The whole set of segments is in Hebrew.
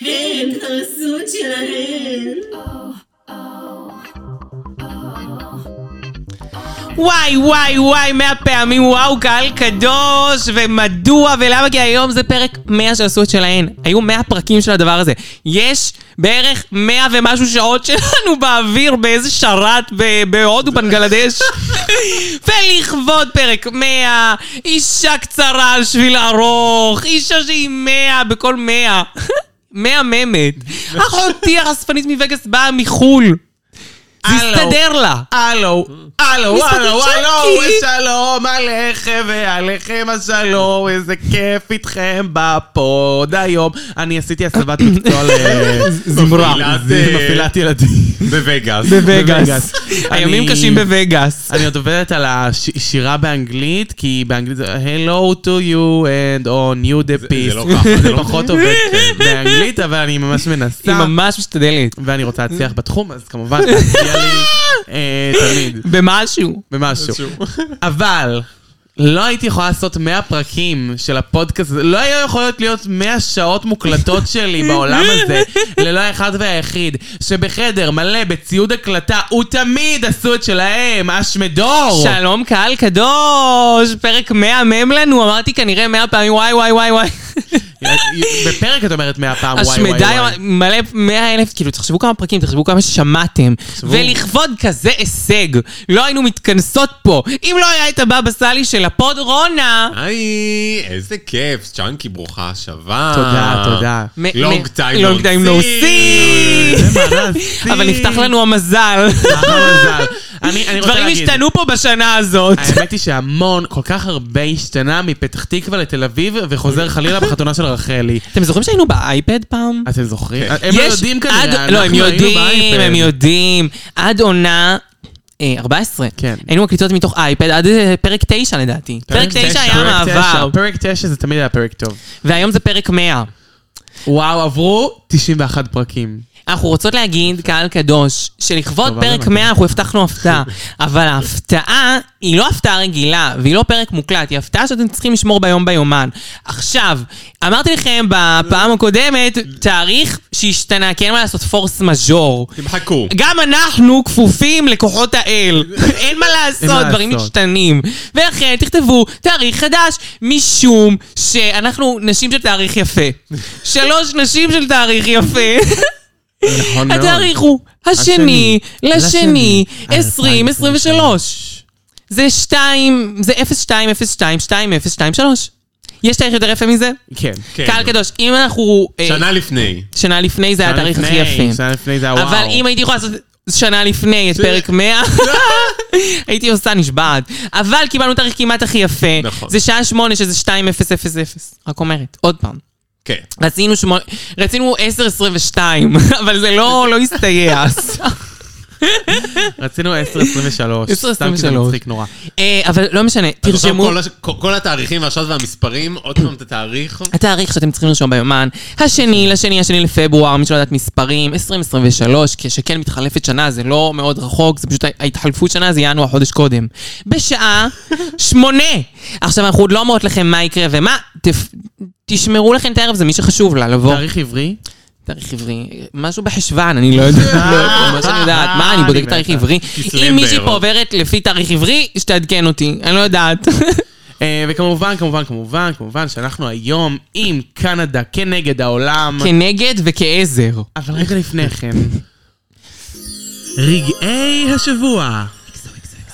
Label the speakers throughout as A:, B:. A: הן הזות שלהן.
B: וואי, וואי, וואי, מאה פעמים, וואו, קהל קדוש, ומדוע, ולמה? כי היום זה פרק 100 שעשו את שלהן. היו 100 פרקים של הדבר הזה. יש בערך 100 ומשהו שעות שלנו באוויר, באיזה שרת ב- בהודו, בנגלדש. ולכבוד פרק 100, אישה קצרה על שביל ארוך, אישה שהיא 100 בכל 100. 100 ממת. אחותי החשפנית מווגאס באה מחו"ל. זה
C: הלו.
B: הסתדר לה.
C: הלו, הלו,
B: משחקי
C: הלו, הלו,
B: צ'אנקי.
C: שלום עליכם ועליכם השלום, איזה כיף איתכם בפוד היום. אני עשיתי הסבת מקצוע אה,
B: זמרה.
C: למפעילת ילדים.
D: בווגאס.
B: בווגאס.
C: הימים
B: הימים קשים
C: קשים
B: בווגאס.
C: אני עוד עובדת על השירה באנגלית, כי באנגלית זה Hello to you and on you the
D: זה לא
C: peace.
D: ככה, זה
C: זה
D: לא
C: פחות עובד באנגלית, אבל אני ממש
B: היא
C: מנסה,
B: ממש משתדלת.
C: ואני רוצה להצליח בתחום, אז כמובן, תצליח לי אה, תמיד.
B: במשהו.
C: במשהו. אבל לא הייתי יכולה לעשות 100 פרקים של הפודקאסט, הזה. לא היה יכולות להיות 100 שעות מוקלטות שלי בעולם הזה, ללא האחד והיחיד, שבחדר מלא בציוד הקלטה, הוא תמיד עשו את שלהם, אשמדור!
B: שלום קהל קדוש, פרק 100 מם לנו, אמרתי כנראה 100 פעמים וואי וואי וואי וואי.
C: בפרק את אומרת 100 פעם, וואי וואי
B: השמדה
C: וואי.
B: מלא 100 אלף, כאילו תחשבו כמה פרקים, תחשבו כמה ששמעתם. ולכבוד כזה הישג, לא היינו מתכנסות פה. אם לא היה את הבבא סאלי של הפוד רונה,
D: היי, איזה כיף, צ'אנקי ברוכה שבה.
B: אה.
C: תודה, תודה.
B: מ-
D: לונג
B: מ-
D: טיים
B: long time no see. אבל נפתח לנו המזל.
C: אני אני רוצה
B: דברים
C: להגיד...
B: השתנו פה בשנה הזאת.
C: האמת היא שהמון, כל כך הרבה השתנה מפתח תקווה לתל אביב וחוזר חלילה בחתונה של רחלי.
B: אתם זוכרים שהיינו באייפד פעם?
C: אתם זוכרים?
D: כן.
C: הם לא
B: יש
C: יודעים
B: עד-
C: כנראה,
B: לא, הם
C: אנחנו היינו
B: יודעים,
C: באייפד.
B: הם יודעים. עד עונה... אה, 14.
C: כן.
B: היינו מקליטות מתוך אייפד עד אה, פרק 9 לדעתי. פרק 9 היה
C: פרק
B: מעבר,
C: תשע, פרק 9 זה תמיד היה פרק טוב.
B: והיום זה פרק 100.
C: וואו, עברו 91 פרקים.
B: אנחנו רוצות להגיד, קהל קדוש, שלכבוד
C: טוב,
B: פרק
C: אבל-
B: 100 אנחנו הבטחנו הפתעה, אבל ההפתעה היא לא הפתעה רגילה, והיא לא פרק מוקלט, היא הפתעה שאתם צריכים לשמור ביום ביומן. עכשיו, אמרתי לכם בפעם הקודמת, תאריך שהשתנה, כי אין מה לעשות פורס מז'ור.
D: תמחקו.
B: גם אנחנו כפופים לכוחות האל. אין מה לעשות,
C: מה
B: דברים
C: לעשות.
B: משתנים. ולכן תכתבו תאריך חדש, משום שאנחנו נשים של תאריך יפה. שלוש נשים של תאריך יפה.
C: נכון
B: התאריך הוא השני
C: השני
B: לשני
C: לשני,
B: 2023. זה 2, זה 0202, 2023. יש תאריך יותר יפה מזה?
C: כן.
D: כן.
B: קהל קדוש, אם אנחנו... אה,
D: שנה לפני.
B: שנה לפני זה היה התאריך הכי
C: שנה לפני,
B: יפה.
C: שנה לפני זה היה וואו.
B: אבל אם הייתי יכולה לעשות שנה לפני את פרק 100, הייתי עושה נשבעת. אבל קיבלנו תאריך כמעט הכי יפה.
D: נכון.
B: זה שעה 8 שזה 2000. רק אומרת, עוד פעם.
D: כן.
B: רצינו שמו... רצינו 10-22, אבל זה לא, לא הסתייע.
C: רצינו 10-23.
B: 10-23.
C: סתם כי זה מצחיק נורא.
B: אה, אבל לא משנה,
D: אז עכשיו
B: תרשמו
D: כל הש- כל- כל התאריכים והשעות והמספרים, עוד פעם את התאריך.
B: התאריך שאתם צריכים לרשום ביומן. השני, לשני, השני לפברואר, מי שלא יודעת מספרים, 2023, כשכן מתחלפת שנה, זה לא מאוד רחוק, זה פשוט ההתחלפות שנה, זה ינואר חודש קודם. בשעה שמונה. עכשיו, אנחנו עוד לא אומרות לכם מה יקרה ומה, תפ... תשמרו לכם את הערב, זה מי שחשוב לה, לבוא.
C: תאריך עברי?
B: תאריך עברי, משהו בחשוון, אני לא יודעת,
D: אה,
B: לא, ממש אני יודעת, מה, אני
C: אני
B: בודק
C: מתה.
B: תאריך עברי?
D: כסלו
B: אם מישהי
D: בערב.
B: פה עוברת לפי תאריך עברי, שתעדכן אותי, אני לא יודעת.
C: אה, וכמובן, כמובן, כמובן, כמובן שאנחנו היום עם קנדה כנגד העולם.
B: כן. כנגד וכעזר.
C: אבל רגע לפני כן. רגעי השבוע.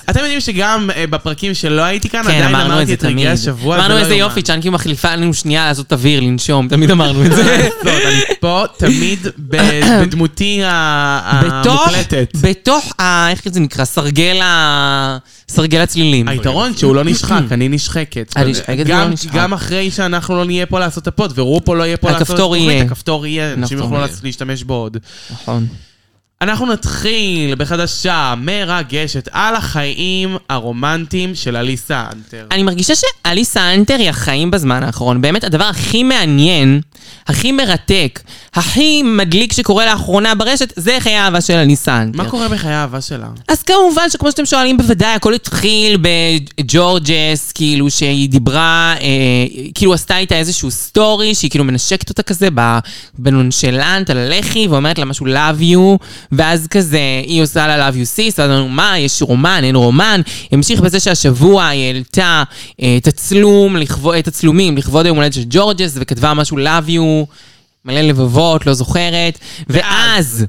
C: אתם יודעים שגם אה, בפרקים שלא הייתי כאן,
B: כן,
C: עדיין
B: אמרנו את
C: אמרתי
B: זה
C: את רגעי
B: תמיד.
C: השבוע.
B: אמרנו
C: זה לא
B: איזה
C: יאומן.
B: יופי, צ'אנקי מחליפה לנו שנייה לעשות אוויר, לנשום, תמיד אמרנו את זה.
C: זאת, אני פה תמיד ב- בדמותי ה- אה,
B: בתוך,
C: המוקלטת.
B: בתוך, ה- איך זה נקרא? סרגל ה... סרגל הצלילים.
C: היתרון שהוא לא נשחק, אני נשחקת.
B: אני נשחקת
C: גם-
B: ולא נשחק.
C: גם אחרי שאנחנו לא נהיה פה לעשות את הפוד, ורו פה לא יהיה פה לעשות את
B: הכפתור
C: התוכנית,
B: יהיה.
C: הכפתור יהיה, אנשים
B: נכון.
C: יוכלו להס- להשתמש בו עוד.
B: נכון.
C: אנחנו נתחיל בחדשה מרגשת על החיים הרומנטיים של אליסה אנטר.
B: אני מרגישה שאליסה אנטר היא החיים בזמן האחרון. באמת, הדבר הכי מעניין, הכי מרתק, הכי מדליק שקורה לאחרונה ברשת, זה חיי האהבה של אליסה אנטר.
C: מה קורה בחיי האהבה שלה?
B: אז כמובן שכמו שאתם שואלים, בוודאי, הכל התחיל בג'ורג'ס, כאילו שהיא דיברה, אה, כאילו עשתה איתה איזשהו סטורי, שהיא כאילו מנשקת אותה כזה ב- בנונשלנט על הלחי, ואומרת לה משהו love you, ואז כזה, היא עושה לה love you sis, ואז אמרנו, מה, יש רומן, אין רומן. המשיך בזה שהשבוע היא העלתה אה, תצלום, לכבוד- אה, תצלומים לכבוד היום הולדת של ג'ורג'ס, וכתבה משהו love you, מלא לבבות, לא זוכרת, ואז...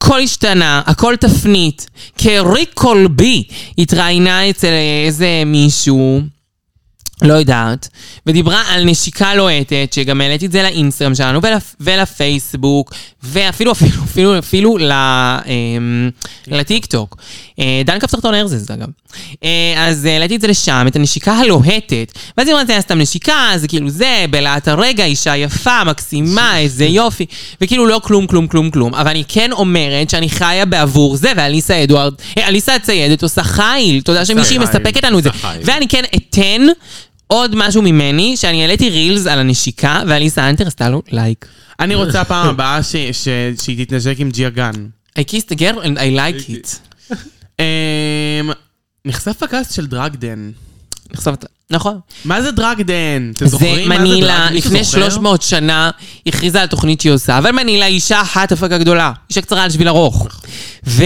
B: הכל השתנה, הכל תפנית. קרי קולבי התראיינה אצל איזה מישהו, לא יודעת, ודיברה על נשיקה לוהטת, שגם העליתי את זה לאינסטגרם שלנו ולפ, ולפייסבוק, ואפילו אפילו אפילו אפילו ל, אמ, לטיקטוק. אה, דן כפתחתון ארזס אגב. אה, אז אה, העליתי את זה לשם, את הנשיקה הלוהטת, ואז היא אומרת, זה היה סתם נשיקה, זה כאילו זה, בלהט הרגע, אישה יפה, מקסימה, איזה יופי, וכאילו לא כלום, כלום, כלום, כלום. אבל אני כן אומרת שאני חיה בעבור זה, ואליסה אדוארד, אה, אליסה הציידת עושה חיל, תודה שמישהי
D: חיל.
B: מספקת לנו את זה.
D: עושה חיל.
B: ואני כן אתן עוד משהו ממני, שאני העליתי רילס על הנשיקה, ואליסה אנטר עשתה לו לייק.
C: אני רוצה פעם הבאה ש- ש- שהיא תתנשק עם ג'יה גן.
B: I kissed a girl and I like it.
C: אמ, נחשף הכעס של דרגדן.
B: נחשפת. נכון.
C: מה זה דרגדן? אתם
B: זה
C: זוכרים מה זה
B: מנילה,
C: דרגדן? מישהו
B: לפני
C: זוכר?
B: 300 שנה, הכריזה על תוכנית שהיא עושה, אבל מנילה היא אישה אחת הפקה גדולה, אישה קצרה על שביל ארוך. ו-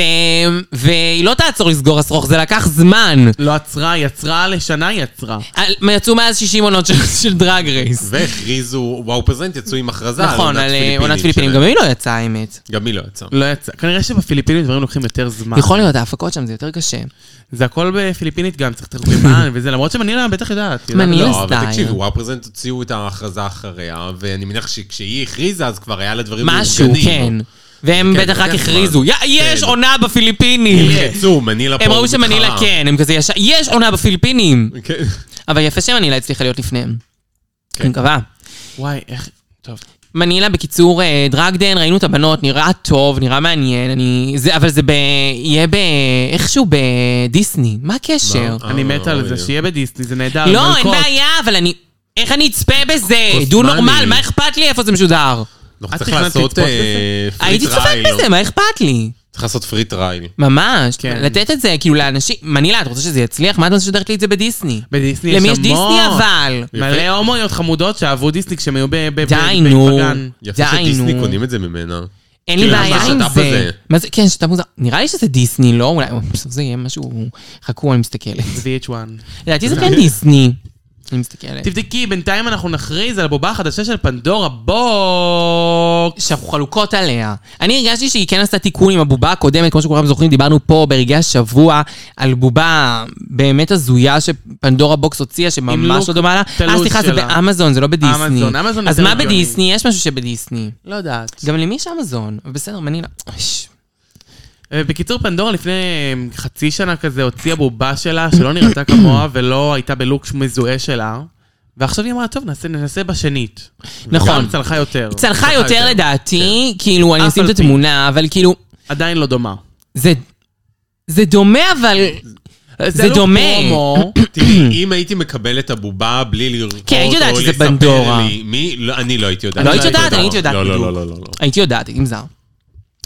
B: והיא לא תעצור לסגור הסרוך, זה לקח זמן.
C: לא עצרה, יצרה לשנה יצרה.
B: על- יצאו מאז 60 עונות של- של דרג רייס.
D: והכריזו, וואו פרזנט יצאו עם הכרזה על
B: נכון, על אה, עונת פיליפינים. גם
D: שלהם.
B: היא לא יצאה, האמת.
D: גם היא לא יצאה.
C: לא יצא. כנראה שבפיליפינים דברים לוקחים יותר זמן.
B: יכול להיות, ההפקות שם זה יותר קשה.
C: זה הכל בפיליפינית גם, צריך תרגומן וזה, למרות שמנילה בטח יודעת. היא יודעת.
B: מנילה.
D: לא,
B: סטייל.
D: אבל תקשיבו, וואו פרזנט הוציאו את ההכרזה אחריה, ואני מניח שכשהיא הכריזה אז כבר היה לה דברים
B: משהו, כן. והם
D: כן,
B: בטח רק
D: לוקח
B: הכריזו,
D: זמן.
B: "יא, יש
D: כן. אה.
B: עונה בפיליפינים!
D: הם יצאו, מנילה פה
B: הם ראו שמנילה
D: מתחרה.
B: כן, הם כזה ישר, יש עונה בפיליפינים!
D: כן.
B: אבל יפה שמנילה הצליחה להיות לפניהם.
D: כן.
B: אני מקווה.
C: וואי, איך... טוב.
B: מנילה, בקיצור, אה, דרגדן, ראינו את הבנות, נראה טוב, נראה מעניין, אני... זה, אבל זה ב... יהיה ב... איכשהו בדיסני, מה הקשר?
D: מה? אה,
C: אני מת על זה,
D: בדיוק.
C: שיהיה בדיסני, זה נהדר.
B: לא, אין
C: מלכות.
B: בעיה, אבל אני... איך אני אצפה בזה?
D: כוס
B: דו
D: מאני.
B: נורמל, מה אכפת לי איפה זה משודר?
D: אנחנו לא, צריך
C: תכננת
D: לעשות
C: לצפות
D: אה, פרי טרייל.
B: הייתי צופק בזה, מה אכפת לי?
D: צריך לעשות פרי טרייל.
B: ממש,
C: כן.
B: לתת את זה, כאילו לאנשים, מנילה, את רוצה שזה יצליח? מה את משדרת לי את זה בדיסני?
C: בדיסני יש
B: למי יש
C: המון.
B: דיסני אבל?
C: מלא הומואיות חמודות שאהבו דיסני כשהם היו ב- ב- ב-
B: די, נו.
C: בגן.
D: יפה
B: די,
D: שדיסני
B: נו.
D: קונים את זה ממנה.
B: אין לי
D: כאילו,
B: בעיה
D: מה
B: עם
D: השת"פ
B: זה.
D: הזה?
B: מה זה, כן, שאתה מוזר. נראה לי שזה דיסני, לא? אולי, אוי, בסוף זה יהיה משהו... חכו, אני מסתכלת.
C: VH1.
B: לדעתי זה כן דיסני. אני מסתכלת.
C: תבדקי, בינתיים אנחנו נכריז על הבובה החדשה של פנדורה בוקס.
B: שאנחנו חלוקות עליה. אני הרגשתי שהיא כן עשתה תיקון עם הבובה הקודמת, כמו שכולם זוכרים, דיברנו פה ברגעי השבוע על בובה באמת הזויה שפנדורה בוקס הוציאה, שממש
C: לוק
B: לא דומה לה. אה,
C: תלוש
B: סליחה, זה
C: שלה.
B: באמזון, זה לא בדיסני.
C: אמזון, אמזון
B: אז
C: יותר
B: מה
C: הגיוני.
B: בדיסני? יש משהו שבדיסני.
C: לא יודעת.
B: גם למי יש אמזון? בסדר, לא- מנילה. אוש.
C: אה, בקיצור, פנדורה לפני אה, חצי שנה כזה הוציאה בובה שלה, שלא נראתה כמוה ולא הייתה בלוק מזוהה שלה. ועכשיו היא אמרה, טוב, נעשה- ננסה בשנית.
B: נכון.
C: גם צלחה יותר. כן.
B: היא צלחה יותר
D: יותר,
B: לדעתי, כאילו, אני
C: אף
B: אשים את
C: על פי.
B: התמונה, אבל כאילו,
C: עדיין לא דומה.
B: זה... זה דומה, אבל... זה
C: לוק
B: דומה.
C: לא פרומו.
D: תראי, אם הייתי מקבל את הבובה בלי לראות
B: כן, הייתי יודעת
D: או
B: שזה
D: לספר
B: בנדורה.
D: לי מי, לא, אני לא הייתי יודעת.
B: לא
D: שזה
B: היית יודעת,
D: בנדורה.
B: אני הייתי יודעת
D: לא, לא,
B: בדיוק.
D: לא, לא, לא, לא.
B: הייתי יודעת, הייתי מזר.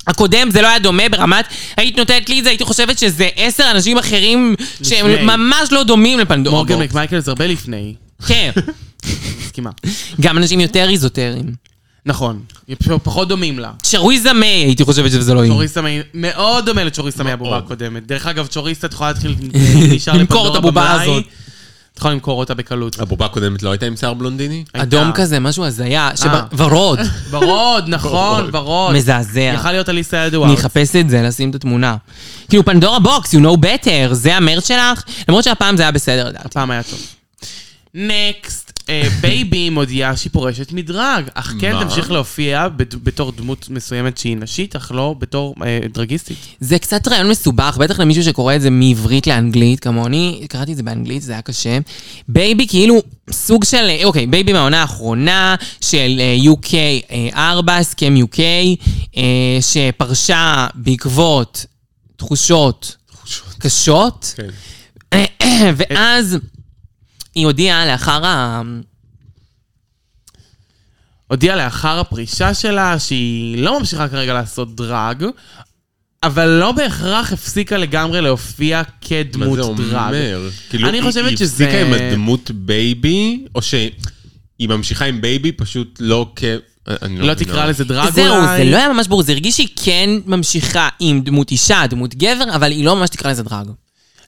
B: הקודם זה לא היה דומה ברמת, היית נותנת לי את זה, הייתי חושבת שזה עשר אנשים אחרים שהם
C: לפני.
B: ממש לא דומים לפנדורה.
C: מורגן
B: בוקס.
C: מקמייקל זה הרבה לפני.
B: כן,
C: מסכימה.
B: גם אנשים יותר איזוטריים.
C: נכון. היא פשוט פחות דומים לה.
B: Mm. שרויזה מיי, הייתי חושבת שזה לא היא.
C: צ'וריסה מי... מאוד דומה לצ'וריסה מהבובה
D: מאוד.
C: הקודמת. דרך אגב, צ'וריסה, את יכולה להתחיל... נשאר
B: למכור את
C: לפנדורה
B: הבובה
C: במלאי.
B: הזאת.
C: את יכולה למכור אותה בקלות.
D: הבובה הקודמת לא הייתה עם שיער בלונדיני?
B: אדום
C: הייתה. אה.
B: כזה, משהו הזיה, שוורוד,
C: ורוד, נכון,
D: ורוד.
C: ורוד.
B: מזעזע.
C: יכל להיות אליסה אדוארד.
B: אני אחפש את זה, לשים את התמונה. כאילו, פנדורה בוקס, you know better, זה המרץ שלך? למרות שהפעם זה היה בסדר, לדעתי.
C: הפעם היה טוב. נקסט, אה, בייבי מודיעה שהיא פורשת מדרג, אך כן
D: מה?
C: תמשיך להופיע בד- בתור דמות מסוימת שהיא נשית, אך לא בתור אה, דרגיסטית.
B: זה קצת רעיון מסובך, בטח למישהו שקורא את זה מעברית לאנגלית, כמוני, קראתי את זה באנגלית, זה היה קשה. בייבי כאילו סוג של, אה, אוקיי, בייבי מהעונה האחרונה של אה, UK4, אה, הסכם UK, אה, שפרשה בעקבות תחושות קשות, אה,
D: כן.
B: ואז היא הודיעה לאחר ה...
C: הודיעה לאחר הפרישה שלה שהיא לא ממשיכה כרגע לעשות דרג, אבל לא בהכרח הפסיקה לגמרי להופיע
D: מה
C: כדמות
D: זה
C: דרג.
D: אומר? כאילו,
C: אני
D: היא-
C: חושבת
D: היא
C: שזה-
D: הפסיקה עם הדמות בייבי, או שהיא ממשיכה עם בייבי, פשוט לא כ... אני
C: לא
D: מבינה.
C: תקרא לזה דרג אולי.
B: זהו, זה לא היה ממש ברור, זה הרגיש שהיא כן ממשיכה עם דמות אישה, דמות גבר, אבל היא לא ממש תקרא לזה דרג.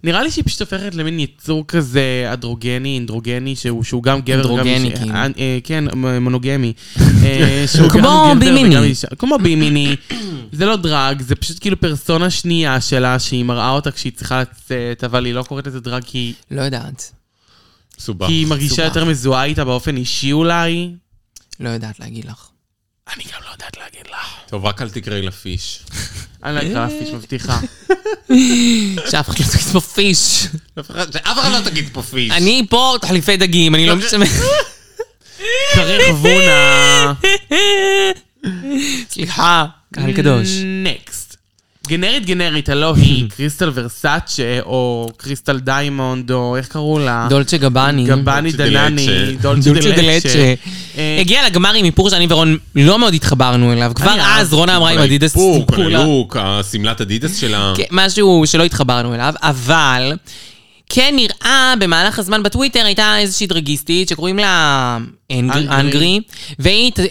C: נראה לי שהיא פשוט הופכת למין יצור כזה אנדרוגני, אינדרוגני, שהוא, שהוא גם גבר וגם
B: אנדרוגני,
C: אישה.
B: כאילו.
C: אה, אה, כן, מ- מונוגמי. אה, שהוא
B: כמו
C: גם גבר
B: בימיני.
C: וגם אישה. כמו בימיני. זה לא דרג, זה פשוט כאילו פרסונה שנייה שלה, שהיא מראה אותה כשהיא צריכה לצאת, אבל היא לא קוראת לזה דרג כי היא-
B: לא יודעת.
D: סובך.
C: כי היא מרגישה
B: סובך.
C: יותר מזוהה איתה באופן אישי אולי.
B: לא יודעת להגיד לך.
C: אני גם לא יודעת להגיד לך.
D: טוב, רק אל תקראי לפיש.
C: אני לא אקרא לך, פיש מבטיחה.
B: שאף אחד לא תגיד פה פיש.
D: אף אחד- שאף אחד לא תגיד פה פיש.
B: אני פה תחליפי דגים, אני לא משתמש...
C: צריך וונה.
B: סליחה, Mm. קהל קדוש.
C: נקסט. גנרית גנרית, הלא היא קריסטל ורסאצ'ה, או קריסטל דיימונד, או איך קראו לה?
B: דולצ'ה גבאני.
C: גבני
D: דולצ'ה דה
C: דנני,
D: לצ'ה.
C: דולצ'ה
B: דולצ'ה
C: דה
B: דלצ'ה.
C: לצ'ה. אה,
B: הגיע לגמר עם איפור שאני ורון לא מאוד התחברנו אליו. כבר
C: אני
B: אז
C: אהבתי,
B: רונה אמרה עם
D: כל
B: אדידס
D: האיפור, כל
B: כולה.
D: הלוק, השמלת אדידס
C: אה.
D: שלה.
B: כן, משהו שלא התחברנו אליו, אבל כן נראה במהלך הזמן בטוויטר הייתה איזושהי דרגיסטית שקוראים לה אנג-
C: אנגרי.
B: אנגרי, והיא ת- אה,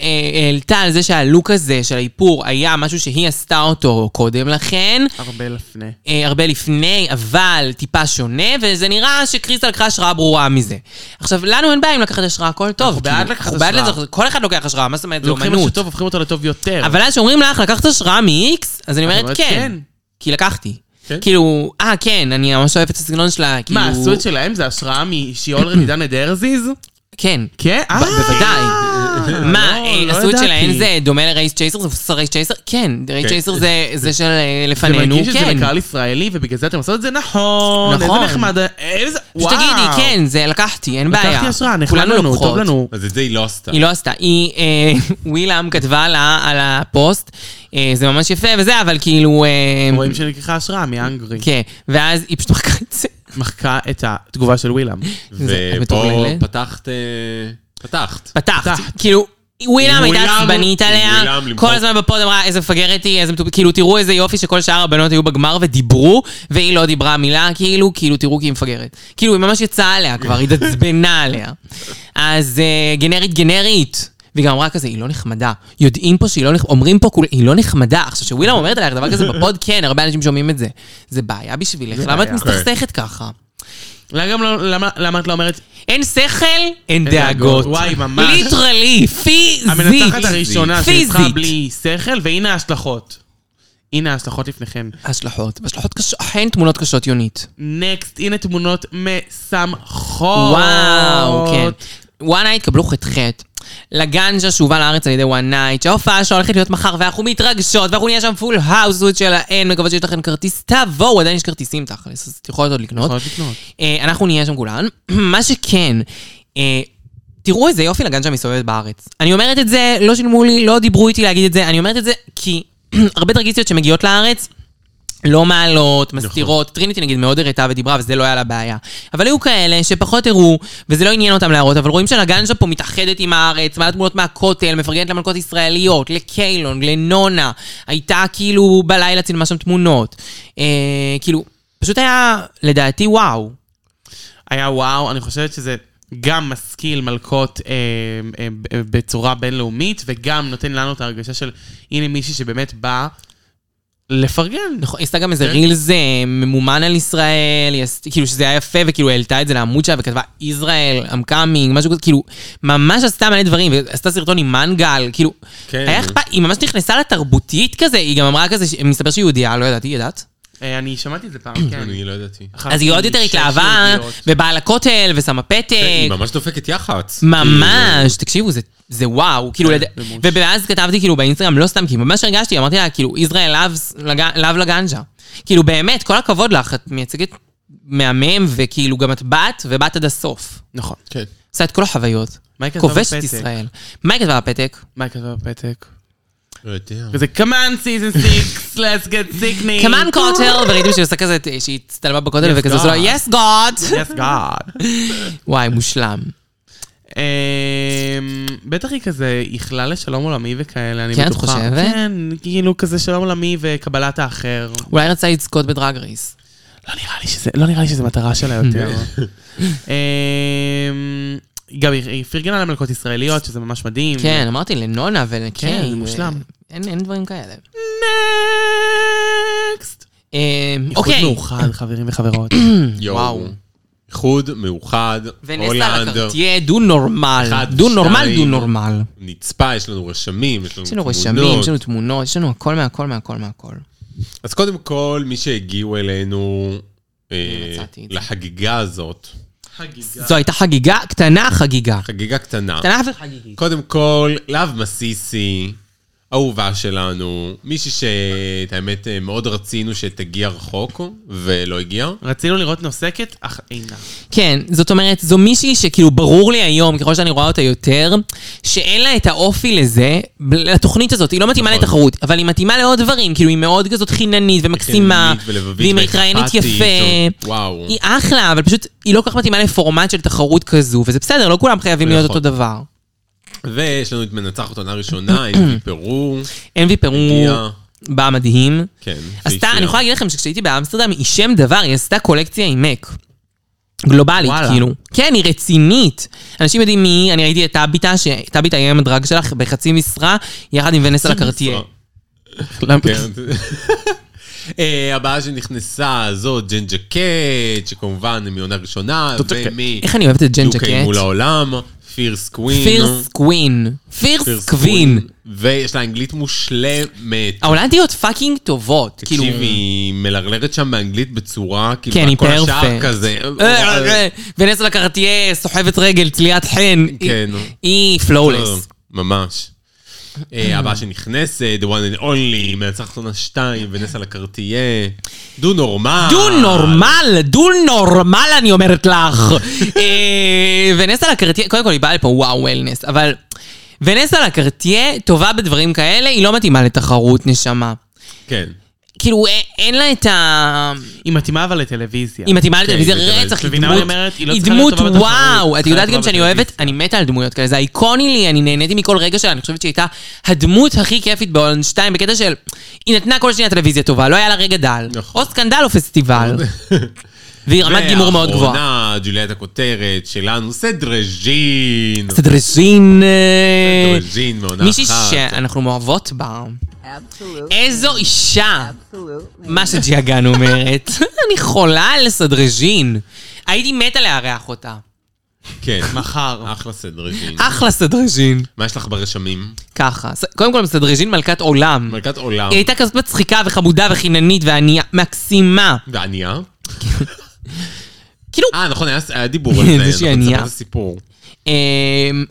B: העלתה על זה שהלוק הזה של האיפור היה משהו שהיא עשתה אותו קודם לכן.
C: הרבה לפני.
B: אה, הרבה לפני, אבל טיפה שונה, וזה נראה שקריסטל לקחה השראה ברורה מזה. עכשיו, לנו אין בעיה אם לקחת השראה, הכל טוב.
C: אנחנו בעד
B: כאילו,
C: לקחת
B: אנחנו בעד
C: השראה.
B: לקחת- כל אחד לוקח השראה, מה זאת אומרת? זה
C: לוקחים משהו
B: אומנות.
C: טוב, הופכים אותו לטוב יותר.
B: אבל אז שאומרים לך, לקחת השראה מ-X? אז אני אומרת,
C: כן. אומרת,
B: כן.
C: כן.
B: כי לקחתי.
D: כן?
B: כאילו, אה, כן, אני ממש אוהבת את הסגנון שלה, כאילו...
C: מה, עשו את שלהם? זה השראה משיעול רדידן אדרזיז?
B: כן.
C: כן? אה,
B: בוודאי. מה,
C: לא,
B: אה,
C: לא
B: עשו את
C: ידעתי.
B: שלהן זה דומה לרייס צ'ייסר? זה מבוסס על רייס צ'ייסר? כן, רייס
D: כן.
B: צ'ייסר זה- זה של אה,
C: זה
B: לפנינו,
C: מרגיש שזה
B: כן.
C: לקהל ישראלי, ובגלל זה אתם עושות את זה נכון.
B: נכון.
C: איזה נחמד. איזה... וואו.
B: פשוט תגידי, כן, זה לקחתי, אין בעיה.
C: לקחתי השראה, נחמד
B: כולנו
C: לנו,
B: לוקחות.
C: טוב לנו.
D: אז את זה היא לא עשתה.
B: היא לא עשתה. היא, אה, ווילאם כתבה לה על הפוסט, אה, זה ממש יפה וזה, אבל כאילו... אה,
C: רואים שנלקחה השראה מאנגרי.
B: כן, ואז היא פשוט מחקה את זה.
C: מחקה את התגובה של ווילאם.
B: זה
D: ופה
B: מטורלל.
D: פתחת... אה, פתחת.
B: פתחת.
C: פתחת.
B: כאילו, ווילאם הייתה
D: ווילאם-
B: עצבנית עליה,
D: ווילאם למחוק.
B: כל הזמן בפוד אמרה איזה מפגרת היא, איזה מטופ... כאילו, תראו איזה יופי שכל שאר הבנות היו בגמר ודיברו, והיא לא דיברה מילה, כאילו, כאילו, תראו כי היא מפגרת. כאילו, היא ממש יצאה עליה כבר, היא התעצבנה עליה. אז אה, גנרית גנרית. והיא גם אמרה כזה, היא לא נחמדה. יודעים פה שהיא לא נחמדה, אומרים פה כולה, היא לא נחמדה. עכשיו, שווילאם אומרת עלייך דבר כזה בפוד, כן, הרבה אנשים שומעים את זה. זה בעיה בשבילך, למה את
C: בעיה.
B: מסתכסכת ככה?
C: למה גם לא- למה- למה את לא אומרת,
B: אין שכל, אין דאגות.
C: וואי, ממש.
B: ליטרלי, פיזית.
C: המנצחת הראשונה
B: פיזית.
C: שניצחה בלי שכל, והנה ההשלכות. הנה ההשלכות לפניכם.
B: השלכות. השלכות קשות, אכן תמונות קשות, יונית.
C: נקסט, הנה תמונות משמחות.
B: וואו, כן. וואן נייט קבלו ח"ח. לגנג'ה שהובא לארץ על ידי וואן נייט, שההופעה שלו הולכת להיות מחר, ואנחנו מתרגשות, ואנחנו נהיה שם פול האוסות שלהן, מקוות שיש לכן כרטיס, תבואו, עדיין יש כרטיסים תכלס, אז את יכולת עוד לקנות.
C: יכולות לקנות.
B: אה, אנחנו נהיה שם כולן. מה שכן, אה, תראו איזה יופי לגן שמסתובבת בארץ. אני אומרת את זה, לא שילמו לי, לא דיברו איתי להגיד את זה, אני אומרת את זה כי הרבה דרגיסטיות שמגיעות לארץ, לא מעלות, מסתירות. טריניטי נגיד מאוד הראתה ודיברה, וזה לא היה לה בעיה. אבל היו כאלה שפחות הראו, וזה לא עניין אותם להראות, אבל רואים שלגנג'ה פה מתאחדת עם הארץ, מעלה תמונות מהכותל, מפרגנת למלכות ישראליות, לקיילון, לנונה. הייתה כאילו בלילה צילמה שם תמונות. אה, כאילו, פשוט היה, לדעתי, וואו.
C: היה וואו, אני חושבת שזה גם משכיל מלקות אה, אה, אה, בצורה בינלאומית, וגם נותן לנו את ההרגשה של הנה מישהי שבאמת באה לפרגן.
B: נכון, היא עשתה גם איזה
C: כן.
B: רילס אה, ממומן על ישראל, היא עשתה- כאילו שזה היה יפה, וכאילו העלתה את זה לעמוד שלה וכתבה ישראל, I'm coming, משהו כזה, כאילו, ממש עשתה מלא דברים, ועשתה סרטון עם מנגל, כאילו,
D: כן.
B: היה אכפת, היא ממש נכנסה לתרבותית כזה, היא גם אמרה כזה, ש- מסתבר שהיא יהודייה, לא ידעתי, ידעת?
C: אה, אני שמעתי את זה פעם, כן.
D: אני לא ידעתי.
B: אז היא עוד יותר התלהבה, ובאה לכותל, ושמה
D: אה, היא
B: פתק,
D: ממש דופקת יח"צ.
C: כאילו-
B: ממש, תקשיבו, זה, זה וואו, כאילו, לד...
C: ממש.
B: ואז כתבתי כאילו באינסטגרם, לא סתם, כי ממש הרגשתי, אמרתי לה, כאילו, ישראל לאו לגנג'ה. כאילו, באמת, כל הכבוד לך, את מייצגת מהמם, וכאילו, גם את באת, ובאת עד הסוף.
C: נכון.
D: כן.
B: עושה את כל החוויות.
C: מה היא כתבה
B: כובשת
C: בפתק?
B: ישראל. מה היא כתבה בפתק?
C: מה היא כתבה בפתק?
D: לא יודע.
C: כזה, come on season 6, let's get sickney.
B: כמן קוטל, וראיתם שהיא עושה כזה, שהיא הצטלמה בכותל
C: אה, Yes,
B: וכזה, זה לא,
C: God.
B: יס גוד!
C: Yes, God.
B: וואי, מושלם.
C: אמ, בטח היא כזה איכלה לשלום עולמי וכאלה, אני
B: כן, את
C: בטוחה.
B: חושבת?
C: כן, כאילו כזה שלום עולמי וקבלת האחר.
B: אולי רצה לזכות בדרג רייס.
C: לא נראה לי שזה, לא נראה לי שזה מטרה שלה יותר. אמ, גם היא היא פרגנה למלכות ישראליות, שזה ממש מדהים.
B: כן, אמרתי לנונה ולקיי.
C: כן, מושלם.
B: אין אין דברים כאלה.
C: נקסט.
B: אמ,
C: איחוד
B: אוקיי.
C: מאוחד, חברים וחברות.
D: יואו.
C: וואו.
D: איחוד מאוחד,
B: ונסה
D: הולנד,
B: לקרטייה דו נורמל.
D: אחד,
B: דו נורמל,
D: שתיים.
B: דו נורמל.
D: נצפה, יש לנו רשמים, יש לנו
B: יש לנו
D: תמונות.
B: רשמים, יש לנו תמונות, יש לנו הכל מהכל מהכל מהכל.
D: אז קודם כל, מי שהגיעו אלינו אה,
B: מצאתי את זה.
D: לחגיגה הזאת,
B: זו הייתה חגיגה קטנה, חגיגה.
D: חגיגה קטנה.
B: קטנה וחגיגית.
D: קודם כל, להב מסיסי, אהובה שלנו, מישהי שאת האמת אה, מאוד רצינו שתגיע רחוק, ולא הגיעה.
C: רצינו לראות נוסקת, אך אינה.
B: כן, זאת אומרת, זו מישהי שכאילו ברור לי היום, ככל שאני רואה אותה יותר, שאין לה את האופי לזה, ב- לתוכנית הזאת, היא לא מתאימה
D: נכון.
B: לתחרות, אבל היא מתאימה לעוד דברים, כאילו היא מאוד כזאת חיננית ומקסימה,
D: כן, ולבבית
B: והיא מתראיינת
D: ואכפתית,
B: יפה.
D: ו- וואו.
B: היא אחלה, אבל פשוט היא לא כל כך מתאימה לפורמט של תחרות כזו, וזה בסדר, לא כולם חייבים להיות
D: נכון.
B: אותו דבר.
D: ויש לנו את מנצחת עונה ראשונה, עם פרו.
B: אנבי פרו
D: הגיעה.
B: בא מדהים.
D: כן.
B: עשתה,
D: שהיא
B: אני יכולה להגיד לכם שכשהייתי באמסטרדם, היא שם דבר, היא עשתה קולקציה עם מק. גלובלית,
C: וואלה.
B: כאילו. כן, היא רצינית. אנשים יודעים מי היא, אני ראיתי את טאביטה, שטאביטה היא היום הדרג שלך בחצי משרה, יחד עם ונסה לקרטיה.
D: כן. אה, הבאה שנכנסה זו ג'ן ג'קט, שכמובן מעונה ראשונה,
C: ג'קט.
D: ומי...
B: כן. איך אני אוהבת את ג'ן ג'קט?
D: דוקא מול העולם, פירס קווין.
B: פירס קווין. פירס קווין.
D: ויש לה אנגלית מושלמת.
B: ההולנדיות פאקינג טובות,
D: כאילו...
B: כאילו.
D: היא מלרלרת שם באנגלית בצורה, כאילו,
B: כן, היא
D: הכל השאר
B: פרפקט.
D: כזה.
B: אה, אה, ונסה לקרטיה, סוחבת רגל, תליית חן.
D: כן.
B: היא- היא פלואולס.
D: ממש. אה, הבאה שנכנסת, The one and only, מנצחת עונה 2, ונסה לקרטייה. דו נורמל.
B: דו נורמל, דו נורמל אני אומרת לך. אה, ונסה לקרטיה, קודם כל היא באה לפה וואו וולנס, אבל ונסה לקרטיה טובה בדברים כאלה, היא לא מתאימה לתחרות נשמה.
D: כן.
B: כאילו אה, אין לה את ה...
C: היא מתאימה אבל לטלוויזיה.
B: היא מתאימה לטלוויזיה
D: היא מתאימה.
B: רצח, היא
C: מבינה מה
B: דמות,
C: אני אומרת? היא לא
B: היא
C: צריכה
B: דמות
C: להיות טובה בתחרות,
B: וואו. את
C: צריכה להיות
B: יודעת גם
C: טובה
B: שאני אוהבת,
C: בטלוויזיה.
B: אני מתה על דמויות כאלה, זה איקוני לי, אני נהניתי מכל רגע שלה, אני חושבת שהיא הייתה הדמות הכי כיפית בהולנד 2, בקטע של היא נתנה כל שנייה טלוויזיה טובה, לא היה לה רגע דל.
D: נכון.
B: או סקנדל או פסטיבל. והיא רמת גימור מאוד גבוהה.
D: ואחרונה, ג'וליית הכותרת שלנו, סדרז'ין.
B: סדרז'ין. אה,
D: סדרז'ין מעונה
B: מישהי
D: אחת.
B: שאנחנו מאוהבות בה.
E: Absolute,
B: איזו אישה!
E: absolute.
B: מה שג'יאגן אומרת. אני חולה על סדרז'ין. הייתי מתה לארח אותה.
D: כן.
C: מחר.
D: אחלה סדרז'ין.
B: אחלה סדרז'ין.
D: מה יש לך ברשמים?
B: ככה. ס- קודם כל, סדרז'ין מלכת עולם.
D: מלכת עולם.
B: היא הייתה כזאת מצחיקה וחמודה וחיננית וענייה מקסימה.
D: וענייה?
B: כאילו,
D: אה, נכון, היה היה דיבור על זה. נכון,
B: זה שהיא
D: אנחנו
B: ענייה.
D: נספר את הסיפור.
B: אמ,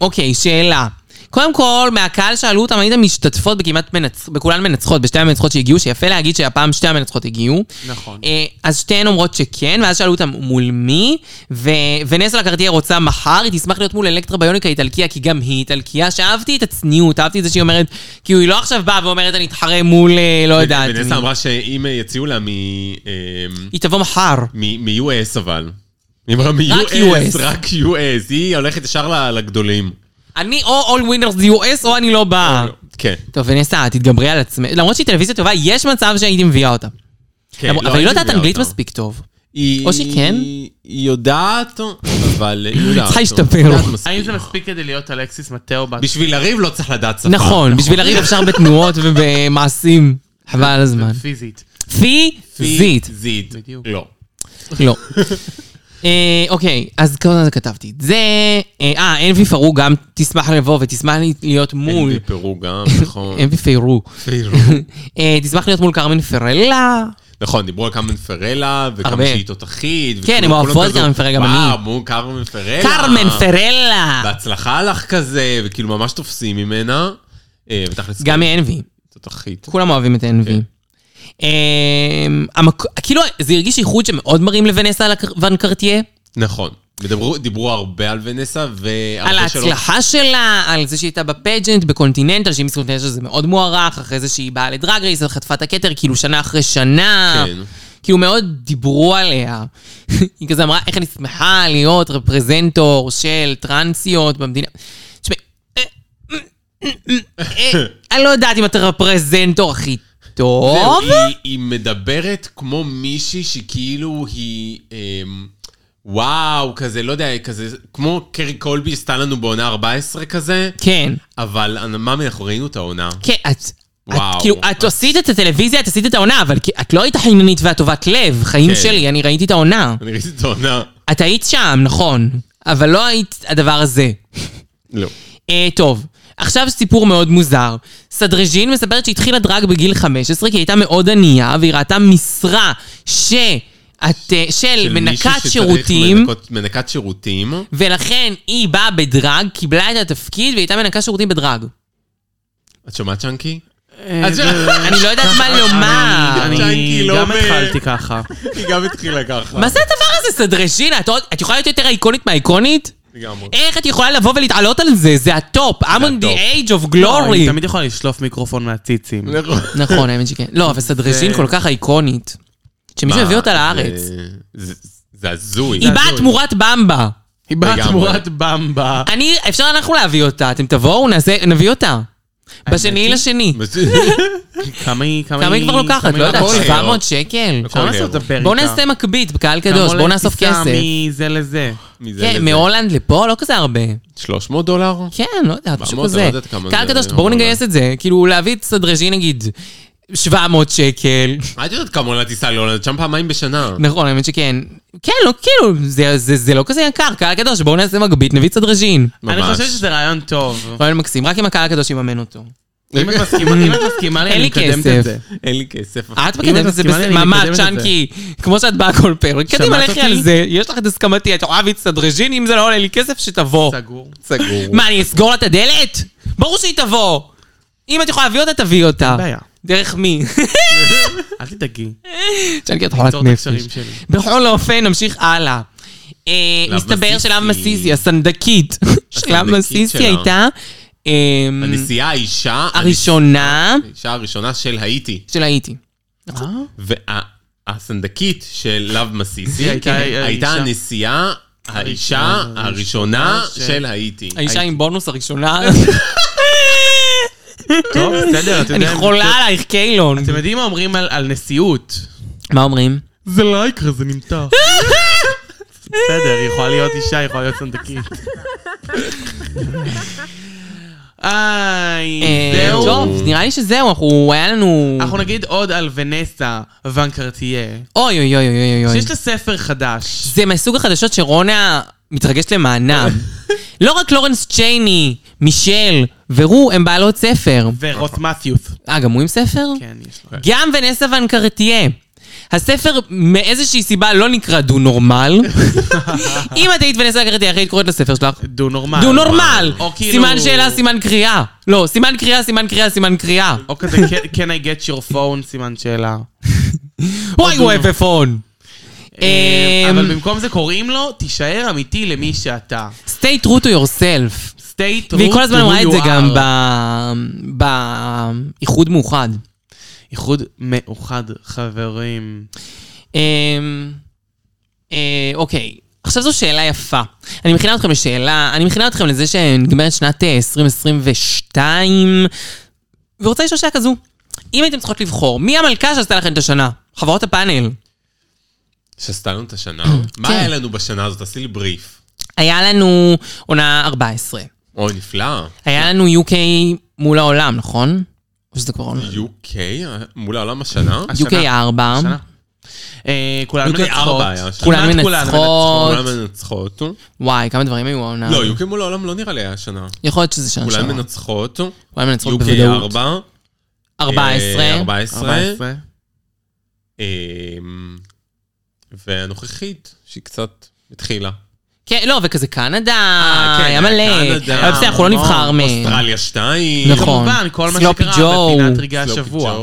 B: אוקיי, שאלה. קודם כל, מהקהל שאלו אותם, הייתם משתתפות בכמעט מנצ... בכולן מנצחות, בשתי המנצחות שהגיעו, שיפה להגיד שהפעם שתי המנצחות הגיעו.
C: נכון.
B: אה, אז שתיהן אומרות שכן, ואז שאלו אותם מול מי, ו... ונסה לקרטייה רוצה מחר, היא תשמח להיות מול אלקטרה ביוניקה איטלקיה, כי גם היא איטלקיה, שאהבתי את הצניעות, אהבתי את זה שהיא אומרת, כאילו היא לא עכשיו באה ואומרת אני אתחרה מול, אה, לא יודעת מי.
D: ונסה אמרה שאם יציעו לה מ... אמ,
B: היא תבוא מחר.
D: מ- מ-US אבל. היא אמרה
B: רק
D: מ-US,
B: US.
D: רק US. היא הולכת ישר ל- לגדולים.
B: אני או All Winners US או אני לא באה.
D: כן.
B: טוב, ונסה, תתגברי על עצמך. למרות שהיא טלוויזיה טובה, יש מצב שהייתי מביאה אותה.
D: כן,
B: למרות- אבל היא לא
D: הייתי
B: יודעת
D: מביאה
B: אנגלית
D: אותה.
B: מספיק טוב.
D: היא-
B: או שהיא כן?
D: היא יודעת, אבל היא יודעת.
B: צריכה להשתפר.
D: היא יודעת מספיק.
C: האם זה מספיק כדי להיות אלכסיס מטאו בת...
D: בשביל לריב לא צריך לדעת שפה.
B: נכון, בשביל לריב אפשר בתנועות ובמעשים. חבל על הזמן.
C: פיזית?
B: פיזית.
D: זית.
C: בדיוק.
D: לא.
B: לא. אה, אוקיי, אז כל זה כתבתי. את זה... אה, אה, אנבי פרו גם תשמח לבוא ותשמח להיות מול...
D: אין פרו גם, נכון.
B: אנבי פרו.
D: פרו.
B: אה, תשמח להיות מול קרמן פרלה.
D: נכון, דיברו על קרמן פרלה, וכמה
B: הרבה.
D: שהיא תותחית.
B: כן,
D: וכולם-
B: הם אוהבות
D: כולם כזה,
B: קרמן פרלה, גם
D: וואו,
B: אני."
D: מו, קרמן פרלה.
B: קרמן פרלה!
D: בהצלחה לך כזה, וכאילו ממש תופסים ממנה. אה, ותכלס,
B: גם מאנבי.
D: תותחית.
B: כולם אוהבים את NV.
D: כן.
B: אמ, המק... כאילו, זה הרגיש איחוד שמאוד מרים לוונסה ון קרטייה,
D: נכון. מדברו- דיברו הרבה על ונסה, והרבה
B: על
D: שלא-
B: ההצלחה שלה, על זה שהיא הייתה בפג'נט, בקונטיננטל, שהיא מסתכלת שזה מאוד מוערך, אחרי זה שהיא באה לדרג רייס, חטפה את הכתר, כאילו שנה אחרי שנה.
D: כן.
B: כאילו מאוד דיברו עליה. היא כזה אמרה, איך אני שמחה להיות רפרזנטור של טרנסיות במדינה. תשמעי, אה, אה, אה, אה, אני לא יודעת אם אתה רפרזנטור הכי
D: זהו,
B: טוב.
D: היא- היא מדברת כמו מישהי שכאילו היא... אמ, וואו, כזה, לא יודע, כזה, כמו קרי קולבי עשתה לנו בעונה 14 כזה,
B: כן.
D: אבל מה, אנחנו ראינו את העונה.
B: כן, את... וואו.
D: וואו.
B: את, כאילו, את עשית את הטלוויזיה, את עשית את העונה, אבל כי- את לא היית חיננית והטובת לב, חיים
D: כן.
B: שלי, אני ראיתי את העונה.
D: אני ראיתי את העונה.
B: את היית שם, נכון, אבל לא היית הדבר הזה.
D: לא.
B: אה, טוב, עכשיו סיפור מאוד מוזר. סדרג'ין מספרת שהתחילה דרג בגיל 15, כי היא הייתה מאוד ענייה, והיא ראתה משרה ש... את, אה, של מנקת שירותים,
D: מנקת שירותים.
B: ולכן היא באה בדרג, קיבלה את התפקיד והיא הייתה מנקה שירותים בדרג.
D: את שומעת, צ'אנקי?
C: אה,
D: אז-
B: אני לא יודעת מה לומר. לא
D: אני-
C: אני
D: לא
C: גם
D: מ-
C: התחלתי ככה.
D: היא גם התחילה ככה.
B: מה זה הדבר הזה, סדרז'ינה? את עוד- את יכולה להיות יותר איקונית מהאיקונית?
D: לגמרי.
B: איך את יכולה לבוא ולהתעלות על זה? זה הטופ. I'm on the
D: הטופ.
B: age of
C: לא, היא
B: glory.
C: תמיד יכולה לשלוף מיקרופון מהציצים.
D: נכון.
B: נכון, האמת שכן. לא, אבל סדרז'ין
C: זה-
B: כל כך איקונית. שמישהו הביא אותה
D: מה,
B: לארץ.
D: זה- אה, זה- זה הזוי.
B: היא באה תמורת במבה.
C: היא באה
D: לגמרי.
C: תמורת במבה.
B: אני, אפשר אנחנו להביא אותה. אתם תבואו, נעשה- נביא אותה. בשני
C: היא-
B: לשני.
C: כמה היא...
B: כמה היא כבר לוקחת?
C: כמה
B: לא
C: היא-
B: יודעת,
D: הכל היא-
B: 700 שקל.
D: הכל
C: אפשר לעשות את
D: הכל.
C: הפריקה.
B: בואו נעשה מקבית בקהל קדוש, בואו נאסוף
C: כמה
B: כסף.
C: עולה טיסה מזה לזה?
D: מזה
B: כן,
D: לזה.
B: מהולנד לפה, לא כזה הרבה.
D: 300 דולר?
B: כן, לא יודעת, משהו
D: ברמות,
B: כזה.
D: אני לא יודעת כמה
B: קהל
D: זה-
B: קדוש, בואו נגייס את זה. כאילו, להביא את סדרג'י נגיד 700 שקל.
D: את יודעת כמה עולה טיסה להולנד? שם פעמיים בשנה.
B: נכון, האמת שכן. כן, לא, כאילו, זה- זה זה לא כזה יקר, קהל קדוש, בואו נעשה מגבית, נביא סדרג'ין.
C: אני
D: ממש.
C: חושב שזה רעיון טוב.
B: רעיון מקסים, רק אם הקהל הקדוש יממן אותו.
C: אם את מסכימה- אם את מסכימה לי,
B: אין
C: אני
B: לי
C: מקדמת
B: כסף.
C: את זה.
D: אין לי כסף.
B: את
C: אם את
B: מקדמת את זה
C: מסכימה לי,
B: בסדר,
C: אני
B: ממש,
C: מקדמת את
B: צ'אנקי, כמו שאת באה כל פרק. קדימה,
C: שמעת
B: לכי
C: אותי?
B: על זה, יש לך את הסכמתי, את יכולה להביא את סדרג'ין, אם זה לא עולה לי כסף, שתבוא.
C: סגור.
D: סגור.
B: מה, אני אסגור לה את הדלת? ברור שהיא תבוא. אם את יכולה להביא אותה, תביאי אותה.
C: בעיה.
B: דרך מי?
C: אל תדאגי.
B: צ'אנקי, את חולת
C: תפתור את הקשרים
B: נפש.
C: שלי.
B: בכל אופן, נמשיך הלאה. אה,
D: לאב
B: מסתבר
D: מסיסי.
B: שלאב מסיסי, הסנדקית, שלאב
D: הסנדקית
B: מסיסי
D: שלה.
B: הייתה אה,
D: הנסיעה האישה...
B: הראשונה
D: האישה הראשונה של האיטי.
B: של האיטי. אה?
C: אה?
D: והסנדקית של לאב מסיסי
C: היא הייתה
D: הייתה
C: האישה.
D: הנסיעה האישה
C: הראשונה
D: הראשונה
C: של-
D: של האיטי.
B: האישה עם בונוס הראשונה.
C: טוב, בסדר, אתם
B: אני
C: יודעים-
B: חולה עלייך, קיילון.
C: אתם יודעים מה אומרים על- על נשיאות?
B: מה אומרים?
C: זה לא יקרה, זה נמתח. בסדר, היא יכולה להיות אישה, היא יכולה להיות סנדקית. איי,
B: אה,
C: זהו.
B: טוב, נראה לי שזהו, אנחנו, היה לנו...
C: אנחנו נגיד עוד על ונסה ואן קרטייה,
B: אוי אוי אוי אוי אוי אוי.
C: שיש לה ספר חדש.
B: זה מהסוג החדשות שרונה מתרגשת למענם. לא רק לורנס צ'ייני, מישל ורו הם בעלות ספר.
C: ורוס מתיוס.
B: אה, גם הוא עם ספר?
C: כן, יש לה.
B: גם ונסה ון קרטייה. הספר מאיזושהי סיבה לא נקרא דו נורמל. אם את היית ונסה ון קרטייה, איך היית קוראת לספר שלך?
C: דו נורמל.
B: דו נורמל!
C: או כאילו-
B: סימן שאלה, סימן קריאה. לא, סימן קריאה, סימן קריאה, סימן קריאה.
C: או כזה "Can- can I get your phone סימן שאלה.
B: אמ. וואי וואי ופון.
C: אה,
B: אמ,
C: אבל במקום זה קוראים לו, תישאר אמיתי למי שאתה.
B: stay true to yourself.
C: stay true
B: והיא כל
C: to
B: הזמן
C: who
B: אמרה את
C: you
B: זה גם
C: are.
B: ב- באיחוד מאוחד.
C: איחוד מאוחד, חברים.
B: אמ, אה, אוקיי, עכשיו זו שאלה יפה. אני מכינה אתכם לשאלה, אני מכינה אתכם לזה שנגמרת שנת אה, 2022, ורוצה לשאול שאלה כזו. אם הייתם צריכות לבחור, מי המלכה שעשתה לכם את השנה? חברות הפאנל.
D: שעשתה לנו את השנה.
C: כן.
D: מה היה לנו בשנה הזאת? עשי לי בריף.
B: היה לנו עונה 14.
D: אוי, נפלא.
B: היה לנו UK מול העולם, נכון? או שזה כבר עונה?
D: UK מול העולם השנה?
C: השנה.
B: UK 4.
C: שנה. אה, כולן
D: UK
C: מנצחות.
D: ארבע היה שנה.
B: כולן
C: כמעט
B: מנצחות.
D: כולן מנצחות.
B: וואי, כמה דברים היו העונה.
D: לא, UK מול העולם לא נראה לי היה השנה.
B: יכול להיות שזה שנה
D: כולן
B: שעברה.
D: מנצחות.
B: כולן מנצחות
D: UK
B: בוודאות.
D: 4. אה,
B: 14.
D: 14.
C: 14.
D: אמ, והנוכחית, שהיא קצת התחילה.
B: כן, לא, וכזה קנדה,
D: אה, כן,
B: היה מלא.
D: קנדה,
B: אבל בסדר, אנחנו לא
C: המון,
B: נבחר מהם.
D: אוסטרליה 2.
B: נכון.
C: כמובן, כל מה
B: סלופי
C: שקרה
B: ג'ו.
C: בפינת רגעי השבוע.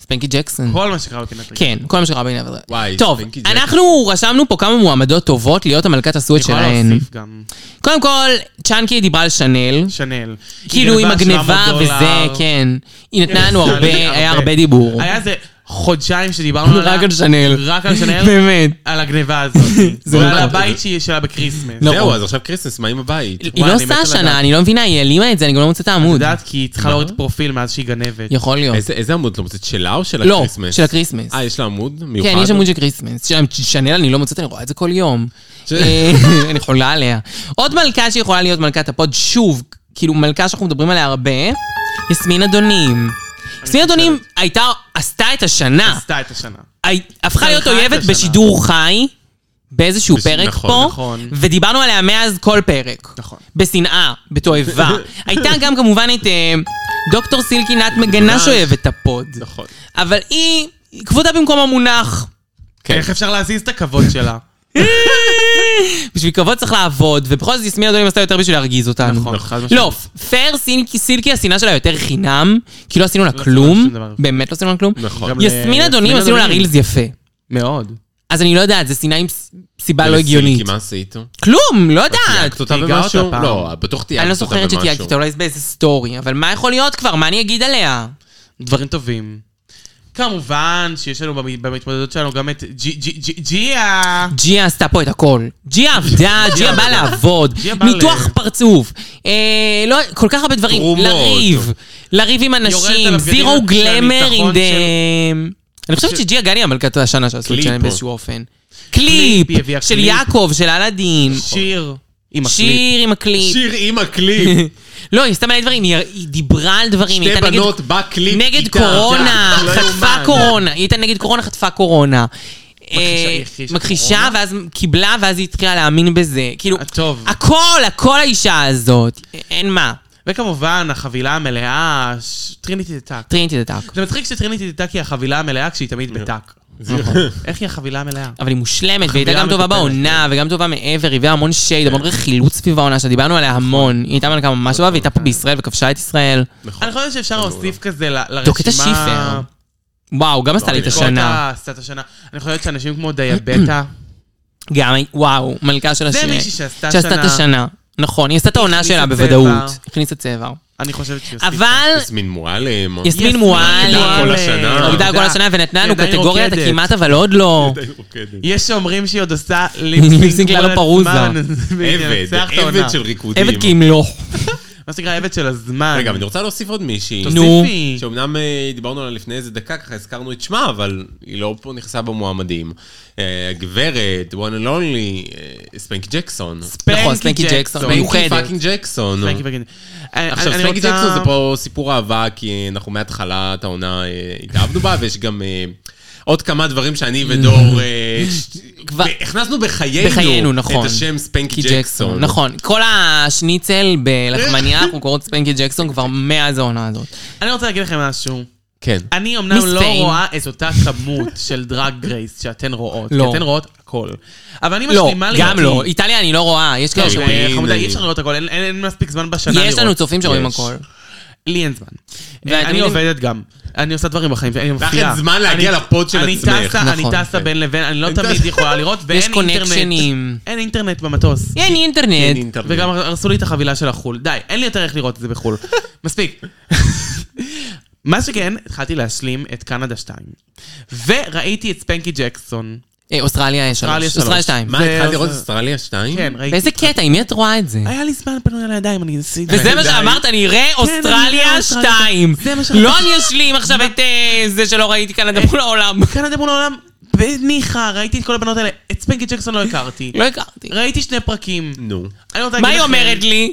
B: ספנקי ג'קסון.
C: כל מה שקרה בפינת רגע.
B: כן, כל מה שקרה בעיניו.
D: וואי,
B: טוב,
D: ספנקי ג'קסון.
B: אנחנו רשמנו פה כמה מועמדות טובות להיות המלכת הסוויט
C: אני יכולה
B: שלהן.
C: להוסיף גם
B: קודם כל, צ'אנקי דיברה על שאנל.
C: שנאל.
B: כאילו
C: היא
B: עם
C: גנבה
B: הגניבה
C: 700 דולר.
B: וזה, כן. היא נתנה לנו
C: כן,
B: הרבה, היה הרבה דיבור.
C: היה איזה חודשיים שדיברנו עליה.
B: רק על שנאל.
C: רק על שנאל.
B: באמת.
C: על הגניבה הזאת.
B: זה
C: ועל
B: נורא.
C: הבית שהיא- שלה בקריסמס.
B: לא.
D: זהו, אז עכשיו קריסמס, מה עם הבית?
B: היא
C: וואי,
B: לא
C: אני
B: עושה
C: מת
B: השנה,
C: לדעת.
B: אני לא מבינה, היא העלימה את זה, אני גם לא מוצאת את
C: את
B: העמוד.
C: יודעת, כי היא צריכה
B: לא.
C: להוריד פרופיל מאז שהיא גנבת.
B: יכול להיות.
D: איזה איזה עמוד את לא מוצאת? שלה או של
B: לא,
D: הקריסמס?
B: של הקריסמס.
D: אה, יש לה עמוד מיוחד?
B: כן, יש עמוד של קריסמס. של שנאל אני לא מוצאת, אני רואה את זה כל יום.
D: ש-
B: אה, אני חולה עליה. עוד מלכה שיכולה להיות מלכת הפוד, שוב, כאילו מלכה שאנחנו מדברים עליה הרבה, יסמין אדונים. יסמין אדונים הייתה, עשתה את השנה.
C: עשתה את השנה.
B: הי- הפכה להיות
C: צלחה את
B: אויבת
C: השנה.
B: בשידור חי, באיזשהו
D: בש-
B: פרק
D: נכון,
B: פה,
C: נכון.
B: ודיברנו עליה מאז כל פרק.
C: נכון.
B: בשנאה, בתועבה. הייתה גם כמובן את אה, דוקטור סילקי נת מגנה
C: ממש.
B: שאוהבת את הפוד.
C: נכון.
B: אבל היא, כבודה במקום המונח.
D: כן.
C: איך אפשר להזיז את הכבוד שלה?
B: בשביל כבוד צריך לעבוד, ובכל זאת יסמין אדונים עשתה יותר בשביל להרגיז אותנו.
C: נכון, חד משמעית.
B: לא, פייר סילקי- סילקי השנאה שלה יותר חינם, כי לא עשינו לה
C: עשינו לה
B: כלום,
C: שום דבר.
B: באמת לא עשינו לה כלום.
D: נכון.
C: גם
B: יסמין
C: ליסמין
B: אדונים עשינו לה
C: אדונים.
B: רילס יפה.
C: מאוד.
B: אז אני לא יודעת, זה שנאה עם ס- סיבה לא
D: ולסילקי,
B: הגיונית.
D: מה עשית?
B: כלום, לא יודעת.
D: תייגת אותה
C: תייגה אותה
D: במשהו?
C: פעם.
D: לא, בטוח תייגת אותה במשהו.
B: אני לא זוכרת שתייגתי אותה, אולי באיזה סטורי, אבל מה יכול להיות כבר? מה אני אגיד עליה?
C: דברים טובים. כמובן שיש לנו במ- במתמודדות שלנו גם את ג'י- ג'י- ג'י- ג'יה.
B: ג'יה עשתה פה את הכל. ג'יה עבדה, ג'יה באה לעבוד,
C: ג'יה באה
B: ניתוח
C: ל-
B: פרצוף, אה, לא, כל כך הרבה דברים.
D: תרומות.
B: לריב, לריב עם
C: על
B: אנשים,
C: הבגדים
B: זירו
C: של
B: גלמר
C: הניצחון
B: עם דה... אני חושבת
C: ש-
B: שג'יה גני המלכת השנה שעשו את
D: קליפ
B: שלהם
D: פה.
B: באיזשהו אופן. קליפ,
C: היא הביאה
B: של
C: קליפ.
B: יעקב, של אלאדין.
C: שיר. עם הקליפ.
B: נכון. שיר עם הקליפ.
D: שיר עם הקליפ.
B: לא, היא עשתה מלא דברים, היא היא דיברה על דברים, היא
D: שתי
B: הייתה נגד
D: בנות בקליפ
B: נגד
D: איתה.
B: קורונה,
D: לא
B: חטפה
D: יאומן.
B: קורונה, היא הייתה נגד קורונה, חטפה קורונה. אה,
C: הכחישה
B: מכחישה,
C: קורונה.
B: ואז קיבלה, ואז היא התחילה להאמין בזה. כאילו,
C: טוב.
B: הכל, הכל האישה הזאת. א- אין מה.
C: וכמובן, החבילה המלאה, ש- טריניטי דתק.
B: טרינטי דתק.
C: זה מצחיק שטריניטי דתק היא החבילה המלאה כשהיא תמיד
D: נכון.
C: בטק. איך היא החבילה המלאה?
B: אבל היא מושלמת, והיא הייתה גם
C: חבילה
B: טובה
C: מטופלת,
B: בעונה, וגם טובה מעבר, היא הביאה המון שייד, המון רכילות סביב העונה, שדיברנו עליה המון. היא הייתה מלכה ממש טובה, והיא הייתה פה בישראל וכבשה את ישראל.
D: נכון.
C: אני חושב שאפשר
D: לא.
C: להוסיף כזה ל- לרשימה...
B: דוקטה שיפר. וואו, גם עשתה לי את
C: לא,
D: דוקטה
B: השנה.
C: עשת השנה. אני חושבת שאנשים כמו דייבטה,
B: גם, וואו, מלכה של
C: זה
B: השנה.
C: מישהי שעשתה
B: שעשתה את
C: שנה.
B: השנה. נכון, היא עשתה את העונה
C: הכניסה
B: שלה
C: צבע.
B: בוודאות. הכניסה צבע.
C: אני חושבת שהיא הוסיפה.
B: אבל
D: יסמין נכון, מועלם.
B: יסמין
C: יסמין
B: מועלם
D: מועלם. כל השנה.
B: הורידה כל
C: תודה.
B: השנה ונתנה לנו
C: היא עדיין
B: קטגוריית
C: רוקדת.
B: הכמעט אבל עוד לא.
D: די רוקדת.
C: יש שאומרים שהיא עוד עושה
B: ליפסינק
C: ליפסינק כל
B: ללא פרוזה.
C: הזמן. והיא
D: עבד,
C: תנצח את העונה.
D: עבד של ריקודים.
B: עבד כי לא. ימלוך.
C: מה שנקרא עבד של הזמן.
D: רגע, אבל אני רוצה להוסיף עוד מישהי.
B: נו.
C: תוסיפי.
D: שאומנם אה, דיברנו עליה לפני איזה דקה, ככה הזכרנו את שמה, אבל היא לא פה נכנסה במועמדים. אה, הגברת, one and only, אה, ספנקי ג'קסון.
B: נכון, ספנקי ג'קסון, מיוחדת.
D: פאקינג ג'קסון.
C: ספנקי פאקינג. אני-
D: עכשיו,
C: אה, אני
D: ספנקי
C: רוצה-
D: ג'קסון זה פה סיפור אהבה, כי אנחנו מההתחלת העונה אה, התאהבנו בה, ויש גם אה, עוד כמה דברים שאני ודור... אה, ש-
B: כבר-
D: הכנסנו בחיינו
B: בחיינו, נכון.
D: את השם ספנקי
B: כי ג'קסון.
D: ג'קסון.
B: נכון, כל השניצל בלחמניה, אנחנו קוראות ספנקי ג'קסון כבר מאז העונה הזאת.
C: אני רוצה להגיד לכם משהו.
D: כן.
C: אני אמנם לא
B: מספיין.
C: רואה את אותה כמות של דרג גרייס שאתן רואות, כי
B: לא.
C: אתן רואות הכל. אבל אני
B: לא,
C: משלימה לי...
B: גם לא. איטליה אני לא רואה, יש כאלה
D: לא,
B: שרואים.
D: אין-
C: חמודה, אי אפשר לראות הכל, אין- אין אין מספיק זמן בשנה לראות.
B: יש לנו צופים לא- שרואים
D: יש.
B: הכל.
C: לי אין זמן.
B: ואתם
C: אני
B: יודעים-
C: עובדת גם. אני עושה דברים בחיים, ואני
D: לך
C: מופיעה.
D: אין זמן להגיע
C: אני-
D: לפוד של
C: אני
D: עצמך.
C: טסה- אני
B: נכון.
C: טסה בין לבין, אני לא
D: אין
C: תמיד
D: טס-
C: יכולה לראות, ואין
B: יש
C: אינטרנט.
B: קונקשנים.
C: אין אינטרנט במטוס.
B: אין
D: אין
B: אינטרנט.
D: אינטרנט.
C: וגם הרסו לי את החבילה של החו"ל. די, אין לי יותר איך לראות את זה בחו"ל. מספיק. מה שכן, התחלתי להשלים את קנדה 2. וראיתי את ספנקי ג'קסון.
B: אה, אוסטרליה
C: אוסטרליה
B: שלוש.
C: שלוש.
B: אוסטרליה שתיים.
D: מה,
C: זה-
D: התחלת לראות
C: זה-
D: אוסטרליה 2?
C: כן, ראיתי.
B: באיזה קטע, עם מי את רואה את זה?
C: היה לי זמן פנוי על הידיים, אני ניסיתי.
B: וזה מה
D: די.
B: שאמרת, אני אראה
C: אני אראה
B: אוסטרליה
C: אוסטרליה
B: 2.
C: שתיים. זה מה שאמרתי.
B: לא אני אשלים עכשיו את אה, זה שלא ראיתי קנדה מול העולם.
C: קנדה מול העולם, ניחא, ראיתי את כל הבנות האלה. את ספנקי ג'קסון לא הכרתי.
B: לא הכרתי.
C: ראיתי שני פרקים.
D: נו.
C: אני רוצה
B: מה היא
C: להגיד לכם-
B: אומרת לי?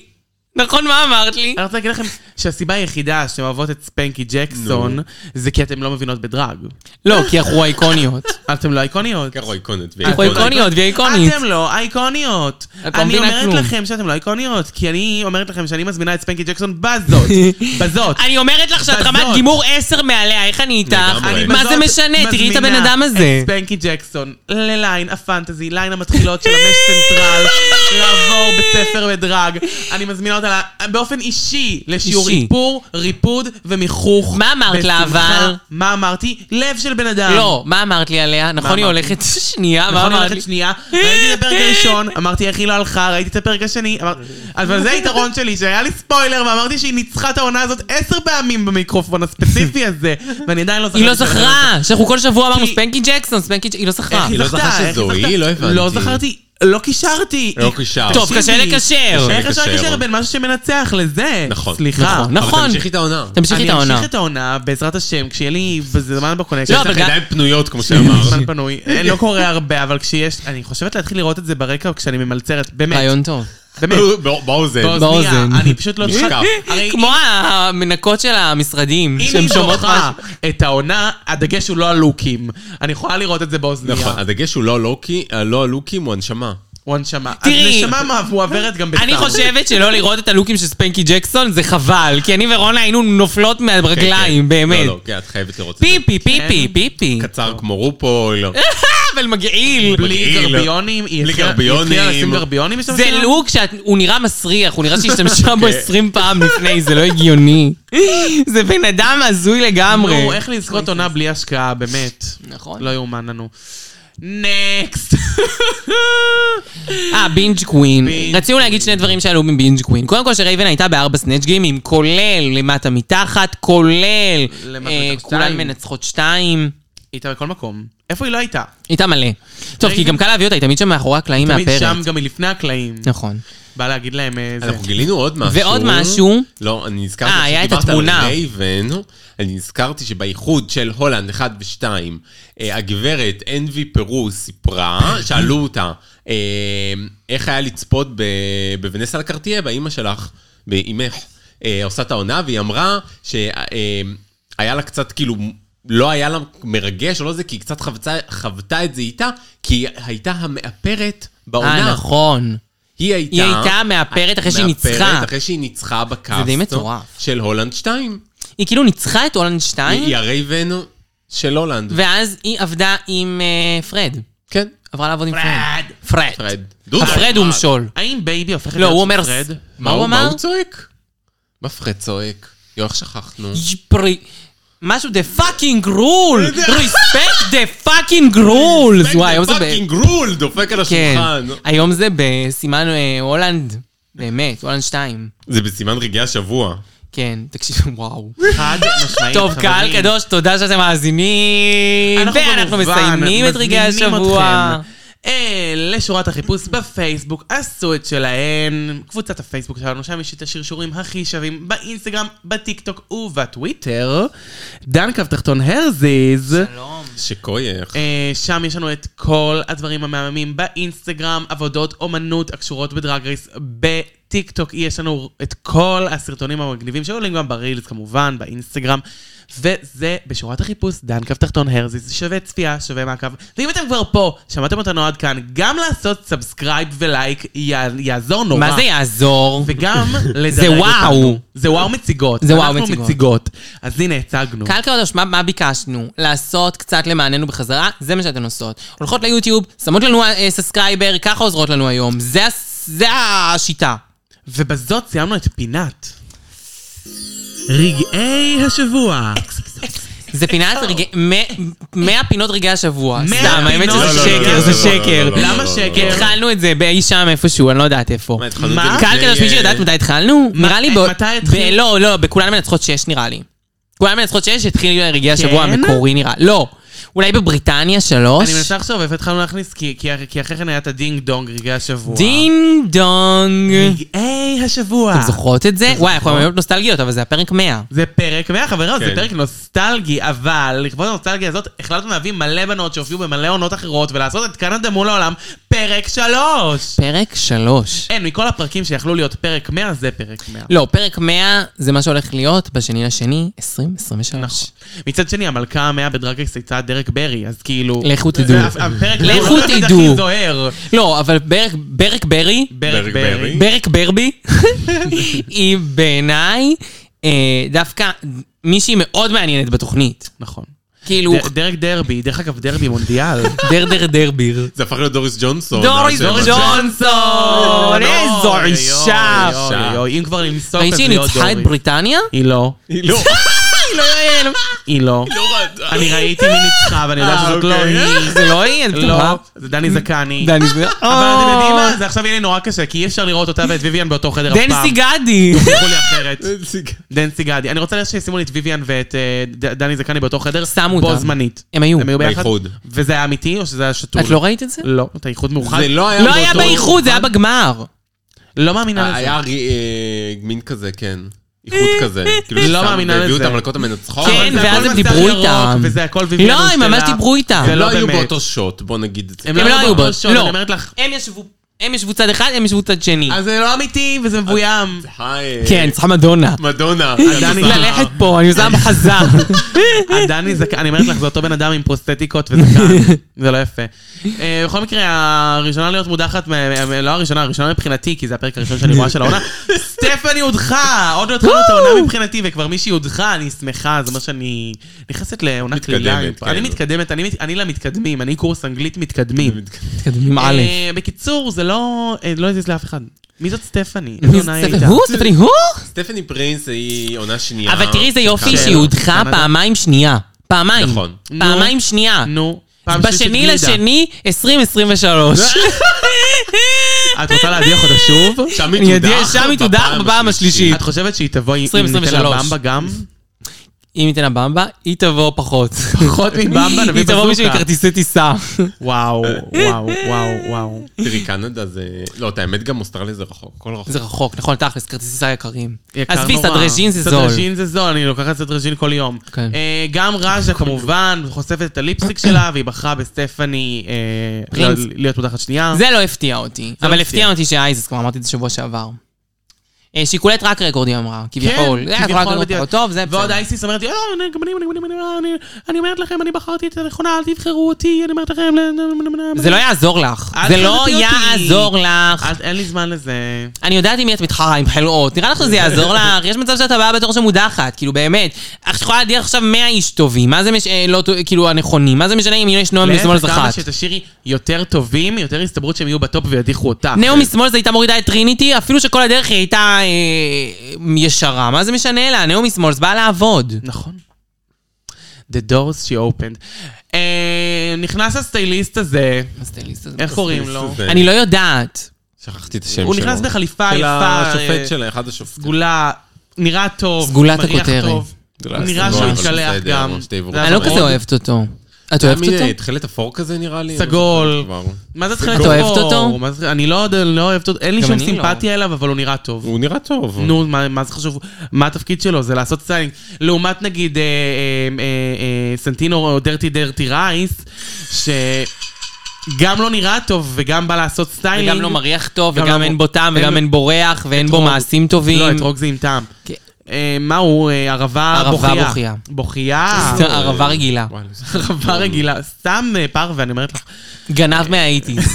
B: נכון, מה אמרת לי?
C: אני רוצה להגיד לכם שהסיבה היחידה שאתם אוהבות את ספנקי ג'קסון, זה כי אתם לא מבינות בדרג.
B: לא, כי אנחנו האיקוניות.
C: אתם לא איקוניות.
D: ככה איקונית
B: אנחנו האיקוניות והיא איקונית.
C: אה, אתם לא אייקוניות.
B: את לא
C: אני
B: מבינה
C: אומרת
B: כלום.
C: לכם שאתם לא אייקוניות, כי אני אומרת לכם שאני מזמינה את ספנקי ג'קסון בזאת. בזאת.
B: אני אומרת לך שאת
C: בזאת.
B: רמת גימור 10 מעליה, איך אני איתך?
D: לגמרי.
B: אני-
D: אני
B: מה
C: בזאת
B: זה משנה? תראי את הבן
C: מזמינה
B: אדם הזה.
C: את ספנקי ג'קסון לליין הפנטזי, ליין המתחילות של המש סנטרל, לעבור בספר בדרג. אני מזמינה אותה לה- באופן אישי לשיעור איפור, ריפוד ומיכוך.
B: מה אמרת לה,
C: בשמחה.
B: אבל?
C: מה אמרתי? לב של בן אדם.
B: לא, מה אמרת לי עליה? נכון, היא
C: אמרתי?
B: הולכת שנייה, מה
C: נכון,
B: אמרת לי?
C: הולכת שנייה, ראיתי את הפרק הראשון, אמרתי איך היא לא הלכה, ראיתי את הפרק השני, אמרתי- אבל זה היתרון שלי, שהיה לי ספוילר, ואמרתי שהיא ניצחה את העונה הזאת עשר פעמים במיקרופון הספציפי הזה, ואני עדיין לא זכרתי.
B: היא לא
C: את הפרק
B: זכרה, שאנחנו כל שבוע אמרנו
C: כי-
B: ספנקי ג'קסון, ספנקי ג'קסון, היא לא זכרה.
C: איך היא
D: לא זכרה
C: זכתה?
D: שזו
C: איך היא
D: היא?
C: זכתה?
D: לא הבנתי.
C: לא זכרתי, לא קישרתי.
D: לא קישרת.
B: טוב, קשה
C: תקשיבי.
B: לקשר.
D: קשה
C: איך אפשר
D: לקשר.
C: לקשר בין משהו שמנצח לזה?
D: נכון.
C: סליחה.
B: נכון, נכון.
D: אבל תמשיכי את העונה.
B: תמשיכי את
C: אני
B: העונה.
C: אמשיך את העונה, בעזרת השם, כשיהיה לי זמן בקונקשן.
B: לא,
D: יש לך
B: אבל גם-
D: ידיים פנויות, כמו שאמרת.
C: זמן פנוי. אה, לא קורה הרבה, אבל כשיש... אני חושבת להתחיל לראות את זה ברקע כשאני ממלצרת. באמת.
B: רעיון טוב.
C: באמת.
D: בוא- באוזן.
C: באוזניה.
B: באוזן.
C: אני פשוט לא צריכה...
D: משקף.
C: הרי אם-
B: כמו המנקות של המשרדים,
C: אם
B: שהן
C: אה, היא
B: שומעות
C: זוכה את העונה, הדגש הוא לא על לוקים. אני יכולה לראות את זה באוזניה.
D: נכון, הדגש הוא לא לוקי, לא לוקים, הוא הנשמה.
C: הוא הנשמה.
B: תראי.
C: אז נשמה מועברת גם בסתם.
B: אני חושבת שלא לראות את הלוקים של ספנקי ג'קסון זה חבל, כי אני ורונה היינו נופלות
D: כן, כן.
B: מהרגליים, באמת.
D: לא, לא, כן, את חייבת לראות את זה.
B: פיפי,
C: כן.
B: פיפי, פיפי.
D: קצר כמו רופול. לא.
B: אה! אבל מגעיל.
C: בלי
D: מגעיל.
C: גרביונים, היא
D: בלי
C: התחילה- היא
D: גרביונים.
C: התחילה לשים גרביונים בסוף
B: זה
C: שלה?
B: לוק שהוא נראה מסריח, הוא נראה שהשתמשה
C: אוקיי.
B: בו 20 פעם לפני, זה לא הגיוני. זה בן אדם הזוי לגמרי.
C: נו, איך לזכות עונה בלי השקעה, באמת.
B: לא, נכון.
C: לא יאומן לנו. נקסט.
B: אה, בינג' קווין.
C: בינג'
B: רצינו להגיד שני דברים שעלו מבינג' קווין. קודם כל שרייבן הייתה בארבע סנאצ' גיימים, כולל למטה מתחת, כולל
C: למטה
B: אה,
C: מתחת
B: כולן
C: שתיים.
B: מנצחות שתיים.
C: היא הייתה בכל מקום. איפה היא לא הייתה?
B: הייתה מלא. טוב, כי גם קל להביא אותה, היא תמיד שם מאחורי הקלעים
C: תמיד
B: מהפרק.
C: שם, גם מלפני הקלעים.
B: נכון.
C: בא להגיד להם אה, זה.
D: אנחנו גילינו עוד משהו.
B: ועוד משהו.
D: לא, אני נזכרתי
B: אה, היה את
D: שדיברת על
B: התמונה.
D: רייבן, אני נזכרתי שבאיחוד של הולנד 1 ו-2, הגברת אנבי פרו סיפרה, שאלו אותה, אה, איך היה לצפות ב- בוונסה לקרטיה, באימא שלך, באימך, אה, עושה את העונה, והיא אמרה שהיה לה קצת כאילו... לא היה לה מרגש או לא זה, כי היא קצת חבצה, חוותה את זה איתה, כי היא הייתה המאפרת בעונה.
B: אה, נכון.
D: היא הייתה...
B: היא הייתה מאפרת אחרי שהיא
D: מאפרת
B: ניצחה.
D: אחרי שהיא ניצחה בקאסט.
B: זה די מטורף. אה,
D: של הולנד 2.
B: היא כאילו ניצחה את הולנד
D: היא
B: 2,
D: היא הרייבן של הולנד.
B: ואז היא עבדה עם אה, פרד.
D: כן,
B: עברה לעבוד עם פרד.
C: פרד.
B: פרד.
D: פרד. דודו.
B: הפרד הוא משול.
C: האם בייבי הופכת
B: לא,
C: להיות
B: הוא אומר...
C: פרד?
B: מה הוא אמר?
D: מה הוא צועק? מה פרד צועק? יואו, איך שכחנו.
B: פרי... משהו דה פאקינג רול! ריספקט דה פאקינג רולס! וואי, היום זה ב...
D: פאקינג רול דופק על
B: כן.
D: השולחן.
B: היום זה בסימן אה, הולנד. באמת, הולנד 2.
D: זה בסימן רגעי השבוע.
B: כן, תקשיבו, וואו.
C: חד משמעית,
B: טוב, קהל
C: חברים.
B: קדוש, תודה שאתם מאזינים.
C: אנחנו
B: ואנחנו
C: כמובן
B: מסיימים את רגעי
C: מזמינים
B: השבוע.
C: אתכם, אה, לשורת החיפוש בפייסבוק, עשו את שלהם, קבוצת הפייסבוק שלנו, שם יש את השרשורים הכי שווים באינסטגרם, בטיקטוק ובטוויטר. דן קו תחתון הרזיז.
B: שלום.
D: שקוייך.
C: אה, שם יש לנו את כל הדברים המהממים באינסטגרם, עבודות אומנות הקשורות בדרג רייס בטיק טוק. יש לנו את כל הסרטונים המגניבים שעולים גם ברילס כמובן, באינסטגרם. וזה בשורת החיפוש, דן קו תחתון הרזיס, שווה צפייה, שווה מעקב. ואם אתם כבר פה, שמעתם אותנו עד כאן, גם לעשות סאבסקרייב ולייק י- יעזור נורא.
B: מה זה יעזור?
C: וגם לדרג
B: זה וואו.
C: אותנו. זה וואו מציגות.
B: זה וואו מציגות.
C: אנחנו מציגות. אז הנה, הצגנו.
B: קהל קדוש, מה, מה ביקשנו? לעשות קצת למעננו בחזרה? זה מה שאתן עושות. הולכות ליוטיוב, שמות לנו אה, סאסקרייבר, ככה עוזרות לנו היום. זה, הס- זה השיטה.
C: ובזאת סיימנו את פינת. רגעי השבוע.
B: זה פינת רגעי... מ- 100 פינות רגעי השבוע.
C: מאה
B: סתם, האמת
C: פינות-
B: שזה
C: לא, לא, לא,
B: שקר,
C: לא,
B: זה
C: לא,
D: לא, לא,
B: שקר.
D: לא, לא,
C: למה שקר?
B: התחלנו את זה באי שם איפשהו, אני לא יודעת איפה.
D: מה, התחלנו את
C: מה?
D: זה
B: קהל
D: לפני,
B: קדוש, מישהו יודעת מתי התחלנו?
C: מה-
B: נראה לי
C: אה,
B: ב...
C: מתי
B: ב-
C: התחיל?
B: לא, לא, בכולן מנצחות שש נראה לי. כולן מנצחות שש התחיל רגעי השבוע
C: כן?
B: המקורי נראה. לא. אולי בבריטניה שלוש?
C: אני מנסה לחשוב איפה התחלנו להכניס, כי- כי כי אחרי כן היה את הדינג דונג רגעי השבוע.
B: דין דונג.
C: רגעי השבוע.
B: אתם זוכרות את זה? וואי, אנחנו היום נוסטלגיות, אבל זה הפרק 100.
C: זה פרק מהחברה, זה
D: כן.
C: פרק נוסטלגי, אבל לכבוד הנוסטלגיה הזאת החלטנו להביא מלא בנות שהופיעו במלא עונות אחרות ולעשות את קנדה מול העולם פרק שלוש.
B: פרק 3.
C: אין, מכל הפרקים שיכלו להיות פרק 100 זה פרק 100.
B: לא, פרק 100 זה מה שהולך להיות בשני לשני, 2023.
C: נכון. מצד שני, המלכה המאה בדרגקס הייתה דרק ברי, אז כאילו...
B: לכו תדעו.
C: זה- הפרק
B: לכו
C: הוא לא תמיד
B: תדעו.
C: הכי זוהר.
B: לא, אבל ברק- ברק ברי,
C: ברק
D: ברק
C: ברי.
D: ברי.
B: ברק ברבי, היא בעיניי אה, דווקא מישהי מאוד מעניינת בתוכנית.
C: נכון.
B: כאילו,
C: ד- דרג דרבי, דרך אגב, דרבי מונדיאל.
B: דר דר דר ביר.
D: זה הפך להיות דוריס ג'ונסון. לא,
B: דוריס
D: השם הזה.
B: ג'ונסון! איזו
C: לא, אוי,
B: אישה!
C: אוי, אוי, אוי, אוי, אם כבר למסוק,
B: ראית
C: אז
B: שהיא
C: להיות
B: ניצחה את
C: דורי.
B: בריטניה?
C: היא לא.
D: היא לא.
B: היא לא יעל.
C: היא לא. אני ראיתי מי ניצחה, ואני יודע
D: אה,
C: שזאת לא
D: אוקיי.
C: היא.
B: זה לא היא? את
C: לא,
B: בטוחה?
C: זה דני זקני.
B: דני זקני.
C: אבל אתם יודעים מה? זה עכשיו יהיה לי נורא קשה, כי אי אפשר לראות אותה ואת ויויאן באותו חדר אף פעם.
B: דנסי גדי.
C: תסלחו לי אחרת. דנסי גדי. אני רוצה שישימו לי את ויויאן ואת אה, ד- דני זקני באותו חדר.
B: שמו
C: בו
B: אותם.
C: זמנית.
B: הם היו.
C: הם היו ביחד?
D: באיחוד.
C: וזה היה אמיתי או שזה היה שתול?
B: את לא ראית את זה?
C: לא, את האיחוד מאוחד.
D: זה לא היה
B: לא היה
D: באותו-
B: באיחוד, זה היה בגמר.
C: לא מאמינה לזה.
D: אה, היה רי- אה, מין כזה, כן. איחוד כזה. כאילו
C: לא
D: ששם
C: מאמינה
D: והביאו
C: לזה.
D: את המלכות המנצחות.
B: כן,
C: אבל זה
B: ואז
C: הכל
B: הם
C: מצב
B: דיברו
C: ירוק,
B: איתם.
C: וזה הכל ויויאן
B: לא, הם ממש
C: ושלה.
B: דיברו איתם.
C: זה
D: הם
C: לא
D: לא היו
C: באמת.
D: באותו שוט, בוא נגיד כן, את זה.
C: הם
B: הם לא היו
C: באותו
B: ב-
C: שוד,
B: לא.
C: אני אומרת לך.
B: הם ישבו, הם ישבו צד אחד, הם ישבו צד שני.
C: אז זה לא אמיתי וזה מבוים.
D: היי.
B: כן, צריכה מדונה.
D: אה, מדונה.
C: דני-
B: ללכת פה, אני עושה מחזה.
C: דני זקן, אני אומרת לך, זה אותו בן אדם עם פרוסטטיקות וזקן, זה לא יפה. אה, בכל מקרה, הראשונה להיות מודחת, מ- מ- לא הראשונה, הראשונה מבחינתי, כי זה הפרק הראשון שאני רואה של העונה, סטפני הודחה! עוד לא התחלנו את העונה מבחינתי, וכבר מישהי הודחה, אני שמחה, זה אומר שאני נכנסת לעונה
D: מתקדמת,
C: קלילה.
D: כן.
C: אני מתקדמת, אני מת- אני למתקדמים, אני קורס אנגלית מתקדמים.
B: מתקדמים א'.
C: אה, בקיצור, זה לא אה, לא הזיז לאף אחד. מי זאת סטפני? איזה
B: מי
C: עונה היא
B: זה?
C: הייתה?
B: הוא? סטפני הוא?
D: סטפני פרינס היא עונה שנייה.
B: אבל תראי איזה יופי
D: כן.
B: שהיא הודחה
C: כמה זה?
B: פעמיים שנייה. פעמיים.
D: נכון.
B: פעמיים שנייה.
C: נו, פעם שלישית
B: בשני
C: גלידה.
B: לשני, 2023.
C: את רוצה להדיח אותה שוב?
D: שם
B: אני
D: היא
B: יודע,
D: תודח.
B: שם היא תודח בפעם השלישית.
C: את חושבת שהיא תבוא עם
B: עשרים,
C: עם ניתן לה
B: 23.
C: במבה גם?
B: אם ניתן לה במבה, היא תבוא פחות.
C: פחות מבמבה נביא
B: היא תבוא בשביל
C: בזוקה.
B: כרטיסי טיסה.
C: וואו, וואו, וואו, וואו.
D: תראי, קנדה זה... לא, את האמת גם אוסטרליה זה רחוק. הכל רחוק.
B: זה רחוק, נכון, תכלס, כרטיסי טיסה יקרים.
C: יקר
B: עזבי,
C: נורא.
B: סדרז'ין זה זול.
C: סדרז'ין זה זול, אני לוקחת סדרז'ין כל יום.
B: כן.
C: אה, גם ראז'ה כמובן חושפת את הליפסטיק שלה, והיא בחרה בסטפני אה,
B: פרינס.
C: לא- להיות מודחת שנייה.
B: זה לא הפתיע אותי,
C: לא
B: אבל
C: הפתיע.
B: הפתיע אותי שאייזס, כבר אמרתי את זה שבוע שעבר. אה, שיקולי טרק רקורד היא אמרה, כביכול. אה, זה היה טרק רקורד
C: כן, בדיוק.
B: פחות טוב, זה
C: לא ועוד
B: בסדר.
C: אייסיס אומרת לי, "אה, אני- גם אני, גם אני, גם אני, גם אני, אני- אני אומרת לכם, אני בחרתי את הנכונה, אל תבחרו אותי, אני אומרת לכם...
B: זה לא יעזור לך.
C: אל
B: זה
C: תחרטי
B: לא
C: אותי.
B: יעזור לך.
C: אז אין לי זמן לזה.
B: אני יודעת עם מי את מתחרה, עם חלאות. נראה לך שזה יעזור לך? יש מצב שאת הבאה בתור שמודחת, כאילו באמת. את יכולה להדיח עכשיו 100 איש טובים, מה זה משנה, לא טוב- כאילו הנכונים, מה זה משנה אם יש נועם משמאל
C: להפך,
B: זה
C: כמה
B: אחת.
C: שתשאירי יותר טובים, יותר הסתברות שהם יהיו בטופ וידיחו אותה.
B: נאו משמאל זה הייתה מורידה את טריניטי, אפילו שכל הדרך היא הייתה אה, ישרה, מה זה משנה לה? נאו משמאל זה באה לעבוד.
C: נכון. The doors she opened. אה, נכנס הסטייליסט הזה, איך קוראים לו?
D: זה-
B: אני לא יודעת.
D: שכחתי את השם שלו.
C: הוא נכנס בחליפה
D: של
C: יפה, אה,
D: השופט שלה, אחד השופטים.
C: סגולה, נראה טוב,
B: סגולת
C: מריח
B: הכותרת.
C: טוב. נראה שהוא
D: סגול,
C: התקלח
D: אבל בסדר,
C: גם.
D: ממש די ברור.
C: זה
B: אני לא
C: היה
B: כזה
C: מאוד-
B: אוהבת אותו. את
D: היה
B: אוהבת
D: מין
B: אותו?
D: אה, תכלת אפור כזה נראה לי.
C: סגול.
D: כבר.
C: מה זה התחילת
B: את אוהבת אותו?
C: מה זה- אני לא יודע, לא אוהבת אותו, אין לי
B: גם
C: שום
B: אני לא.
C: סימפתיה אליו, אבל הוא נראה טוב.
D: הוא נראה טוב.
B: נכון.
C: נו, מה, מה זה חשוב? מה התפקיד שלו? זה לעשות סטיילינג. לעומת נגיד אה, אה, אה, אה, סנטינו או דרטי דרטי רייס, שגם לא נראה טוב וגם בא לעשות סטיילינג.
B: וגם לא מריח טוב,
C: גם
B: וגם
C: לא-
B: אין בו טעם,
C: אין
B: וגם
C: לו-
B: אין בו ריח, ואין בו
C: אתרוג.
B: מעשים טובים.
C: לא, אתרוג זה עם טעם.
B: כן.
C: אה, מה הוא? אה, ערבה
B: ערבה
C: בוכייה.
B: בוכייה.
C: בוכייה.
B: זה ערבה רגילה.
D: וואי, לא זוכר.
C: ערבה רגילה. סתם אה, פרווה, אני אומרת לך.
B: אוקיי. גנב מהאיטיז.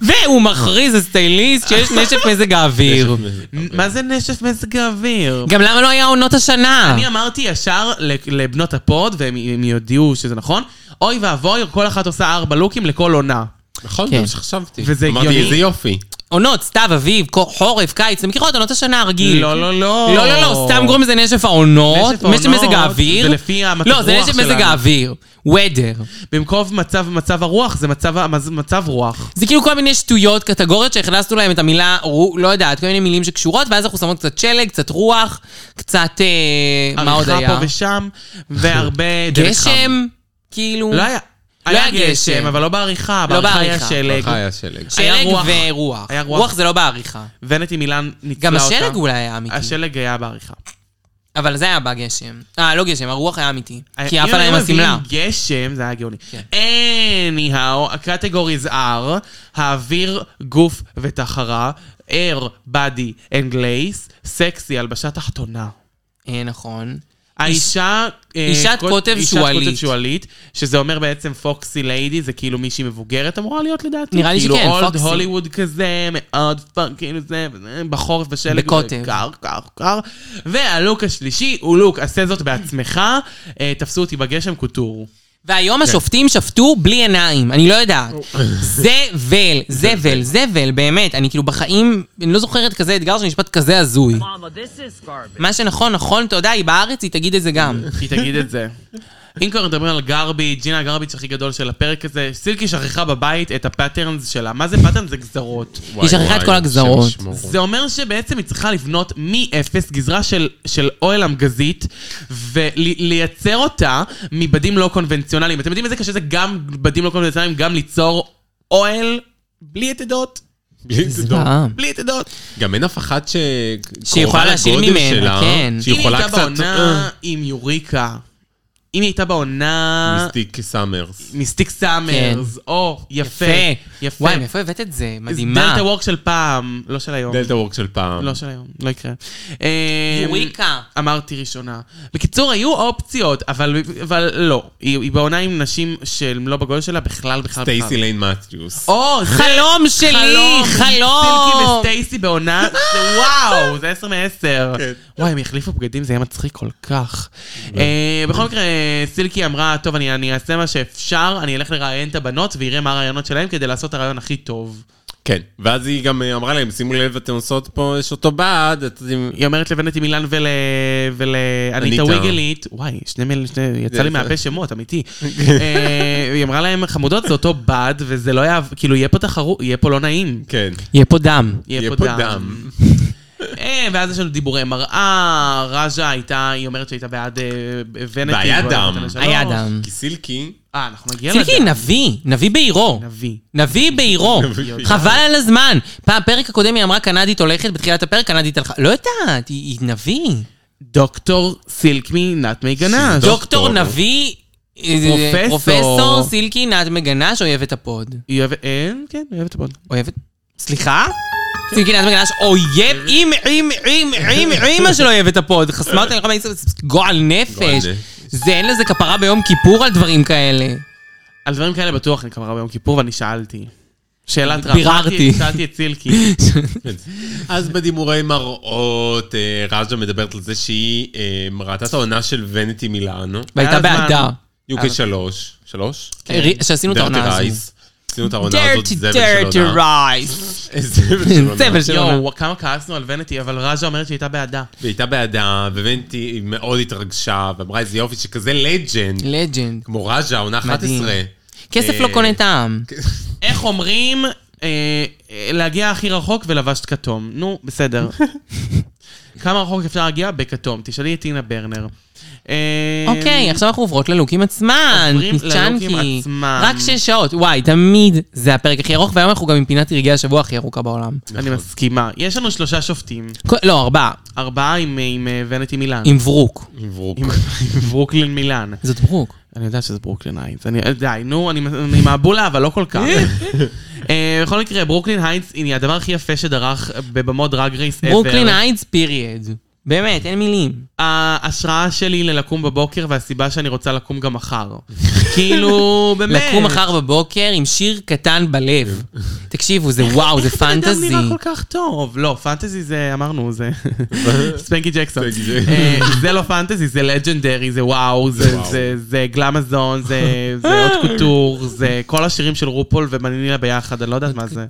B: והוא מכריז הסטייליסט שיש נשף מזג האוויר.
C: מה זה נשף מזג האוויר?
B: גם למה לא היה עונות השנה?
C: אני אמ- אמרתי ישר ל- לבנות הפוד, והם הם יודיעו שזה נכון, אוי ואבוי, כל אחת עושה ארבע לוקים לכל עונה.
D: נכון,
B: כן.
D: זה מה שחשבתי.
C: וזה
D: אמרתי,
C: הגיוני.
D: איזה יופי.
B: עונות, סתיו, אביב, קור- חורף, קיץ, אתם מכירות עונות השנה הרגיל.
C: לא, לא, לא.
B: לא, לא, לא, סתם קוראים לזה נשף העונות.
C: נשף העונות,
B: נשף מזג האוויר.
C: זה לפי המצב
B: לא, זה
C: רוח
B: נשף מזג
C: שלנו.
B: האוויר. weather.
C: במקום מצב, מצב הרוח, זה מצב, המז- מצב רוח.
B: זה כאילו כל מיני שטויות, קטגוריות שהכנסנו להם את המילה, רו- לא יודעת, כל מיני מילים שקשורות, ואז אנחנו שמות קצת שלג, קצת רוח, קצת... אה, מה עוד היה?
C: עריכה פה ושם, והרבה דלק חם.
B: גשם? כאילו...
C: לא היה.
B: לא
C: היה
B: היה גשם.
C: גשם, אבל לא בעריכה.
B: לא
C: בעריכה היה
B: בעריכה.
C: שלג.
D: ככה היה שלג.
C: היה
B: שלג
C: רוח.
B: ורוח.
C: היה רוח.
B: רוח זה לא בעריכה.
C: ונטי מילן ניצלה
B: גם
C: אותה.
B: השלג אולי היה אמיתי.
C: השלג היה בעריכה.
B: אבל זה היה בגשם. אה, לא גשם, הרוח היה אמיתי. כי
C: אם
B: עפה להם
C: היו מביאים
B: השמלה.
C: לא
B: כן.
C: גשם, זה היה גאוני. anyhow, הקטגוריז R, האוויר, גוף וטחרה, air, body and glaze, סקסי, הלבשה תחתונה.
B: אה, נכון.
C: האישה... אה,
B: אישת
C: קוט-
B: קוטב שועלית.
C: אישת קוטב שועלית, שזה אומר בעצם פוקסי ליידי, זה כאילו מישהי מבוגרת אמורה להיות לדעתי.
B: נראה לי שכן,
C: כאילו אולד
B: פוקסי.
C: הוליווד כזה, מאוד פאנק, כאילו זה, וזה, בחורף בשלג.
B: בקוטב.
C: קר, קר, קר. והלוק השלישי הוא לוק, עשה זאת בעצמך, אה, תפסו אותי בגשם קוטור. כן.
B: והיום השופטים שפטו בלי עיניים, אני לא יודעת. זבל, זבל, זבל, באמת. אני כאילו בחיים, אני לא זוכרת כזה אתגר של משפט כזה הזוי.
E: Mama, this is garbage.
B: מה שנכון, נכון, אתה יודע, היא בארץ, היא תגיד את זה גם.
C: היא תגיד את זה. אם כבר מדברים על גרבי, ג'ינה הגרביץ' הכי גדול של הפרק הזה, סילקי שכחה בבית את הפאטרנס שלה. מה זה פאטרנס? זה גזרות.
D: וואי,
B: שכחה את
D: וואי,
B: כל
D: השם
B: הגזרות.
D: ישמור.
C: זה אומר שבעצם היא צריכה לבנות מאפס גזרה של, של אוהל המגזית ולייצר אותה מבדים לא קונבנציונליים. אתם יודעים איזה קשה זה גם בדים לא קונבנציונליים, גם ליצור אוהל בלי יתדות.
D: בלי לדאוג.
B: זוועה.
C: בלי יתדות.
D: גם אין אף אחת ש...
B: שיכולה
D: קרובה
B: להשאיר
D: לגודל
B: ממנה,
D: שלה,
B: כן.
D: שהיא יכולה
C: אם היא הייתה
D: קצת... אה.
C: בעונה עם יוריקה, אם היא הייתה בעונה...
D: אה, מיסטיק סאמרס.
C: מיסטיק סאמרס, או, יפה, יפה.
B: וואי, מאיפה הבאת את זה? מדהימה.
C: דלתה וורק של פעם, לא של היום.
D: דלתה וורק של פעם.
C: לא של היום, לא יקרה. אה,
B: יוריקה.
C: אמרתי ראשונה. בקיצור, היו אופציות, אבל אבל לא. היא היא בעונה עם נשים שהן לא בגודל שלה בכלל, בכלל, בכלל.
D: סטייסי לא. ליין
B: אוקיי.
D: מתיוס.
C: או, זה
B: חלום שלי,
C: סילקי
B: חלום.
C: וסטייסי בעונה, זה וואו, זה עשר מעשר.
D: כן.
C: וואי, הם יחליפו בגדים, זה יהיה מצחיק כל כך. אה, בכל מקרה, סילקי אמרה, טוב, אני אני אעשה מה שאפשר, אני אלך לראיין את הבנות ואראה מה הרעיונות שלהן כדי לעשות את הרעיון הכי טוב.
D: כן. ואז היא גם אה, אמרה להם, שימו לב, אתם עושות פה, יש אותו בעד, אתם...
C: היא אומרת לבנטי מילן ול... ולאניטה
D: אניטה.
C: ויגלית, וואי, שני מילים, שני... יצא לי
D: זה-
C: מהפה שמות, אמיתי. אה, היא אמרה להם, חמודות, זה אותו בד, וזה לא יעב... כאילו, יהיה פה תחרות, יהיה פה לא נעים.
D: כן.
B: יהיה פה דם.
C: יהיה פה דם. אה, ואז יש לנו דיבורי מראה, ראז'ה הייתה, היא אומרת שהייתה בעד אה, ונטי.
D: והיה
C: והיא
D: דם.
C: נתנה שלוש.
B: היה דם.
D: כי סילקי,
C: אה, אנחנו נגיע לדם.
B: ציקי, נביא, נביא בעירו.
C: נביא.
B: נביא בעירו.
D: נביא.
B: חבל על הזמן. פעם, פרק הקודם היא אמרה קנדית הולכת, בתחילת הפרק קנדית הלכה. לא יודעת, היא היא נביא.
C: דוקטור סילקמי נטמי גנש.
D: דוק-
B: דוקטור נביא... אה,
C: פרופסור.
B: פרופסור סילקי נת מגנש, אויבת הפוד.
C: היא אוהבת... אה, כן, היא אוהבת הבון.
B: אויבת... סליחה? סילקי נת מגנש, אויב... אם, אם, אם, אם, אימא של אויבת הפוד. חסמה אותה לכל מיני... גועל
D: גועל
B: נפש.
D: נפש.
B: זה אין לזה כפרה ביום כיפור על דברים כאלה.
C: על דברים כאלה בטוח אני כבר ביום כיפור, ואני שאלתי. שאלת רב.
B: ביררתי.
C: שאלתי את סילקי.
D: אז בדימורי מראות, אה, רג'ה מדברת על זה שהיא אה, ראתה את העונה של ונטי מילאנו,
B: והייתה
C: הזמן.
B: בעדה.
D: UK שלוש, שלוש?
B: שעשינו את
D: דרטי
B: העונה הזאת.
D: רייס. עשינו את כן. העונה הזאת,
B: dirty,
D: זבל
B: dirty
D: של עונה.
B: rice.
D: זבל של עונה.
B: זבל של עונה.
C: יואו, כמה כעסנו על ונטי, אבל ראז'ה אומרת שהיא הייתה בעדה.
D: והיא הייתה בעדה, ובנטי מאוד התרגשה, ואמרה איזה יופי שכזה לג'נד,
B: לג'נד.
D: כמו רג'ה, עונה
B: מדהים.
D: 11.
B: כסף
D: אה,
B: לא קונה טעם.
C: איך אומרים אה, אה, להגיע הכי רחוק ולבשת כתום? נו, בסדר. כמה רחוק אפשר להגיע? בכתום. תשאלי את טינה ברנר. אה,
B: אוקיי, עכשיו אנחנו עוברות ללוקים עצמן.
C: עוברים
B: צ'אנקי.
C: ללוקים עצמם.
B: רק שש שעות. וואי, תמיד זה הפרק הכי ארוך, והיום אנחנו גם עם פינת רגעי השבוע הכי ארוכה בעולם.
C: אני מסכימה. יש לנו שלושה שופטים.
B: כל- לא, ארבעה.
C: ארבעה עם, עם אה, ונטי מילאן.
B: עם ברוק.
D: מברוק.
C: עם עם ברוקלין מילאן.
B: זאת ברוק.
C: אני יודע שזה ברוקלין הייטס. אני, די, נו, אני, אני מהבולה, אבל לא כל כך. אה, בכל מקרה, ברוקלין הייטס היא הדבר הכי יפה שדרך בבמות דרג רייס ever.
B: ברוקלין הייטס פיריד. באמת, אין מילים.
C: ההשראה שלי ללקום בבוקר והסיבה שאני רוצה לקום גם מחר. כאילו, באמת.
B: לקום מחר בבוקר עם שיר קטן בלב. תקשיבו, זה וואו, זה פנטזי.
C: איך בן אדם לא נראה כל כך טוב? לא, פנטזי זה, אמרנו, זה... ספנקי ג'קסון.
D: ספנקי ג'קסון.
C: אה, זה לא פנטזי, זה לג'נדרי, זה וואו, זה-
D: וואו.
C: זה- זה גלמזון, זה זה עוד קוטור, זה כל השירים של רופול ומנילה ביחד, אני לא יודעת מה זה.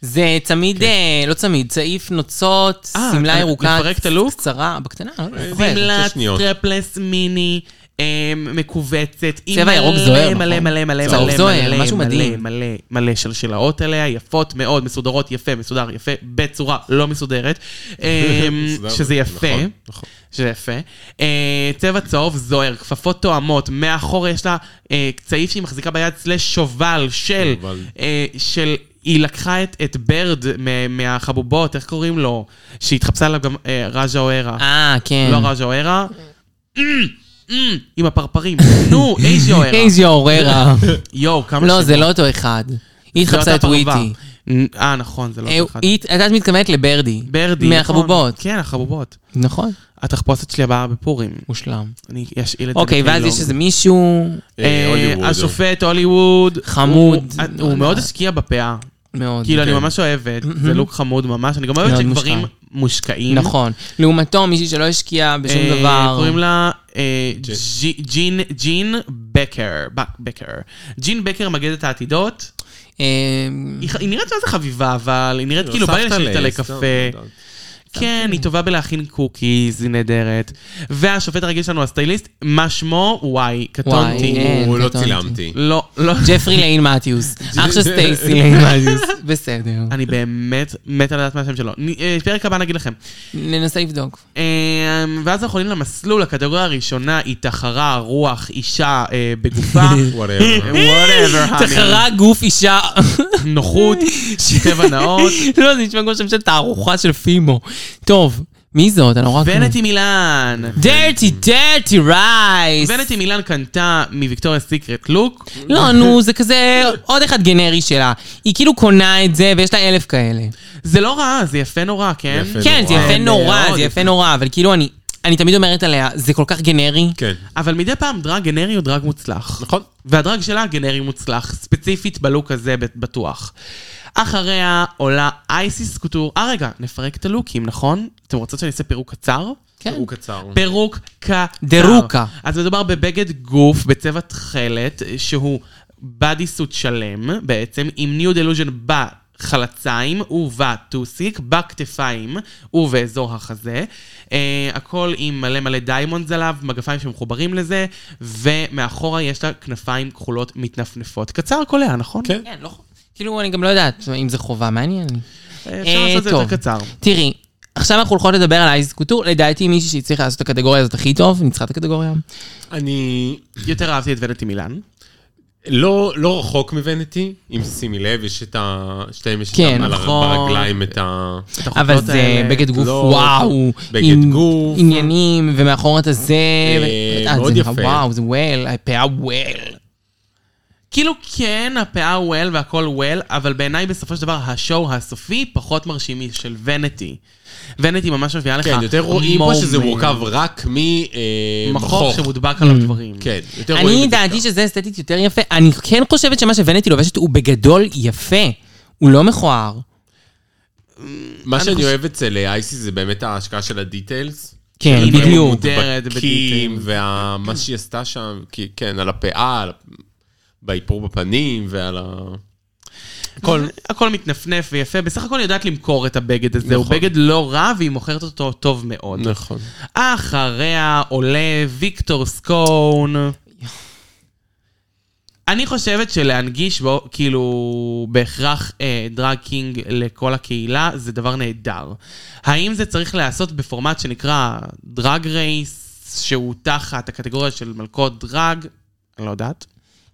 B: זה צמיד, אה, לא צמיד, צעיף נוצות,
C: כן. אה,
B: שמלה
C: אתה
B: ירוקה.
C: מפרק את הלוק?
B: קצרה, בקטנה, לא יודע.
D: אה,
B: מפרק.
C: שמלה
D: שתי שניות.
C: טרפלס מיני. אה, מכווצת, עם
B: צבע ירוק
C: מלא,
B: זוהר,
C: מלא
B: נכון?
C: מלא מלא
B: צהוב
C: מלא
B: זוהר,
C: מלא
B: משהו מדהים.
C: מלא מלא מלא שלשלאות עליה, יפות מאוד, מסודרות יפה, מסודר יפה, בצורה לא מסודרת, אה,
D: מסודר,
C: שזה יפה,
D: נכון, נכון.
C: שזה יפה. אה, צבע צהוב זוהר, כפפות תואמות, מאחור יש לה אה, צעיף שהיא מחזיקה ביד, סלש שובל של,
D: שובל.
C: אה, של... היא לקחה את, את ברד מ- מהחבובות, איך קוראים לו? שהתחפשה עליו גם אה, רג'ה אוהרה.
B: אה, כן.
C: לא רג'ה אוהרה. עם הפרפרים. נו, איז'ה אוהרה.
B: איז יוררה.
C: יואו, כמה
B: לא, זה לא אותו אחד. היא
C: זאת
B: התחפשה את
C: הפרווה.
B: וויטי.
C: אה, נכון, זה לא
B: אה,
C: אותו אחד.
B: היא, את יודעת, מתכוונת לברדי.
C: ברדי. נכון.
B: מהחבובות.
C: כן, החבובות.
B: נכון.
C: התחפושת שלי הבאה בפורים.
B: מושלם.
C: אני אשאיל את זה. לא.
B: אוקיי, ואז
C: בדיאלוג.
B: יש איזה מישהו
D: אה, הוליווד.
C: אה, השופט הוליווד.
B: חמוד.
C: הוא- הוא מאוד השקיע בפאה.
B: מאוד.
C: כאילו, אני
D: כן.
C: ממש אוהבת. זה לוק חמוד ממש. אני גם אוהבת
B: מאוד
C: שגברים
B: מושקע.
C: מושקעים.
B: נכון. לעומתו, מישהי שלא השקיעה בשום
C: אה,
B: דבר.
C: קוראים לה אה, ג'י- ג'ין ג'ין בקר. בק- בקר. ג'ין בקר מגדת העתידות.
B: אה,
C: היא ח- היא נראית מה זה חביבה, אבל היא נראית כאילו בא לי
D: הוספת
C: לשבת עליה
D: לסתם,
C: קפה.
D: לא יודעת.
C: כן, היא טובה בלהכין קוקיז, היא נהדרת. והשופט הרגיל שלנו, הסטייליסט, מה שמו? וואי,
B: וואי,
C: כן, קטונתי.
B: אה.
D: הוא לא
B: קטונתי.
D: צילמתי.
C: לא, לא.
B: ג'פרי ליין מתיוס. אח של סטייסי ליין מתיוס. בסדר.
C: אני באמת מת על לדעת מה השם שלו. נ- אה, פרק הבא נגיד לכם.
B: ננסה לבדוק.
C: אה, ואז אנחנו עולים למסלול, הקטגוריה הראשונה היא תחרה, רוח, אישה אה, בגופה.
D: Whatever.
C: whatever, honey.
B: תחרה גוף אישה.
C: נוחות, טבע נאות.
B: לא, זה נשמע כמו שם של תערוכה של פימו. טוב, מי זאת? אני לא נורא...
C: ונטי מילן.
B: דרטי דרטי רייס.
C: ונטי מילן קנתה מוויקטוריה סיקרט לוק.
B: לא, נו, זה כזה עוד אחד גנרי שלה. היא כאילו קונה את זה, ויש לה אלף כאלה.
C: זה לא רע, זה יפה נורא, כן?
D: יפה
B: כן, זה יפה
C: נורא.
B: נורא,
C: מאוד
B: זה יפה נורא, אבל כאילו אני... אני תמיד אומרת עליה, זה כל כך גנרי.
D: כן.
C: אבל מדי פעם דרג גנרי הוא דרג מוצלח.
D: נכון.
C: והדרג שלה גנרי מוצלח, ספציפית בלוק הזה בט- בטוח. אחריה עולה אייסיס קוטור. אה רגע, נפרק את הלוקים, נכון? אתם רוצות שאני אעשה פירוק קצר?
B: כן.
D: הוא קצר.
C: פירוק קצר.
B: דירוקה.
C: אז מדובר בבגד גוף בצבע תכלת, שהוא בדי סוט שלם בעצם, עם ניו דלוז'ן בחלציים ובטוסיק, בכתפיים ובאזור החזה. Uh, הכל עם מלא מלא דיימונדס עליו, מגפיים שמחוברים לזה, ומאחורה יש לה כנפיים כחולות מתנפנפות. קצר קולע, נכון?
D: כן.
B: כן, לא... כאילו, אני גם לא יודעת אם זה חובה, מעניין.
C: אה,
B: אה,
C: אפשר לעשות את זה
B: טוב.
C: יותר קצר.
B: תראי, עכשיו אנחנו הולכות לדבר על אייז קוטור, לדעתי מישהי שהצליחה לעשות את הקטגוריה הזאת הכי טוב, ניצחה את הקטגוריה.
D: אני
C: יותר אהבתי את ונטי מילן.
D: לא לא רחוק מבנטי, אם שימי לב, יש את ה... שתיהם יש
B: כן,
D: את ה... על
C: נכון.
D: הרגליים את ה...
C: את
B: אבל
C: החולצות
B: זה
C: האלה.
B: בגד גוף,
D: לא,
B: וואו.
D: בגד
B: עם
D: גוף.
B: עניינים, ומאחור את הזה. ו- אה,
D: מאוד
B: זה נראה,
D: יפה. לא
B: וואו, זה וול, הפאה וול.
C: כאילו כן, הפאה well והכל well, אבל בעיניי בסופו של דבר השואו הסופי פחות מרשימי של ונטי. ונטי ממש מביאה לך...
D: כן, יותר רואים פה
C: moment.
D: שזה מורכב רק אה, ממחוך.
C: מחוך שמודבק עליו דברים.
D: כן, יותר רואים
B: אני
D: את זה.
B: דעתי שזה אסתטית יותר יפה. אני כן חושבת שמה שוונטי לובשת הוא בגדול יפה. הוא לא מכוער.
D: מה
C: אני
D: שאני
C: חושב-
D: אוהב אצל אה, אייסי זה באמת ההשקעה של הדיטיילס.
B: כן,
C: היא
B: בדיוק.
C: מודרת
D: בדיטים,
C: בדיטיילס.
D: ומה
B: כן.
D: שהיא עשתה שם, כי- כן, על הפאה, על ה- באיפור בפנים ועל ה...
C: הכל, הכל מתנפנף ויפה, בסך הכל היא יודעת למכור את הבגד הזה, הוא בגד לא רע והיא מוכרת אותו טוב מאוד.
D: נכון.
C: אחריה עולה ויקטור סקון. אני חושבת שלהנגיש בו, כאילו, בהכרח אה, דרג קינג לכל הקהילה, זה דבר נהדר. האם זה צריך להיעשות בפורמט שנקרא דרג רייס, שהוא תחת הקטגוריה של מלכות דרג? אני לא יודעת.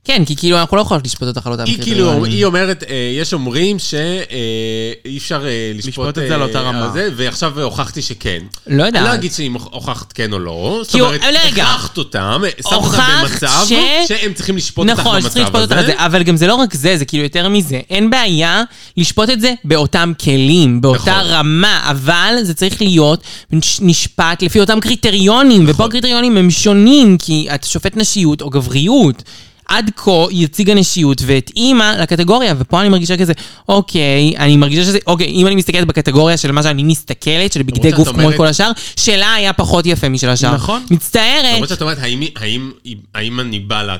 B: כן, כי כאילו אנחנו לא יכולות לשפוט אותך על אותם
D: היא כאילו, היא אומרת, אה, יש אומרים שאי אפשר אה, לשפוט
C: לשפוט את זה על אותה רמה.
D: זה, ועכשיו הוכחתי שכן.
B: לא יודעת.
D: אני לא אגיד שאם הוכחת כן או לא, זאת
B: כי הוא- אה,
D: אומרת,
B: רגע.
D: הכרחת אותם, שמת אותם
B: הוכחת
D: במצב
B: ש-
D: שהם צריכים לשפוט אותך
B: נכון, שצריך
D: במצב
B: לשפוט אותך על
D: הזה.
B: זה, אבל גם זה לא רק זה, זה כאילו יותר מזה. אין בעיה לשפוט את זה באותם כלים, באותה
D: נכון.
B: רמה, אבל זה צריך להיות נש- נשפט לפי אותם קריטריונים,
D: נכון.
B: ופה הקריטריונים הם שונים, כי את שופט נשיות או גבריות. עד כה היא הציגה נשיות והתאימה לקטגוריה, ופה אני מרגישה כזה, אוקיי, אני מרגישה שזה, אוקיי, אם אני מסתכלת בקטגוריה של מה שאני מסתכלת, של בגדי
D: שאת
B: גוף כמו
D: אומרת-
B: כל השאר, שלה היה פחות יפה משל השאר.
C: נכון.
B: מצטערת.
D: למרות שאת אומרת, האם, האם, האם אני בא לה-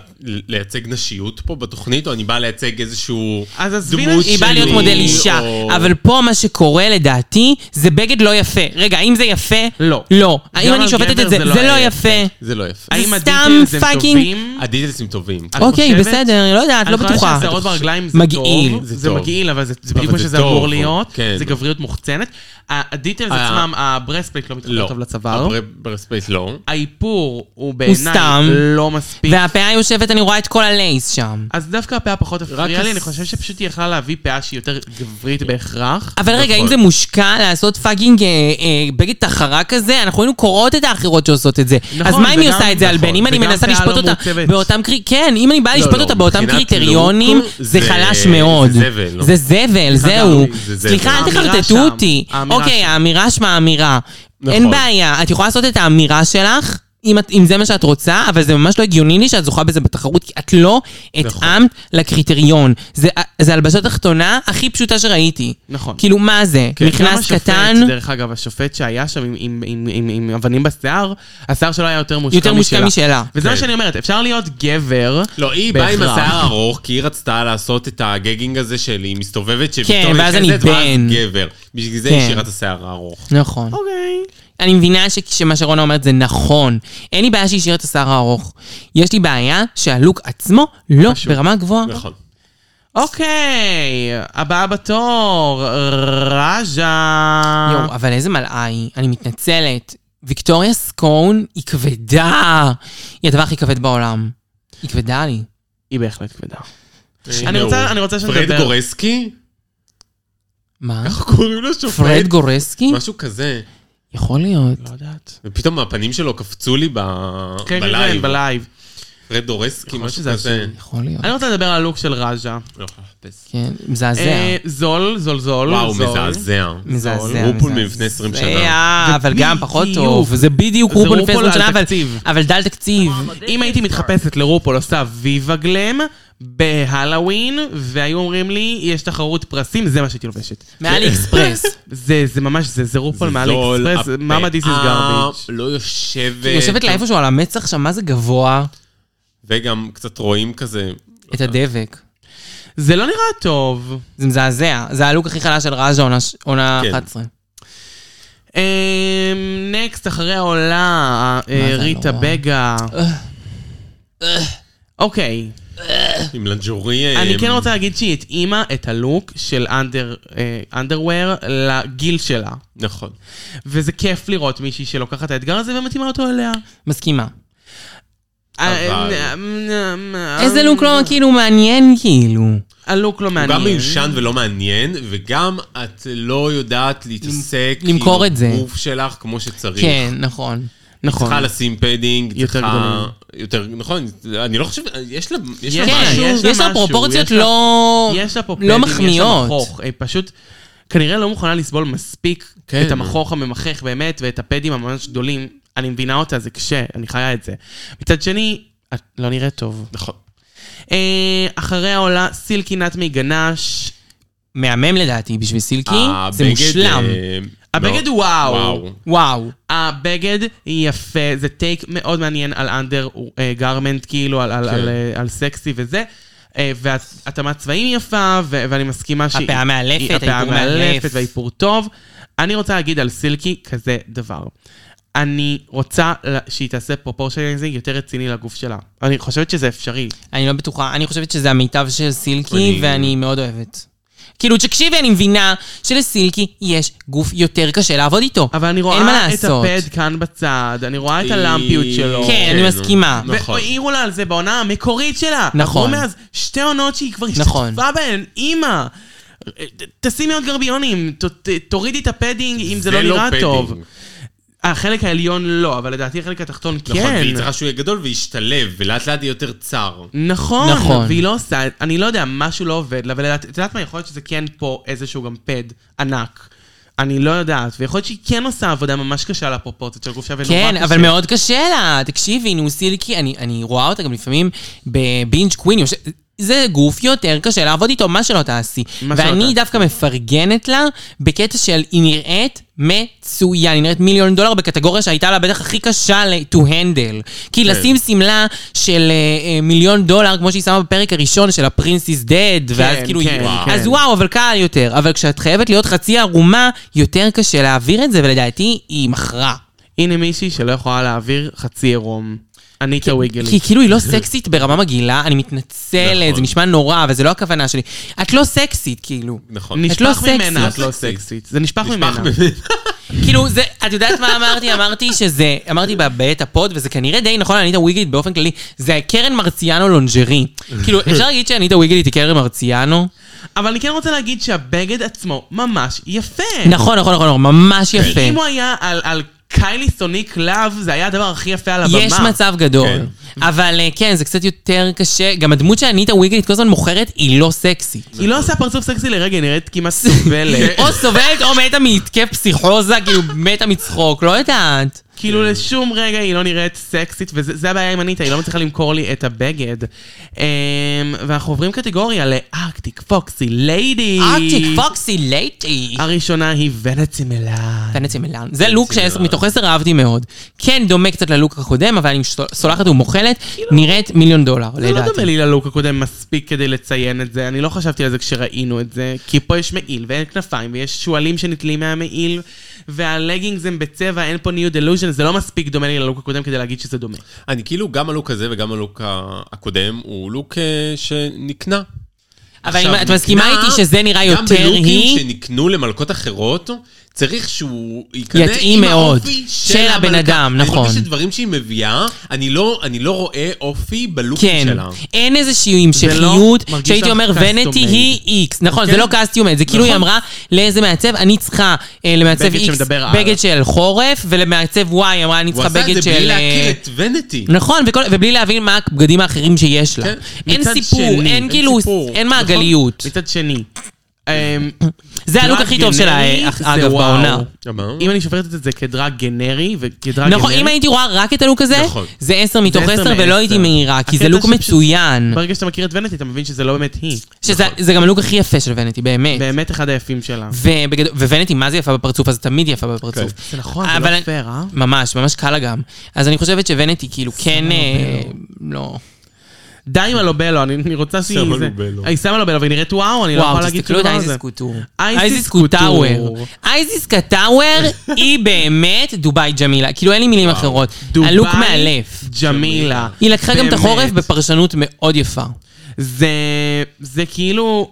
D: לייצג נשיות פה בתוכנית, או אני בא לייצג איזשהו
C: אז עזבי
D: דמות
C: נשי-
D: שלי?
B: היא באה להיות מודל אישה,
D: או-
B: אבל פה מה שקורה לדעתי זה בגד לא יפה. רגע, האם זה יפה?
C: לא.
B: לא. האם
C: גם
B: אני
C: על
B: שופטת
C: גבר
B: את זה?
C: זה לא
B: זה לא
C: היה
B: יפה.
D: זה לא יפה.
C: האם
B: סתם
C: הדיטיילס הם
B: fucking-
C: טובים?
D: הדיטלסים טובים.
C: את
B: אוקיי,
C: חושבת?
B: בסדר, אני לא יודעת, לא
C: אני חושבת
B: בטוחה.
C: שהשערות ברגליים זה
B: מגעיל.
C: טוב.
D: זה
C: זה
D: טוב.
C: מגעיל, אבל זה זה
D: אבל
C: בדיוק מה
D: זה
C: שזה
D: טוב,
C: אמור להיות.
D: כן.
C: זה גבריות מוחצנת. הדיטלס
D: ה-
C: עצמם, הברספלייט לא מתחבר
D: לא.
C: טוב לצוואר.
D: ברספייס לא.
C: האיפור הוא בעיניי
B: סתם.
C: לא מספיק.
B: והפאה יושבת, אני רואה את כל הלייס שם.
C: אז דווקא הפאה פחות הפריעה
D: רק
C: לי, אני
D: הס- כן.
C: חושב שפשוט היא יכלה להביא פאה שהיא יותר גברית בהכרח.
B: אבל רגע,
D: נכון.
B: אם זה מושקע לעשות פאגינג אה, אה, בגד תחרה כזה, אנחנו היינו קוראות את האחרות שעושות את זה.
C: נכון,
B: אז מה אם היא
C: וגם-
B: עושה את זה על בן?
C: נכון,
B: אם אני
C: וגם
B: מנסה
C: פאה
B: לשפוט
C: לא
B: אותה
C: מעוצבת.
B: באותם קרי... כן, אם אם אני באה לשפוט
D: לא,
B: אותה באותם
D: מבחינת
B: קריטריונים,
D: לוק,
B: זה
D: זה-
B: חלש מאוד.
D: זה זבל, לא?
B: זה זבל, זהו.
D: זה זבל.
B: סליחה, אל
C: האמירה
B: תחרטטו
C: שם,
B: אותי.
C: האמירה
B: אוקיי,
C: שם.
B: האמירה שמה אמירה.
D: נכון.
B: אין בעיה, את יכולה לעשות את האמירה שלך. אם, את, אם זה מה שאת רוצה, אבל זה ממש לא הגיוני לי שאת זוכה בזה בתחרות, כי את לא
C: נכון.
B: התאמת לקריטריון. זה, זה הלבשה תחתונה הכי פשוטה שראיתי.
C: נכון.
B: כאילו, מה זה?
C: כן, גם
B: מכנס
C: השופט,
B: קטן,
C: דרך אגב, השופט שהיה שם עם, עם, עם, עם, עם אבנים בשיער, השיער שלו היה יותר מושקע
B: יותר מושקע משלה.
C: וזה מה
D: כן.
C: שאני אומרת, אפשר להיות גבר.
D: לא, היא באה עם
C: בהכרח.
D: השיער ארוך, כי היא רצתה לעשות את הגגינג הזה של היא מסתובבת שפתאום
B: כן, ואז אני
D: נכנסת,
B: בן.
D: גבר. בשביל זה
B: כן.
D: היא השאירה את השיער הארוך.
B: נכון.
C: אוקיי.
B: אני מבינה ש- שמה שרונה אומרת זה נכון. אין לי בעיה שהשאיר את השיער הארוך. יש לי בעיה שהלוק עצמו לא ברמה גבוהה.
D: נכון.
C: אוקיי, הבאה בתור, רג'ה.
B: יואו, אבל איזה מלאה היא. אני מתנצלת. ויקטוריה סקון היא כבדה. היא הדבר הכי כבד בעולם. היא כבדה לי.
C: היא בהחלט כבדה.
D: הנה הוא.
C: רוצה- אני רוצה שנדבר-
D: פרד גורסקי?
B: מה?
D: איך קוראים לו שופט?
B: פרד גורסקי?
D: משהו כזה.
B: יכול להיות.
C: לא יודעת.
D: ופתאום הפנים שלו קפצו לי ב...
C: כן, כן, כן,
D: בלייב.
C: בלייב.
D: פרד דורסקי, משהו
C: שזה
D: כזה.
B: יכול להיות.
C: אני רוצה לדבר על הלוק של רג'ה.
D: לא יכול לחפש.
B: כן, מזעזע.
C: אה, לא, זול, זול, זול.
D: וואו,
C: זול. אה,
D: מזעזע.
B: לא מזעזע.
D: רופול
B: מזעזע. אה,
D: מלפני 20 שנה.
B: מזעזע, אבל גם פחות
C: בדיוק.
B: טוב. זה בדיוק
C: זה
B: רופול לפני
C: רופול
B: 20 שנה,
C: על אה,
B: אבל-
C: תקציב.
B: אבל דל תקציב.
C: אם הייתי מתחפשת לרופול עושה ויווה גלם בהלואוין, והיו אומרים לי, יש תחרות פרסים, זה מה שהייתי לובשת.
B: מעלי אקספרס.
C: זה, זה ממש, זה, זה רופול מעל
D: זול,
C: אקספרס,
D: הפאה
C: מאמה דיס איז גרביץ'.
D: לא יושבת.
B: היא
C: אה,
B: יושבת לה איפשהו על המצח שם, מה זה גבוה?
D: וגם קצת רואים כזה.
B: את הדבק.
C: זה לא נראה טוב.
B: זה מזעזע. זה הלוק הכי חלש של ראז'ה, עונה ש- עונה
D: כן.
B: 11.
C: אמ, נקסט, אחרי העולה, אה,
B: זה
C: ריטה
B: נורא?
C: בגה. אוקיי,
D: עם לג'ורי.
C: אני
D: אה,
C: כן רוצה להגיד שהיא התאימה את הלוק של אנדרוור לגיל שלה.
D: נכון.
C: וזה כיף לראות מישהי שלוקחת את האתגר הזה ומתאימה אותו אליה.
B: מסכימה.
D: אבל-
C: אה,
B: איזה לוק לא כאילו מעניין כאילו.
C: הלוק לא
D: הוא
C: מעניין.
D: גם מיושן ולא מעניין, וגם את לא יודעת להתעסק
B: למכור את זה.
D: עם הגוף שלך כמו שצריך.
B: כן, נכון.
C: נכון.
D: צריכה לשים פדינג,
C: יותר
D: צריכה...
C: גדולים.
D: יותר, נכון, אני לא חושב, יש לה יש לה
C: יש
B: כן,
D: משהו.
C: יש לה
B: יש לה
C: משהו,
B: פרופורציות
C: יש לה-
B: לא
C: יש לה פה
B: לא
C: פדים, יש לה
B: מחמיאות.
C: מכוך. היא פשוט כנראה לא מוכנה לסבול מספיק
D: כן.
C: את המכוך הממחך באמת, ואת הפדים הממש גדולים. אני מבינה אותה, זה קשה, אני חיה את זה. מצד שני, את לא נראית טוב.
D: נכון.
C: אה, אחריה עולה סילקי נטמי גנש.
B: מהמם לדעתי בשביל סילקי, זה
D: הבגד,
B: מושלם.
D: אה,
C: הבגד
D: מאוד-
C: וואו.
B: וואו.
C: הבגד יפה, זה טייק מאוד מעניין על אנדר גרמנט, כאילו, על, על,
D: כן.
C: על, אה, על סקסי וזה. אה, והתאמת צבעים יפה, ו- ואני מסכימה שהיא...
B: הפאה מאלפת,
C: היא- הפאה
B: האיפור מאלף.
C: מאלפת והאיפור טוב. אני רוצה להגיד על סילקי כזה דבר. אני רוצה לה- שהיא תעשה פרופורציונליזינג יותר רציני לגוף שלה. אני חושבת שזה אפשרי.
B: אני לא בטוחה, אני חושבת שזה המיטב של סילקי,
D: אני-
B: ואני מאוד אוהבת. כאילו, תקשיבי, אני מבינה שלסילקי יש גוף יותר קשה לעבוד איתו.
C: אבל אני
B: אין מה
C: רואה את
B: לעשות.
C: הפד כאן בצד, אני רואה את
D: היא-
C: הלמפיות שלו.
B: כן, אני מסכימה.
D: נכון.
C: והעירו לה על זה בעונה המקורית שלה.
B: נכון.
C: עברו מאז שתי עונות שהיא כבר
B: נכון.
C: השתתפה בהן, אימא. ת- תשימי עוד גרביונים, ת- ת- תורידי את הפדינג אם זה לא נראה
D: פדינג.
C: טוב. החלק העליון לא, אבל לדעתי החלק התחתון
D: נכון, והיא
C: כן.
D: צריכה שהוא יהיה גדול וישתלב, ולאט לאט יהיה יותר צר.
C: נכון,
B: נכון.
C: והיא לא עושה, אני לא יודע, משהו לא עובד לה, ולדעת, את יודעת מה, יכול להיות שזה כן פה איזשהו גם פד ענק. אני לא יודעת, ויכול להיות שהיא כן עושה עבודה ממש קשה על הפרופורציות של הגוף שלה, ונורא
B: כן,
C: קשה.
B: אבל מאוד קשה לה. תקשיבי, נו, סילקי, אני, אני רואה אותה גם לפעמים בבינג' קווין. יוש... זה גוף יותר קשה לעבוד איתו, מה שלא תעשי.
C: מה שלא
B: ואני
C: תעשי.
B: דווקא מפרגנת לה בקטע של היא נראית מצוין, היא נראית מיליון דולר בקטגוריה שהייתה לה בטח הכי קשה ל- to handle.
C: כן.
B: כי לשים שמלה של אה, אה, מיליון דולר, כמו שהיא שמה בפרק הראשון של הפרינס is dead, ואז
C: כן,
B: כאילו
C: כן,
B: היא...
C: וואו.
B: אז
C: כן.
B: וואו, אבל קל יותר. אבל כשאת חייבת להיות חצי ערומה, יותר קשה להעביר את זה, ולדעתי היא מכרה.
C: הנה מישהי שלא יכולה להעביר חצי עירום. אניטה
B: כי
C: ויגלי.
B: כאילו היא לא סקסית ברמה מגעילה, אני מתנצלת,
D: נכון.
B: זה נשמע נורא, אבל זה לא הכוונה שלי. את לא סקסית, כאילו.
D: נכון.
B: את לא
C: נשפך
B: סקסית.
C: ממנה, את
D: לא
C: לא
D: סקסית.
C: סקסית. זה נשפך
D: נשפך
C: ממנה.
D: ממנה.
B: כאילו, זה, את יודעת מה אמרתי? אמרתי שזה, אמרתי ב- בעת הפוד, וזה כנראה די נכון לאניטה ויגלית באופן כללי, זה קרן מרציאנו לונג'רי. כאילו, אפשר להגיד שאניטה ויגלית היא קרן מרציאנו?
C: אבל אני כן רוצה להגיד שהבגד עצמו ממש יפה.
B: נכון, נכון, נכון, נכון, ממש
D: כן.
C: כי
B: יפה.
C: אם הוא היה על- על קיילי סוניק לאב, זה היה הדבר הכי יפה על הבמה.
B: יש מצב גדול.
D: כן.
B: אבל אה, כן, זה קצת יותר קשה. גם הדמות שהניטה וויגלית כל הזמן מוכרת, היא לא סקסית.
C: היא לא עושה פרצוף סקסי לרגע, היא נראית כמעט
D: כן.
C: סובלת.
B: או סובלת או מתה מהתקף פסיכוזה, כאילו מתה מצחוק, לא יודעת.
C: כאילו לשום רגע היא לא נראית סקסית, וזה זה הבעיה עם אניטה, היא לא מצליחה למכור לי את הבגד. אמ, ואנחנו עוברים קטגוריה לארקטיק פוקסי ליידי.
B: ארטיק פוקסי לייטי.
C: הראשונה היא ונצי מלאן.
B: פנצי מילן. אה, זה לוק
D: מילן.
B: שמתוך עשר אהבתי מאוד. כן דומה קצת ללוק הקודם, אבל אני שתול- סולחת ומוכלת, נראית מיליון דולר,
C: זה לא דומה
B: לדעתי.
C: לי ללוק הקודם מספיק כדי לציין את זה, אני לא חשבתי על זה כשראינו את זה, כי פה יש מעיל ואין כנפיים, ויש שועלים שנתלים מהמעיל, והלגינגס הם בצבע, אין פה ניו דלוז'ן, זה לא מספיק דומה לי ללוק הקודם כדי להגיד שזה דומה.
D: אני כאילו, גם הלוק הזה וגם הלוק ה- הקודם הוא לוק אה, שנקנה.
B: אבל
D: עכשיו,
B: אם את מסכימה
D: נקנה,
B: איתי שזה נראה יותר
D: גם בלוקים
B: היא,
D: שנקנו למלכות אחרות, צריך שהוא יקנה
B: יתאים
D: עם
B: מאוד.
D: האופי
B: של
D: המלכה.
B: הבן אדם, נכון.
D: אני מרגיש שדברים שהיא מביאה, אני לא, אני לא רואה אופי בלוקים
B: כן.
D: שלה.
B: אין איזושהי המשכיות,
C: מרגיש
B: שהייתי
C: לך
B: אומר
C: custom
B: ונטי
C: made".
B: היא איקס. נכון, זה לא קסטיומט, זה כאילו היא אמרה לאיזה מעצב, אני צריכה אה, למעצב
C: בגד
B: איקס
C: שמדבר על".
B: בגד של חורף, ולמעצב וואי, היא אמרה אני
D: הוא
B: צריכה
D: עשה את זה
B: בגד של...
D: בלי
B: אה,
D: להכיר את ונטי.
B: נכון, וכל, ובלי להבין מה הבגדים האחרים שיש לה.
D: כן.
B: אין
C: מצד
B: סיפור,
C: שני, נכון?
B: אין כאילו,
D: סיפור,
B: אין מעגליות.
C: מצד שני, אמ,
B: זה הלוק
C: דרג
B: הכי טוב שלה,
C: גנרי
B: אך-
C: זה
B: אגב,
C: וואו.
B: בעונה.
D: אמר.
C: אם אני שופטת את זה כדרג גנרי וכדרג גנרי...
B: נכון, אם הייתי רואה רק את הלוק הזה,
D: נכון.
B: זה עשר מתוך
C: עשר
B: עשר, ולא
C: מעשר.
B: הייתי מהירה, כי זה
C: הקטע
B: לוק
C: שפשוט-
B: מצוין.
C: ברגע שאתה מכיר את ונטי, אתה מבין שזה לא באמת היא.
B: שזה זה גם הלוק הכי יפה של ונטי, באמת.
C: נכון. באמת אחד היפים שלה.
B: ובגד- וונטי, מה זה יפה בפרצוף? אז תמיד יפה בפרצוף.
C: זה נכון, זה
B: אבל-
C: לא פייר, אה?
B: ממש, ממש קל לה גם. אז אני חושבת שוונטי, כאילו, כן... אה, לא.
C: די עם הלובלו, אני אני רוצה שהיא...
D: שמה
C: זה-
D: לובלו.
C: היא שמה לובלו, והיא נראית וואו, אני לא יכולה
B: וואו,
C: להגיד
B: תסתכלו
C: שום
B: על
C: דבר על
B: אייזיס
C: זה.
B: קוטור.
C: אייזיס
B: אייזיס
C: קוטאוור.
B: קוטאוור. אייזיס קטאוור היא באמת דובאי ג'מילה. כאילו, אין לי מילים אחרות.
C: דובאי,
B: הלוק מאלף.
C: ג'מילה.
B: היא לקחה גם את
C: באמת.
B: החורף בפרשנות מאוד יפה.
C: זה, זה כאילו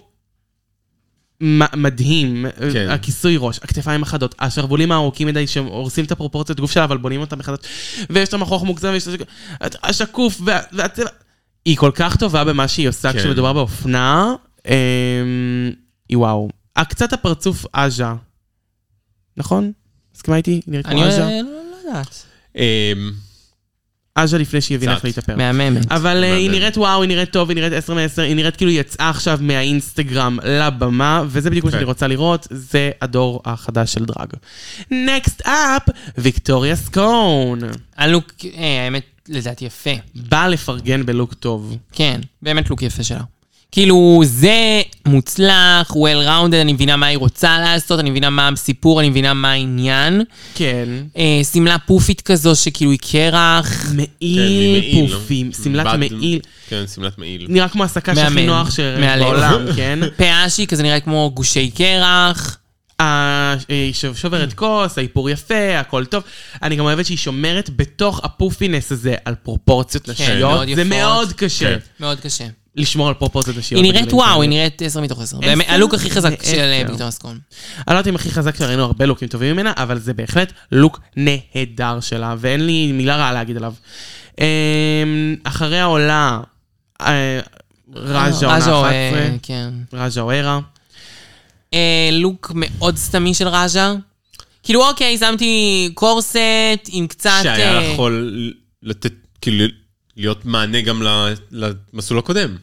C: מ- מדהים,
D: כן.
C: הכיסוי ראש, הכתפיים החדות, השרוולים הארוכים מדי שהם הורסים את הפרופורציות גוף שלה, אבל בונים אותם מחדש, ויש את המכוח מוגזם, ויש את השק- השקוף, וה- והצבע... היא כל כך טובה במה שהיא עושה
D: כן.
C: כשמדובר באופנה, אמ, היא וואו. אה, קצת הפרצוף עז'ה, נכון? מסכימה איתי? היא נראית
B: אני
C: כמו
B: אה,
C: עז'ה?
B: לא לא יודעת.
D: אמ,
C: עז'ה לפני שהיא הבינה
D: קצת.
C: איך להתאפר.
B: מהממת.
C: אבל אה, היא
D: מהמם.
C: נראית וואו, היא נראית טוב, היא נראית 10 מ-10, היא נראית כאילו היא יצאה עכשיו מהאינסטגרם לבמה, וזה בדיוק מה
D: כן.
C: שאני רוצה לראות, זה הדור החדש של דרג. נקסט אפ, ויקטוריה סקון.
B: הלוק, אה, האמת, לדעתי יפה.
C: באה לפרגן בלוק טוב.
B: כן, באמת לוק יפה שלה. כאילו, זה מוצלח, well rounded, אני מבינה מה היא רוצה לעשות, אני מבינה מה הסיפור, אני מבינה מה העניין.
C: כן.
B: אה, שמלה פופית כזו שכאילו היא קרח.
D: כן,
C: מעיל,
D: ממעיל, לא?
C: פופים, שמלת
D: בד-
C: מעיל.
D: כן, שמלת מעיל.
C: נראה כמו הסקה שהכי
B: מהמם.
C: נוח
B: מהלב.
C: שבעולם, כן?
B: פאה שהיא כזה נראה כמו גושי קרח.
C: ה- היא שוב- שוברת כוס, האיפור יפה, הכל טוב. אני גם אוהבת שהיא שומרת בתוך הפופינס הזה על פרופורציות נשיות.
B: כן, מאוד
C: זה
B: יפות.
C: מאוד קשה.
D: כן.
B: מאוד קשה.
C: לשמור על פרופורציות נשיות.
B: היא נראית
C: בגילאים
B: וואו,
C: כאלה.
B: היא נראית 10 מתוך 10. באמת,
C: עשר?
B: הלוק הכי חזק
C: מעשר.
B: של אה, ויקטוריה סקון.
C: אני לא יודעת אם הכי חזק שראינו הרבה לוקים טובים ממנה, אבל זה בהחלט לוק נהדר שלה, ואין לי מילה רעה להגיד עליו. אמ, אחריה עולה אה, ראז'ה עונה 11,
B: ראז'ה, אה, כן.
C: ראז'ה אוהרה.
B: אה, לוק מאוד סתמי של ראז'ה. כאילו, אוקיי, שמתי קורסט עם קצת...
D: שהיה
B: אה,
D: יכול לתת, כאילו, להיות מענה גם ל- למסלול הקודם.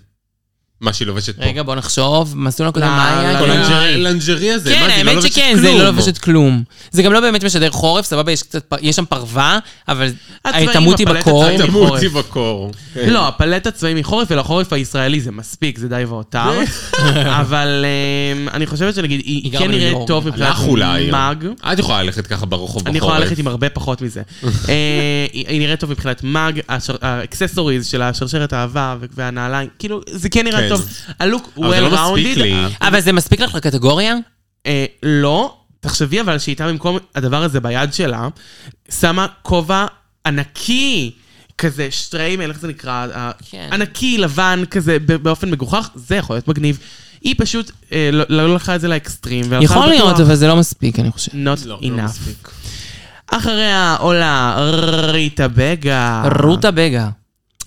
D: מה שהיא לובשת פה.
B: רגע, בוא נחשוב. מסלול הקודם,
C: לא,
B: מה היה?
C: לא,
D: כל
B: כן.
C: לא.
D: הלנג'רי- הלנג'רי הזה,
B: כן,
D: מה, היא לא
B: האמת
D: לובשת
B: שכן, זה
D: כלום.
B: לא לובשת כלום. זה גם לא באמת משדר חורף, סבבה, יש קצת... פ- יש שם פרווה, אבל
C: הצבעים,
B: ההיטמות היא
C: הפלטת
B: בקור.
C: צבעים.
D: אתה
C: מחורף.
D: מוציא בקור. כן.
C: לא, הפלט הצבעים היא חורף, אלא חורף הישראלי זה מספיק, זה די והותר. אבל אמ, אני חושבת שנגיד,
B: היא
C: היא
B: גרה
C: כן
B: בניו
C: נראית
B: יורק.
C: טוב מבחינת
D: לך אולי. אה.
C: מאג.
D: את יכולה ללכת ככה ברחוב בחורף.
C: אני יכולה ללכת עם הרבה פחות מזה. אה, היא היא נראית טוב מבחינת מאג, השר- האקססוריז של השרשרת האהבה ו- והנעליים, כאילו, זה כן נראה
D: כן.
C: טוב. הלוק well
D: אבל זה לא מספיק
C: rounded,
D: לי.
B: אבל זה מספיק לך לקטגוריה?
C: אה, לא, תחשבי אבל שהיא הייתה במקום הדבר הזה ביד שלה, שמה כובע ענקי. כזה שטריימל, איך זה נקרא? ה-
B: כן.
C: ענקי, לבן, כזה, ב- באופן מגוחך, זה יכול להיות מגניב. היא פשוט אה, לא- לא לקחה את זה לאקסטרים. והלכה
B: יכול
C: בטוח.
B: להיות, אבל זה לא מספיק, אני חושב.
C: Not
D: לא, לא
C: enough.
D: מספיק.
C: אחריה עולה ריטה בגה.
B: רותה בגה.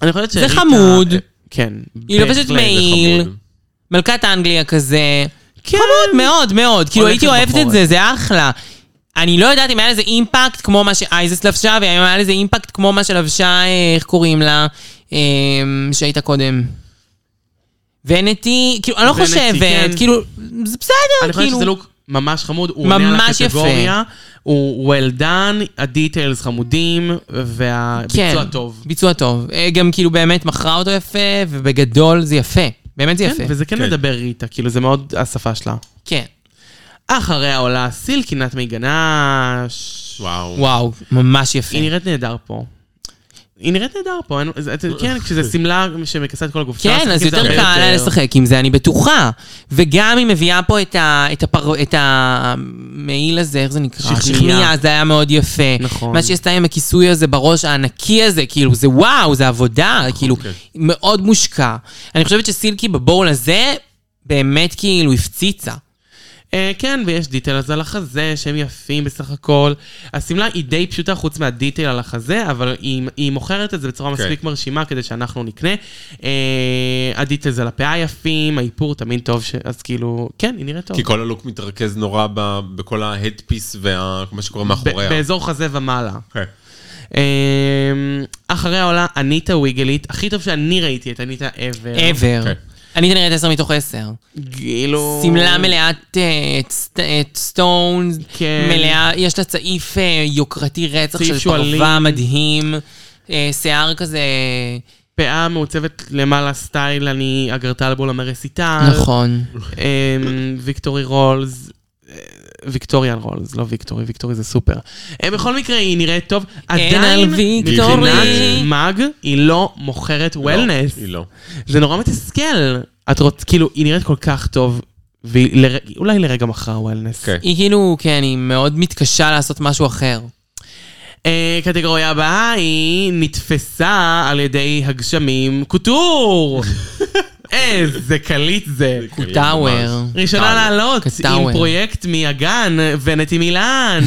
C: אני חושבת
B: זה
C: שריטה-
B: חמוד.
C: כן.
B: היא לא לובשת
C: בהחלט.
B: מעיל,
D: חמוד.
B: מלכת אנגליה כזה.
C: כן.
B: חמוד מאוד מאוד, כאילו
C: הולכת
B: הייתי אוהבת את
C: בחורף.
B: זה, זה אחלה. אני לא יודעת אם היה לזה אימפקט כמו מה שאייזס לבשה, ואם היה לזה אימפקט כמו מה שלבשה, אה, איך קוראים לה, אה, שהייתה קודם. ונטי, כאילו, אני לא
C: ונטי,
B: חושבת,
C: כן.
B: כאילו, זה בסדר,
C: אני חושב
B: כאילו.
C: שזה לא לוק ממש חמוד, הוא עונה על
B: ממש יפה.
C: הקטגוריה, הוא well done, הדיטיילס חמודים, והביצוע טוב.
B: כן. ביצוע טוב. אה, גם כאילו באמת מכרה אותו יפה, ובגדול זה יפה. באמת זה יפה.
C: כן, וזה כן
D: כן.
C: מדבר איתה, כאילו זה מאוד השפה שלה.
B: כן.
C: אחריה עולה סילקי נת מי גנש.
D: וואו.
B: וואו, ממש יפה.
C: היא נראית נהדר פה. היא נראית נהדר פה, אין- זה- זה- כן, כשזה שמלה שמכסה את כל הגוף. אפשר
B: כן,
C: לשחק
B: אז
C: עם לא, זה
B: יותר
C: הרבה
B: קל לה לשחק עם זה, אני בטוחה. וגם היא מביאה פה את, ה, את, הפר, את המעיל הזה, איך זה נקרא?
C: שכניה.
B: זה היה מאוד יפה.
C: נכון.
B: מה שהיא עשתה עם הכיסוי הזה בראש הענקי הזה, כאילו, זה וואו, זה עבודה, כאילו,
D: כן.
B: מאוד מושקע. אני חושבת שסילקי בבול הזה, באמת כאילו הפציצה.
C: אה, כן, ויש דיטייל אז על החזה, שהם יפים בסך הכל. השמלה היא די פשוטה חוץ מהדיטייל על החזה, אבל היא, היא מוכרת את זה בצורה
D: כן.
C: מספיק מרשימה כדי שאנחנו נקנה. אה, הדיטייל זה לפאה יפים, האיפור תמיד טוב, ש... אז כאילו, כן, היא נראית טוב.
D: כי כל הלוק מתרכז נורא ב- בכל ההדפיס ומה שקורה
C: ב-
D: מאחוריה.
C: באזור חזה ומעלה.
D: כן.
C: אה, אחריה עולה אניטה וויגלית, הכי טוב שאני ראיתי את אניטה ever.
B: ever.
D: כן.
B: אני נראית עשר מתוך עשר.
C: כאילו...
B: שמלה מלאת אה, סט- אה, סטונס,
C: כן.
B: מלאה, יש לה צעיף אה, יוקרתי רצח
C: צעיף
B: של
C: שועלים.
B: פרווה מדהים, אה, שיער כזה...
C: פאה מעוצבת למעלה סטייל, אני אגרטל בול המרסיטל.
B: נכון.
C: אמ, ויקטורי רולס, אה, ויקטוריאן רולס, לא ויקטורי, ויקטורי זה סופר. אה, בכל מקרה, היא נראית טוב.
B: על
C: עדיין,
B: ויקטורי.
C: מבחינת מאג, היא לא מוכרת וולנס.
D: לא, היא לא.
C: זה נורא מתסכל. את רוצ... כאילו, היא נראית כל כך טוב, ואולי לרגע מכרה וולנס.
D: כן.
B: היא כאילו, כן, היא מאוד מתקשה לעשות משהו אחר.
C: אה, קטגוריה הבאה היא נתפסה על ידי הגשמים קוטור. איזה קליט זה.
B: טאוור.
C: ראשונה לעלות עם
B: קטאוור.
C: פרויקט מהגן, ונטי מילן.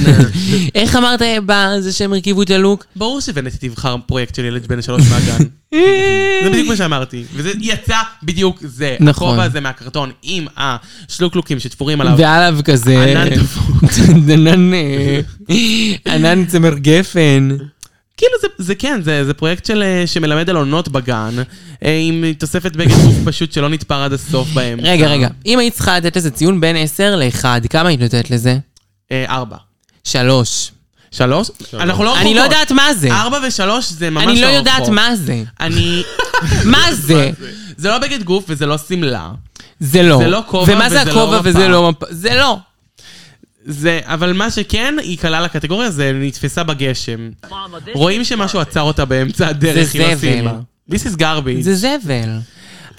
B: איך אמרת בזה שהם הרכיבו את הלוק?
C: ברור שוונטי תבחר פרויקט של ילד בן שלוש מהגן. זה בדיוק מה שאמרתי. וזה יצא בדיוק זה.
B: נכון.
C: הכובע הזה מהקרטון עם השלוקלוקים שתפורים עליו.
B: ועליו כזה...
C: ענן
B: ענן... אה, ענן צמר גפן.
C: כאילו זה, זה כן, זה, זה פרויקט של, אה, שמלמד על עונות בגן, אה, עם תוספת בגד גוף פשוט שלא נתפר עד הסוף בהם.
B: רגע, רגע, אם היית צריכה לתת לזה ציון בין 10 ל-1, כמה היית נותנת לזה?
C: אה, ארבע.
B: 3.
C: שלוש? אנחנו לא אה, רחוקות.
B: אני לא יודעת מה זה.
C: ארבע ושלוש זה ממש לא
B: אני לא
C: רחוק.
B: יודעת מה זה.
C: אני...
B: מה זה?
C: זה לא בגד גוף וזה לא שמלה.
B: זה לא.
C: זה לא כובע
B: ומה זה
C: וזה לא
B: הכובע
C: מפה.
B: וזה לא מפה? זה לא.
C: זה, אבל מה שכן, היא קלה לקטגוריה, זה נתפסה בגשם. רואים שמשהו עצר אותה באמצע הדרך,
B: זה
C: היא לא
B: זבל.
C: סיימה. This is garbage.
B: זה זבל.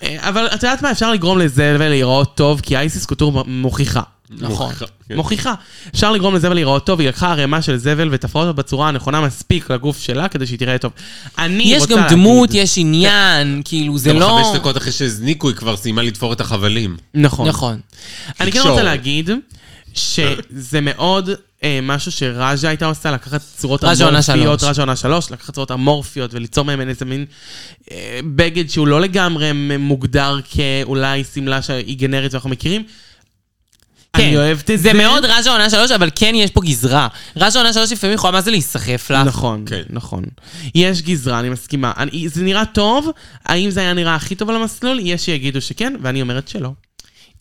C: אה, אבל את יודעת מה, אפשר לגרום לזבל להיראות טוב, כי אייסיס קוטור מוכיחה.
B: נכון.
D: כן.
C: מוכיחה. אפשר לגרום לזבל להיראות טוב, היא לקחה ערימה של זבל ותפרה אותה בצורה הנכונה מספיק לגוף שלה כדי שהיא תיראה טוב. אני
B: יש
C: רוצה
B: גם
C: להגיד-
B: דמות, יש עניין, כאילו, זה
D: גם
B: לא...
D: חמש דקות אחרי שהזניקו, היא כבר סיימה לתפור את החבלים.
C: נכון.
B: נכון.
C: אני כן
D: תקשורת.
C: רוצה להגיד שזה מאוד אה, משהו שראז'ה הייתה עושה, לקחת צורות
B: ראז'ה עונה
C: אמורפיות,
B: שלוש.
C: ראז'ה עונה שלוש, לקחת צורות אמורפיות וליצור מהן איזה מין אה, בגד שהוא לא לגמרי מוגדר כאולי שמלה שהיא גנרית ואנחנו מכירים. אני אוהבת את כן, זה.
B: זה מאוד רז'ה עונה שלוש, אבל כן יש פה גזרה. רז'ה עונה שלוש לפעמים יכולה מה זה להיסחף לך.
C: נכון,
D: כן.
C: נכון. יש גזרה, אני מסכימה. אני, זה נראה טוב, האם זה היה נראה הכי טוב על המסלול? יש שיגידו שכן, ואני אומרת שלא.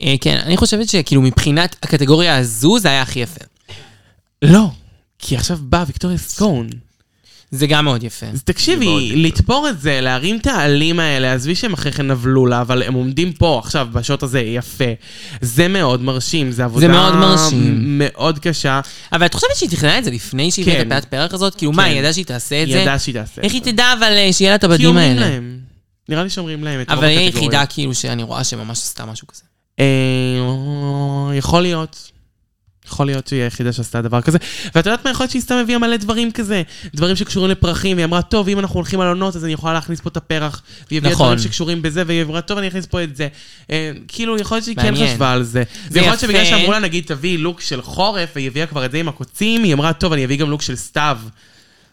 B: אה, כן, אני חושבת שכאילו מבחינת הקטגוריה הזו, זה היה הכי יפה.
C: לא, כי עכשיו באה ויקטוריה סקון.
B: זה גם מאוד יפה.
C: אז
D: זה מאוד
C: תקשיבי,
D: יקר.
C: לתפור את זה, להרים את העלים האלה, עזבי שהם אחרי כן נבלו לה, אבל הם עומדים פה עכשיו, בשוט הזה, יפה. זה מאוד מרשים, זה עבודה...
B: מאוד מרשים.
C: מאוד קשה.
B: אבל את חושבת שהיא תכננה את זה לפני שהיא
C: כן.
B: הביאה את הפעת פרח הזאת? כאילו, מה,
C: כן.
B: היא ידעה שהיא תעשה את
C: היא
B: זה?
C: ידעה שהיא תעשה. את
B: איך היא
C: זה.
B: תדע אבל אה, שיהיה לה את
C: כי
B: הבדים
C: אומרים
B: האלה?
C: להם. נראה לי שאומרים להם את רוב
B: אבל היא
C: הקטגוריות.
B: היחידה כאילו שאני רואה שממש עשתה משהו כזה.
C: אה, יכול להיות. יכול להיות שהיא היחידה שעשתה דבר כזה. ואת יודעת מה? יכול להיות שהיא סתם הביאה מלא דברים כזה. דברים שקשורים לפרחים, והיא אמרה, טוב, אם אנחנו הולכים על עונות, אז אני יכולה להכניס פה את הפרח. והיא הביאה
B: נכון.
C: דברים שקשורים בזה, והיא אמרה, טוב, אני אכניס פה את זה. אה, כאילו, יכול להיות שהיא כן
B: מעניין.
C: חשבה על זה.
B: זה
C: זה יכול להיות
B: יפה.
C: שבגלל שאמרו לה, נגיד, תביאי לוק של חורף, והיא הביאה כבר את זה עם הקוצים, היא אמרה, טוב, אני אביא גם לוק של סתיו.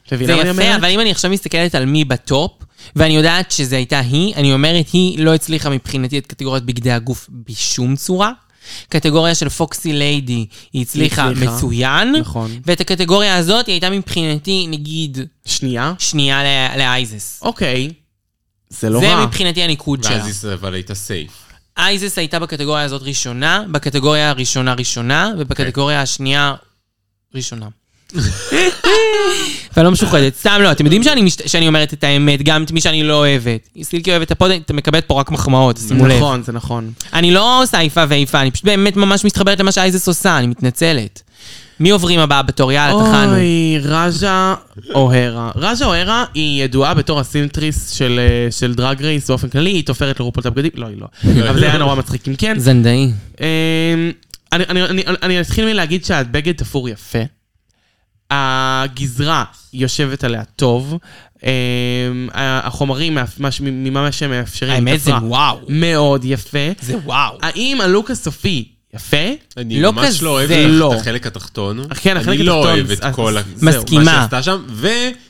C: את מבינה
B: זה
C: מה אני
B: יפה,
C: אומרת?
B: אבל אם אני עכשיו מסתכלת על מי בטופ, ואני יודעת שזו הייתה היא, אני אומרת, היא לא הצליחה מבחינתי את קטגוריית בגדי הגוף בשום צורה. קטגוריה של פוקסי ליידי, היא הצליחה
C: הצליחה.
B: מצוין.
C: נכון.
B: ואת הקטגוריה הזאת היא הייתה מבחינתי, נגיד,
C: שנייה.
B: שנייה ל- לאייזס.
C: אוקיי. זה לא
B: זה
C: רע.
B: מבחינתי הניקוד שלה.
D: ואז ישראל אבל הייתה סייף.
B: אייזס הייתה בקטגוריה הזאת ראשונה, בקטגוריה הראשונה ראשונה, ובקטגוריה השנייה ראשונה. ואני לא משוחדת, סתם לא, אתם יודעים שאני, משת... שאני אומרת את האמת, גם את מי שאני לא אוהבת. סילקי אוהבת את הפוד, אתם מקבלת פה רק מחמאות, שימו לב.
C: נכון, זה נכון.
B: אני לא עושה איפה ואיפה, אני פשוט באמת ממש מתחברת למה שאייזס עושה, אני מתנצלת. מי עוברים הבאה בתור? יאללה, טחנו.
C: אוי, רג'ה אוהרה. רג'ה אוהרה היא ידועה בתור הסינטריס של, אה, של דרג רייס באופן כללי, היא תופרת לרופול את הבגדים, לא, היא לא. אבל זה היה נורא מצחיק אם כן.
B: זנדאי.
C: אמ, אני, אני, אני, אני אתחיל מלהגיד שהבגד תפור יפה. הגזרה יושבת עליה טוב. אמ, החומרים, מאפ- מה ש- ממה שמאפשרים,
B: האמת, זה
C: תפרה
B: וואו.
C: מאוד יפה.
B: זה וואו.
C: האם הלוק הסופי יפה?
D: אני
B: לא
D: ממש
B: כזה,
D: לא אוהב
C: לא.
D: את החלק התחתון.
C: כן, החלק
D: אני לא
C: התחתון,
D: אוהב את
C: אז-
D: כל ה-
C: זהו.
B: מסכימה.
D: מה שעשתה שם,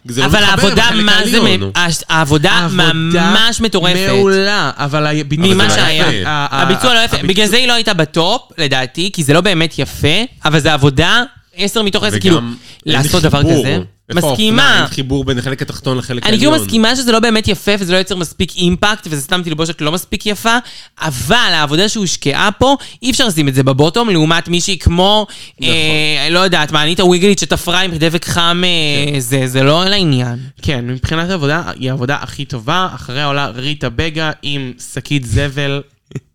D: וזה לא
B: אבל
D: מתחבר
B: העבודה,
D: בחלק
B: מה זה,
D: העליון.
B: מ- אה, הש- העבודה
C: עבודה
B: ממש מטורפת.
C: מעולה, אבל הביצוע...
D: אבל
B: ממה
D: זה לא
B: שהיה.
D: יפה.
C: ה- ה-
B: הביצוע לא יפה.
C: הביצוע-
B: בגלל זה היא לא הייתה בטופ, לדעתי, כי זה לא באמת יפה, אבל זה עבודה, עשר מתוך עשר,
D: וגם
B: כאילו,
D: אין
B: לעשות דבר
D: חיבור.
B: כזה.
D: איפה האופנה?
B: מסכימה.
D: אין חיבור בין החלק התחתון לחלק
B: אני
D: העליון.
B: כאילו מסכימה שזה לא באמת יפה וזה לא יוצר מספיק אימפקט וזה סתם תלבושת לא מספיק יפה, אבל העבודה שהושקעה פה, אי אפשר לשים את זה בבוטום לעומת מישהי כמו,
D: נכון.
B: אה, לא יודעת, מה, הניטה וויגלית שתפרה עם דבק חם,
D: כן.
B: אה, זה זה לא לעניין.
C: כן, מבחינת העבודה, היא העבודה הכי טובה. אחריה עולה ריטה בגה עם שקית זבל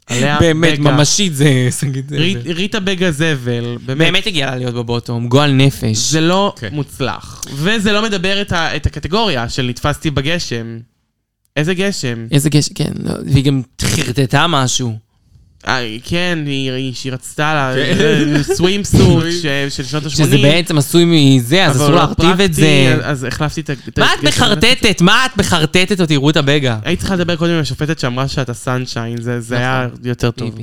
C: עליה.
B: באמת,
C: בגה.
B: ממשית זה... זה-
C: ריט- ריטה בגה זבל, באמת.
B: באמת כן. הגיעה לה להיות בבוטום, גועל נפש.
C: זה לא
D: אוקיי.
C: מוצלח. וזה לא מדבר את ה- את הקטגוריה של נתפסתי בגשם. איזה גשם?
B: איזה גשר, כן, לא, והיא גם חרטטה משהו.
C: אה, כן, היא- היא- שהיא רצתה
D: כן.
C: לה, אה, סווימסוט של שנות ה-80.
B: שזה בעצם עשוי מזה, אז אסור
C: לא,
B: להכתיב את זה.
C: אז החלפתי את ה... את
B: מה את
C: הגשם.
B: מחרטטת? מה את מחרטטת אותי, רות הבגע?
C: היית צריכה לדבר קודם עם השופטת שאמרה שאתה סנשיין, זה זה היה
B: נכון.
C: יותר טוב.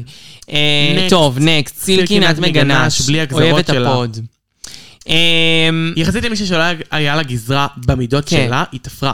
B: אה,
C: Next.
B: טוב, נקסט, סילקי נת מגנש,
C: בלי הגזרות
B: אוהבת
C: שלה.
B: הפוד. אה,
C: יחסית למישהי שלא היה- היה לה גזרה במידות
B: כן.
C: שלה, היא תפרה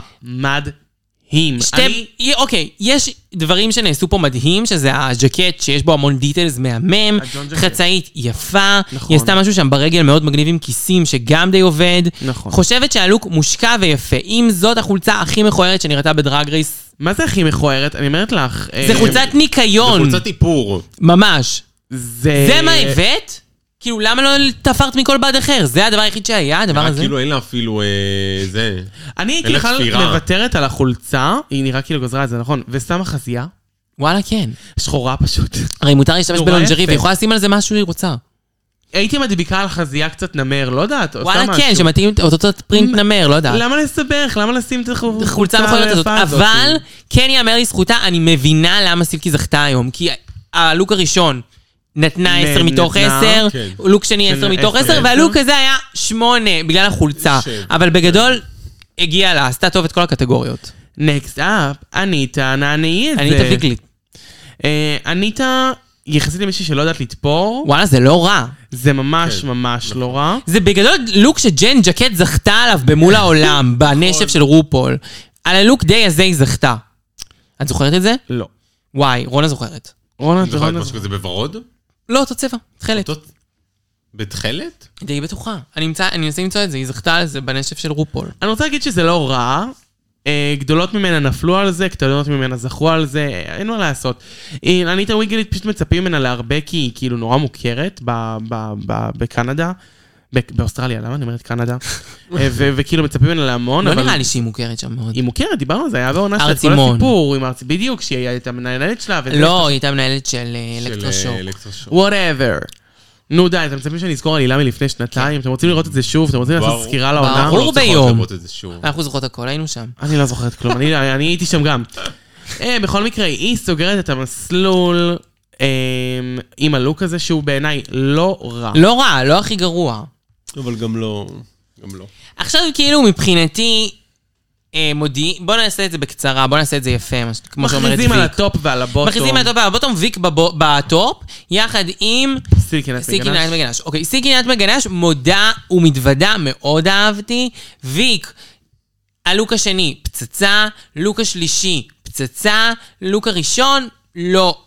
C: מדהים.
B: שתי,
C: אני-
B: י- אוקיי, יש דברים שנעשו פה מדהים, שזה הז'קט שיש בו המון דיטלס מהמם,
C: הג'ון ז'קט.
B: חצאית יפה,
C: נכון.
B: היא עשתה משהו שם ברגל מאוד מגניב עם כיסים שגם די עובד.
C: נכון.
B: חושבת שהלוק מושקע ויפה. עם זאת, החולצה הכי מכוערת שנראתה בדרג רייס,
C: מה זה הכי מכוערת? אני אומרת לך...
B: זה
C: אה,
B: חולצת
D: זה
B: ניקיון,
D: חולצת איפור.
B: ממש.
C: זה...
B: זה מה הבאת? כאילו, למה לא תפרת מכל בד אחר? זה הדבר היחיד שהיה,
C: אה,
B: הדבר
D: רק
B: הזה?
D: כאילו אין לה אפילו אה, זה.
C: אני הייתי
D: אין
B: כאילו-
D: לה
C: בכלל
D: תפירה.
C: מוותרת על החולצה, היא נראה כאילו גזרה את זה, נכון? ושמה חזייה,
B: וואלה, כן.
C: שחורה פשוט.
B: הרי מותר להשתמש
C: נורא
B: בלונג'רי,
C: יפה.
B: והיא יכולה לשים על זה מה שהיא רוצה.
C: הייתי מדביקה על חזייה קצת נמר, לא יודעת, עושה
B: וואלה,
C: משהו.
B: כן, שמתאים את אותו פרינט נמר, לא יודעת.
C: למה לסבך? למה לשים את החולצה
B: החולצה המכוערת הזאת.
C: היפה
B: אבל כן ייאמר לזכותה, אני מבינה למה סילקי זכתה היום. כי הלוק הראשון נתנה
C: נ-
B: 10 מתוך
C: נתנה,
B: 10,
D: כן.
B: לוק שני 10
C: של
B: מתוך
C: עשר,
B: 10,
C: עשר.
B: והלוק הזה היה 8 בגלל החולצה.
D: שבע.
B: אבל בגדול, הגיעה לה, עשתה טוב את כל הקטגוריות.
C: נקסט אפ, אניטה, נענעי את זה.
B: אני תביא לי.
C: אה, אניטה, יחסית למישהי שלא יודעת לתפור,
B: וואלה, זה לא רע.
C: זה ממש
D: כן.
C: ממש
B: נכון.
C: לא רע.
B: זה בגדול לוק שג'ן ג'קט זכתה עליו במול העולם,
C: נכון.
B: בנשף של רופול. על הלוק די הזה היא זכתה. את זוכרת את זה?
C: לא.
B: וואי, רונה זוכרת.
C: רונה,
D: אני
B: נכון,
C: זה
D: זוכרת
C: רונה.
D: משהו כזה בוורוד?
B: לא, אותו צבע, תכלת.
D: אותו- בתכלת?
B: די בטוחה. אני אמצא, אני מנסה למצוא את זה, היא זכתה על זה בנשף של רופול.
C: אני רוצה להגיד שזה לא רע. אה, גדולות ממנה נפלו על זה, קטנות ממנה זכו על זה, אה, אין מה לעשות. אה, אניטה וויגלית פשוט מצפים ממנה להרבה כי היא כאילו נורא מוכרת ב- ב- ב- בקנדה. ב- באוסטרליה, למה אני אומרת קנדה? אה, ו- וכאילו מצפים ממנה להמון,
B: לא
C: אבל-
B: נראה לי שהיא מוכרת שם מאוד.
C: היא מוכרת, דיברנו על זה, היה בעונה של כל
B: ארצימון.
C: הסיפור עם ארצי, בדיוק, שהיא הייתה מנהלת שלה, וזה,
B: לא, היא הייתה מנהלת של אה,
D: של,
B: אלקטרושוק.
D: אה, אלקטרושוק.
C: whatever. נו די, אתם מצפים שאני אזכור עלילה מלפני שנתיים? אתם רוצים לראות את זה שוב? אתם רוצים לעשות
D: ברור.
C: סקירה לעונה?
D: אנחנו לא
B: ברור
D: צריכות
B: אה, ביום. אה.
D: לראות את זה שוב.
B: אנחנו זוכרות הכל, היינו שם.
C: אני לא זוכרת כלום, אני אני הייתי שם גם. אה, בכל מקרה, היא סוגרת את המסלול אה, עם הלוק הזה, שהוא בעיניי לא רע.
B: לא רע, לא הכי גרוע.
D: אבל גם לא... גם לא.
B: עכשיו כאילו מבחינתי, אה, מודיעי, בוא נעשה את זה בקצרה, בוא נעשה את זה יפה, מה ש- כמו שאומרת ויק.
C: מכריזים על הטופ ועל הבוטום.
B: מכריזים על הטופ והבוטום, ויק בבו- בטופ, יחד עם
C: סילקי נס
B: סיקי
C: מגנש.
B: נייט מגנש. אוקיי, סיקי נייט מגנש, מודה ומתוודה, מאוד אהבתי. ויק, הלוק השני, פצצה. לוק השלישי, פצצה. לוק הראשון, לא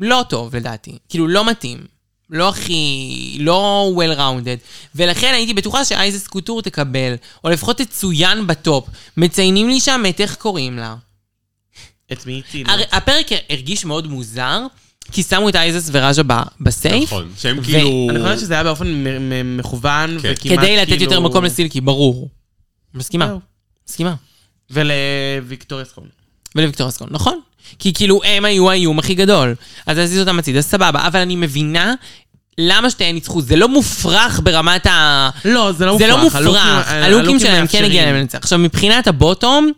B: לא טוב לדעתי. כאילו, לא מתאים. לא הכי... לא well-rounded. ולכן הייתי בטוחה שאייזס קוטור תקבל, או לפחות תצוין בטופ. מציינים לי שם את איך קוראים לה.
C: את מי הצילו?
B: הר- הפרק הרגיש מאוד מוזר, כי שמו את אייזס וראז'ה ב- בסייף.
D: נכון, שהם
B: ו-
D: כאילו...
C: אני חושבת שזה היה באופן מ- מ- מכוון
D: כן.
C: וכמעט כאילו...
B: כדי לתת יותר מקום לסילקי, ברור. מסכימה.
C: זהו.
B: מסכימה.
C: ולוויקטוריה סקרון.
B: ולוויקטוריה סקול, נכון. כי כאילו הם היו האיום הכי גדול. אז להזיז אותם הצידה, סבבה. אבל אני מבינה למה שתיהן ניצחו. זה לא מופרך ברמת ה...
C: לא, זה לא מופרך.
B: זה לא מופרך.
C: הלוקים-
B: הלוקים שלהם כן
C: מאפשרים.
B: הגיע להם לנצח. עכשיו, מבחינת הבוטום,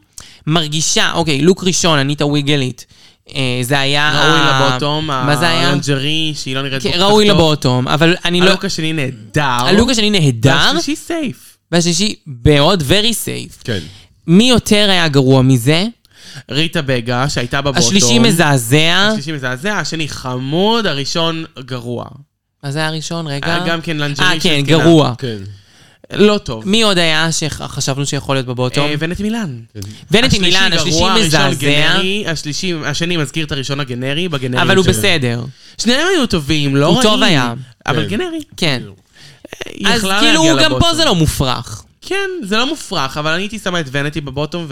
B: מרגישה, אוקיי, לוק ראשון, אניטה וויגלית. אה, זה היה...
C: ראוי
B: ה-
C: לבוטום,
B: אה, מה זה היה?
C: הלונג'רי, שהיא לא נראית
B: כן,
C: כל כך
B: ראוי
C: טוב.
B: לבוטום, אבל אני לא...
C: הלוק השני נהדר.
B: הלוק השני נהדר,
C: והשלישי סייף.
B: והשלישי מאוד very safe.
D: כן.
B: מי יותר היה גרוע מזה?
C: ריטה בגה, שהייתה בבוטום.
B: השלישי מזעזע.
C: השלישי מזעזע, השני חמוד, הראשון גרוע.
B: אז זה היה הראשון, רגע.
C: היה גם כן לנג'רי
B: אה,
C: של אוקיי.
B: כן,
C: זקנה.
B: גרוע.
D: כן.
C: לא טוב.
B: מי עוד היה שחשבנו שיכול להיות בבוטום?
C: אה, ונטי מילן.
B: ונטי מילן,
C: השלישי
B: השלישי
C: גרוע, הראשון
B: מזעזע,
C: גנרי, השלישי, השני מזכיר את הראשון הגנרי, בגנרי.
B: אבל הוא
C: שלו.
B: בסדר.
C: שניהם היו טובים, לא
B: הוא
C: רעים.
B: טוב היה.
C: אבל
D: כן.
C: גנרי.
B: כן.
C: היא
B: אז
C: יכלה
B: כאילו
C: להגיע
B: גם פה
C: לבוטום.
B: זה לא מופרך.
C: כן, זה לא מופרך, אבל אני הייתי שמה את ונטי בבוטום,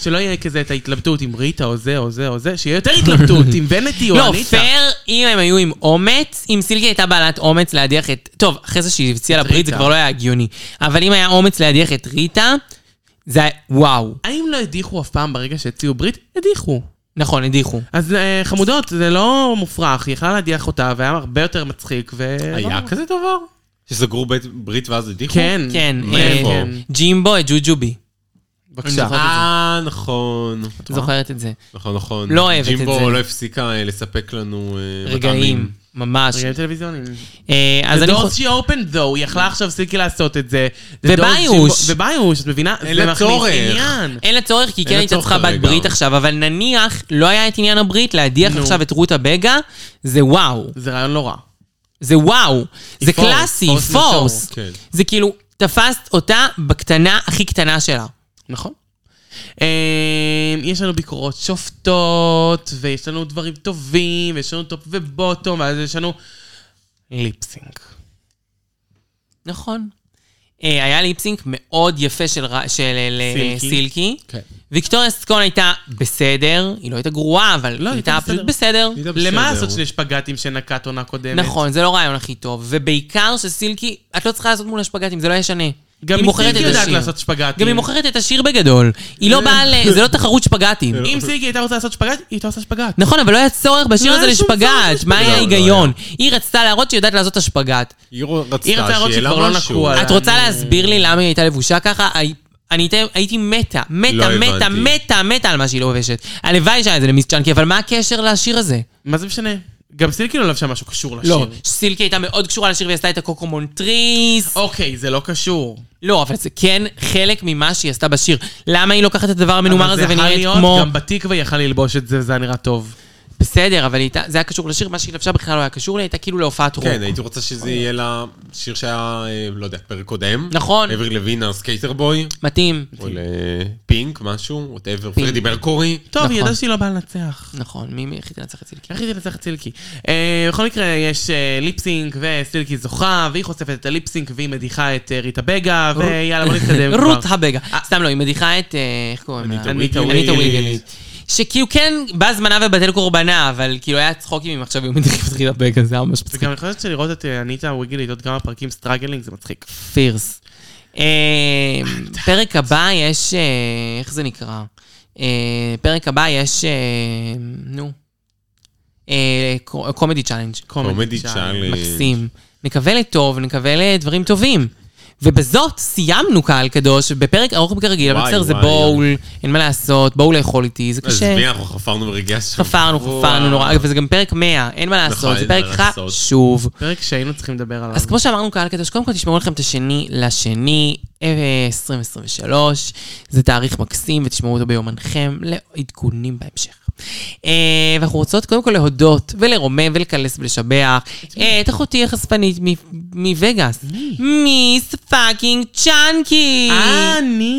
C: ושלא יהיה כזה את ההתלבטות עם ריטה או זה או זה או זה, שיהיה יותר התלבטות עם ונטי או
B: לא,
C: אניטה.
B: פייר, אם הם היו עם אומץ, אם סילקי הייתה בעלת אומץ להדיח את... טוב, אחרי זה שהיא הציעה לברית זה
C: ריטה.
B: כבר לא היה הגיוני. אבל אם היה אומץ להדיח את ריטה, זה היה... וואו.
C: האם לא הדיחו אף פעם ברגע שהציעו ברית? הדיחו.
B: נכון, הדיחו.
C: אז אה, חמודות, זה לא מופרך, היא יכלה להדיח אותה, והיה הרבה יותר מצחיק, ו...
D: היה כזה דבר? שסגרו בית- ברית ואז הדיחו?
C: כן.
B: כן,
D: מה,
B: אה,
D: איפה?
B: כן. ג'ימבו את ג'וג'ובי.
C: בבקשה.
B: אני
D: אה, נכון.
B: זוכרת את זה.
D: נכון, נכון.
B: לא אוהבת את זה.
D: ג'ימבו לא הפסיקה אה, לספק לנו אה,
B: רגעים.
D: מטעמים.
B: ממש.
C: רגעים טלוויזיונים.
B: אה, אז
C: The
B: אני חו-
C: doors she opened though, היא יכלה עכשיו סילקי לעשות את זה. The doors
B: וביוש.
C: she- וביוש, את מבינה?
D: אין
C: זה
D: לה
C: מכניס
D: צורך.
C: עניין.
B: אין לה צורך, כי כן
D: לה
B: הייתה
D: צורך
B: צריכה בת
D: כרגע.
B: ברית עכשיו, אבל נניח לא היה את עניין הברית, להדיח
C: נו.
B: עכשיו את רותה בגה, זה וואו.
C: זה רעיון לא רע.
B: זה וואו. זה
C: פורס,
B: קלאסי,
C: פורס זה
B: פורס.
C: טוב,
D: כן.
B: זה כאילו, תפסת אותה בקטנה הכי קטנה שלה.
C: נכון. אה, יש לנו ביקורות שופטות, ויש לנו דברים טובים, ויש לנו טופ ובוטום, ואז יש לנו ליפסינק.
B: נכון. אה, היה ליפסינק מאוד יפה של ר- של אה,
C: סילקי.
B: סילקי.
D: כן.
B: ויקטוריה סקון הייתה בסדר, היא לא הייתה גרועה, אבל היא
C: הייתה
B: הייתה פשוט בסדר.
D: היא הייתה
C: למה
D: בסדר.
C: לעשות שני שפגטים שנקט עונה קודמת?
B: נכון, זה לא רעיון הכי טוב, ובעיקר שסילקי, את לא צריכה לעשות מול השפגטים, זה לא ישנה.
C: גם
B: היא מוכרת את
C: סילקי יודעת
B: השיר.
C: לעשות אה. שפגטים.
B: גם היא מוכרת את השיר בגדול. היא לא באה ל... זה לא תחרות שפגטים.
C: אם סילקי הייתה רוצה לעשות שפגט, היא הייתה עושה שפגט.
B: נכון, אבל לא היה צורך בשיר
C: לא
B: הזה
C: היה שום צורך
B: לשפגט.
C: לשפגט.
B: מה היה
D: לא, לא
B: ההיגיון? היא רצתה להראות שהיא יודעת לעשות את השפגט.
D: היא רצתה
C: היא רצתה להראות
D: שיהיה
C: שכבר לא
D: לה משהו.
C: נקעו עליה.
B: את רוצה להסביר לי למה היא הייתה לבושה ככה? הי- אני הייתי- הייתי מתה, מתה,
D: לא
B: מתה,
D: הבנתי.
B: מתה, מתה על מה שהיא לא לובשת. הלוואי שהיה את זה למיס צ'אנקי, אבל מה הקשר לשיר הזה?
C: מה זה משנה? גם סילקי לא לבשה משהו קשור לשיר.
B: לא, סילקי הייתה מאוד קשורה לשיר והיא עשתה את הקוקומונטריס.
C: אוקיי, זה לא קשור.
B: לא, אבל זה כן חלק ממה שהיא עשתה בשיר. למה היא לוקחת את הדבר המנומר
C: אבל
B: הזה
C: זה יכול
B: ונראית
C: להיות,
B: כמו...
C: גם בתקווה היא יכלה ללבוש את זה, וזה היה נראה טוב.
B: בסדר, אבל היא הייתה- זה היה קשור לשיר, מה שהיא לבשה בכלל לא היה קשור לי, הייתה כאילו להופעת רוק.
D: כן, הייתי רוצה שזה יהיה לה שיר שהיה, אה, לא יודע, פרק קודם.
B: נכון.
D: אברי לוין, הסקייטר בוי,
B: מתאים.
D: או לפינק, משהו, ווטאבר, פרדי מרקורי.
C: טוב, היא
B: נכון.
C: ידעה שהיא לא באה לנצח.
B: נכון, מי מי הכי תנצח את סילקי?
C: איך היא תנצח את סילקי? אה, בכל מקרה, יש אה, ליפסינק, וסילקי זוכה, והיא חושפת את הליפסינק, והיא מדיחה את אה, ריטה בגה, ויאללה, בוא נתקדם כבר.
B: רות הבגה. סתם לא, היא מדיחה את... אה, איך קוראים לה?
D: אניטה
C: וויגלית.
B: אניטה וויגלית. שכאילו כן, בזמנה ובטל קורבנה, אבל כאילו היה צחוקים אם עכשיו היו מדיחים את חילה בגה, זה היה ממש מצחיק.
C: וגם אני חושבת שלראות את אה, אניטה וויגלית עוד כמה פרקים סטראגלינג זה מצחיק.
B: פירס. אה, פרק הבא יש, אה, איך זה נקרא? אה, פרק הבא יש, אה, נו, אה, קומדי צ'אלנג'.
D: קומדי צ'אלנג'.
B: מקסים. נקווה לטוב, נקווה לדברים טובים. ובזאת סיימנו קהל קדוש, בפרק ארוך מכרגיל, אבל
D: וואי,
B: בסדר, זה
D: וואי.
B: בול, אין מה לעשות, בואו לאכול איתי, זה
D: אז
B: קשה.
D: לא, מי אנחנו חפרנו ברגעי שם?
B: חפרנו,
D: וואו.
B: חפרנו נורא, וזה גם פרק 100, אין מה לעשות, זה
D: נכון, אין מה
B: פרק
D: לעשות.
B: חשוב.
C: פרק שהיינו צריכים לדבר עליו.
B: אז כמו שאמרנו, קהל קדוש, קודם כל תשמעו לכם את השני לשני, אה, 2023. זה תאריך מקסים, ותשמעו אותו ביומנכם לעדכונים בהמשך. אה, ואנחנו רוצות קודם כל להודות, ולרומם, ולקלס, ולשבח אה, את אחותי החשפנית מ- מווגאס.
C: מי? אה.
B: מיס פאקינג צ'אנקי!
C: אני!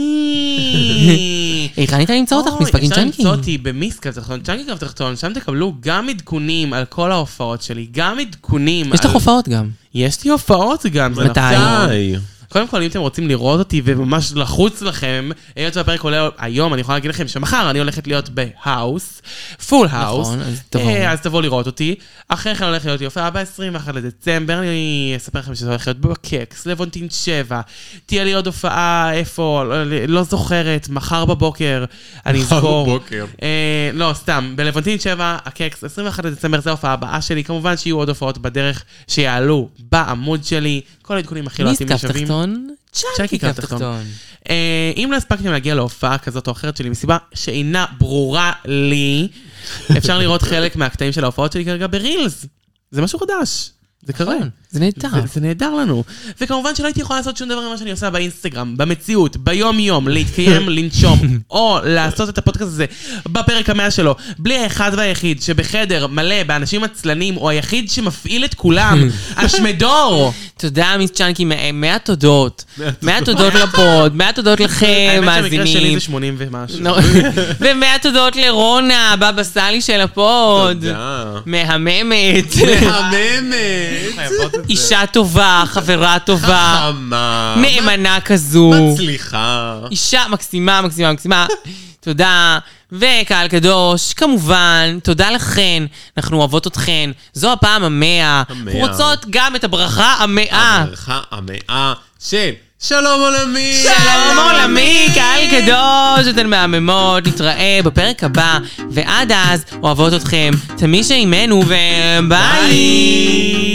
B: היכן ניתן למצוא אותך?
C: אוי,
B: מספקים
C: אפשר
B: צ'אנקי.
C: למצוא אותי במיסקאפ תחתון, צ'אנקי קו תחתון, שם תקבלו גם עדכונים על כל ההופעות שלי, גם עדכונים
B: יש לך
C: על...
B: הופעות גם.
C: יש לי הופעות גם, זה
B: מתי?
C: נכון.
D: די.
C: קודם כל, אם אתם רוצים לראות אותי וממש לחוץ לכם, היות שהפרק עולה היום, אני יכולה להגיד לכם שמחר אני הולכת להיות בהאוס, פול האוס.
B: נכון, אז תבואו.
C: אה, אז תבואו לראות אותי. אחרי כן הולך להיות יופי ב-21 לדצמבר, אני אספר לכם שזה הולך להיות בקקס, לבונטין 7. תהיה לי עוד הופעה, איפה, לא, לא זוכרת, מחר בבוקר, אני
D: מחר
C: אזכור.
D: בבוקר.
C: אה, לא, סתם, בלוונטין 7, הקקס, 21 לדצמבר, זו ההופעה הבאה שלי. כמובן שיהיו עוד הופעות בדרך שיעלו בעמוד שלי. כל העדכונים הכי לא לוהטים
B: מיסקאפ
C: ושווים.
B: תחתון, צ'אנקי
C: כאילו, צ'אנקי
B: קו
C: קו
B: תחתון.
C: תחתון. אה, אם לא הספקתם להגיע להופעה כזאת או אחרת שלי מסיבה שאינה ברורה לי, אפשר לראות חלק מהקטעים של ההופעות שלי כרגע ברילס. זה משהו חדש. זה קרה.
B: נכון, זה נהדר.
C: זה- זה נהדר לנו. וכמובן שלא הייתי יכולה לעשות שום דבר ממה שאני עושה באינסטגרם, במציאות, ביום-יום, להתקיים, לנשום, או לעשות את הפודקאסט הזה בפרק המאה שלו, בלי האחד והיחיד שבחדר מלא באנשים עצלנים, הוא היחיד שמפעיל את כולם, השמדור!
B: תודה, מיס צ'אנקי, מאה- מאה תודות. מאה תודות לפוד, מאה תודות לכם,
C: האמת שהמקרה שלי
B: אה, מאזינים. לא,
C: זה 80 ומשהו.
B: נו, ומאה תודות לרונה, הבבא סאלי של הפוד.
D: תודה.
B: מהממת.
D: מהממת.
C: חייבות את זה.
B: אישה טובה, חברה טובה,
D: חכמה.
B: נאמנה כזו.
D: מצליחה.
B: אישה מקסימה, מקסימה, מקסימה. תודה. וקהל קדוש, כמובן, תודה לכן, אנחנו אוהבות אתכן. זו הפעם המאה.
D: המאה.
B: רוצות גם את הברכה
C: אה,
B: המאה.
D: הברכה המאה של שלום עולמי.
B: שלום עולמי, קהל קדוש, אתן מהממות, נתראה בפרק הבא, ועד אז אוהבות אתכם, תמי שעימנו, וביי!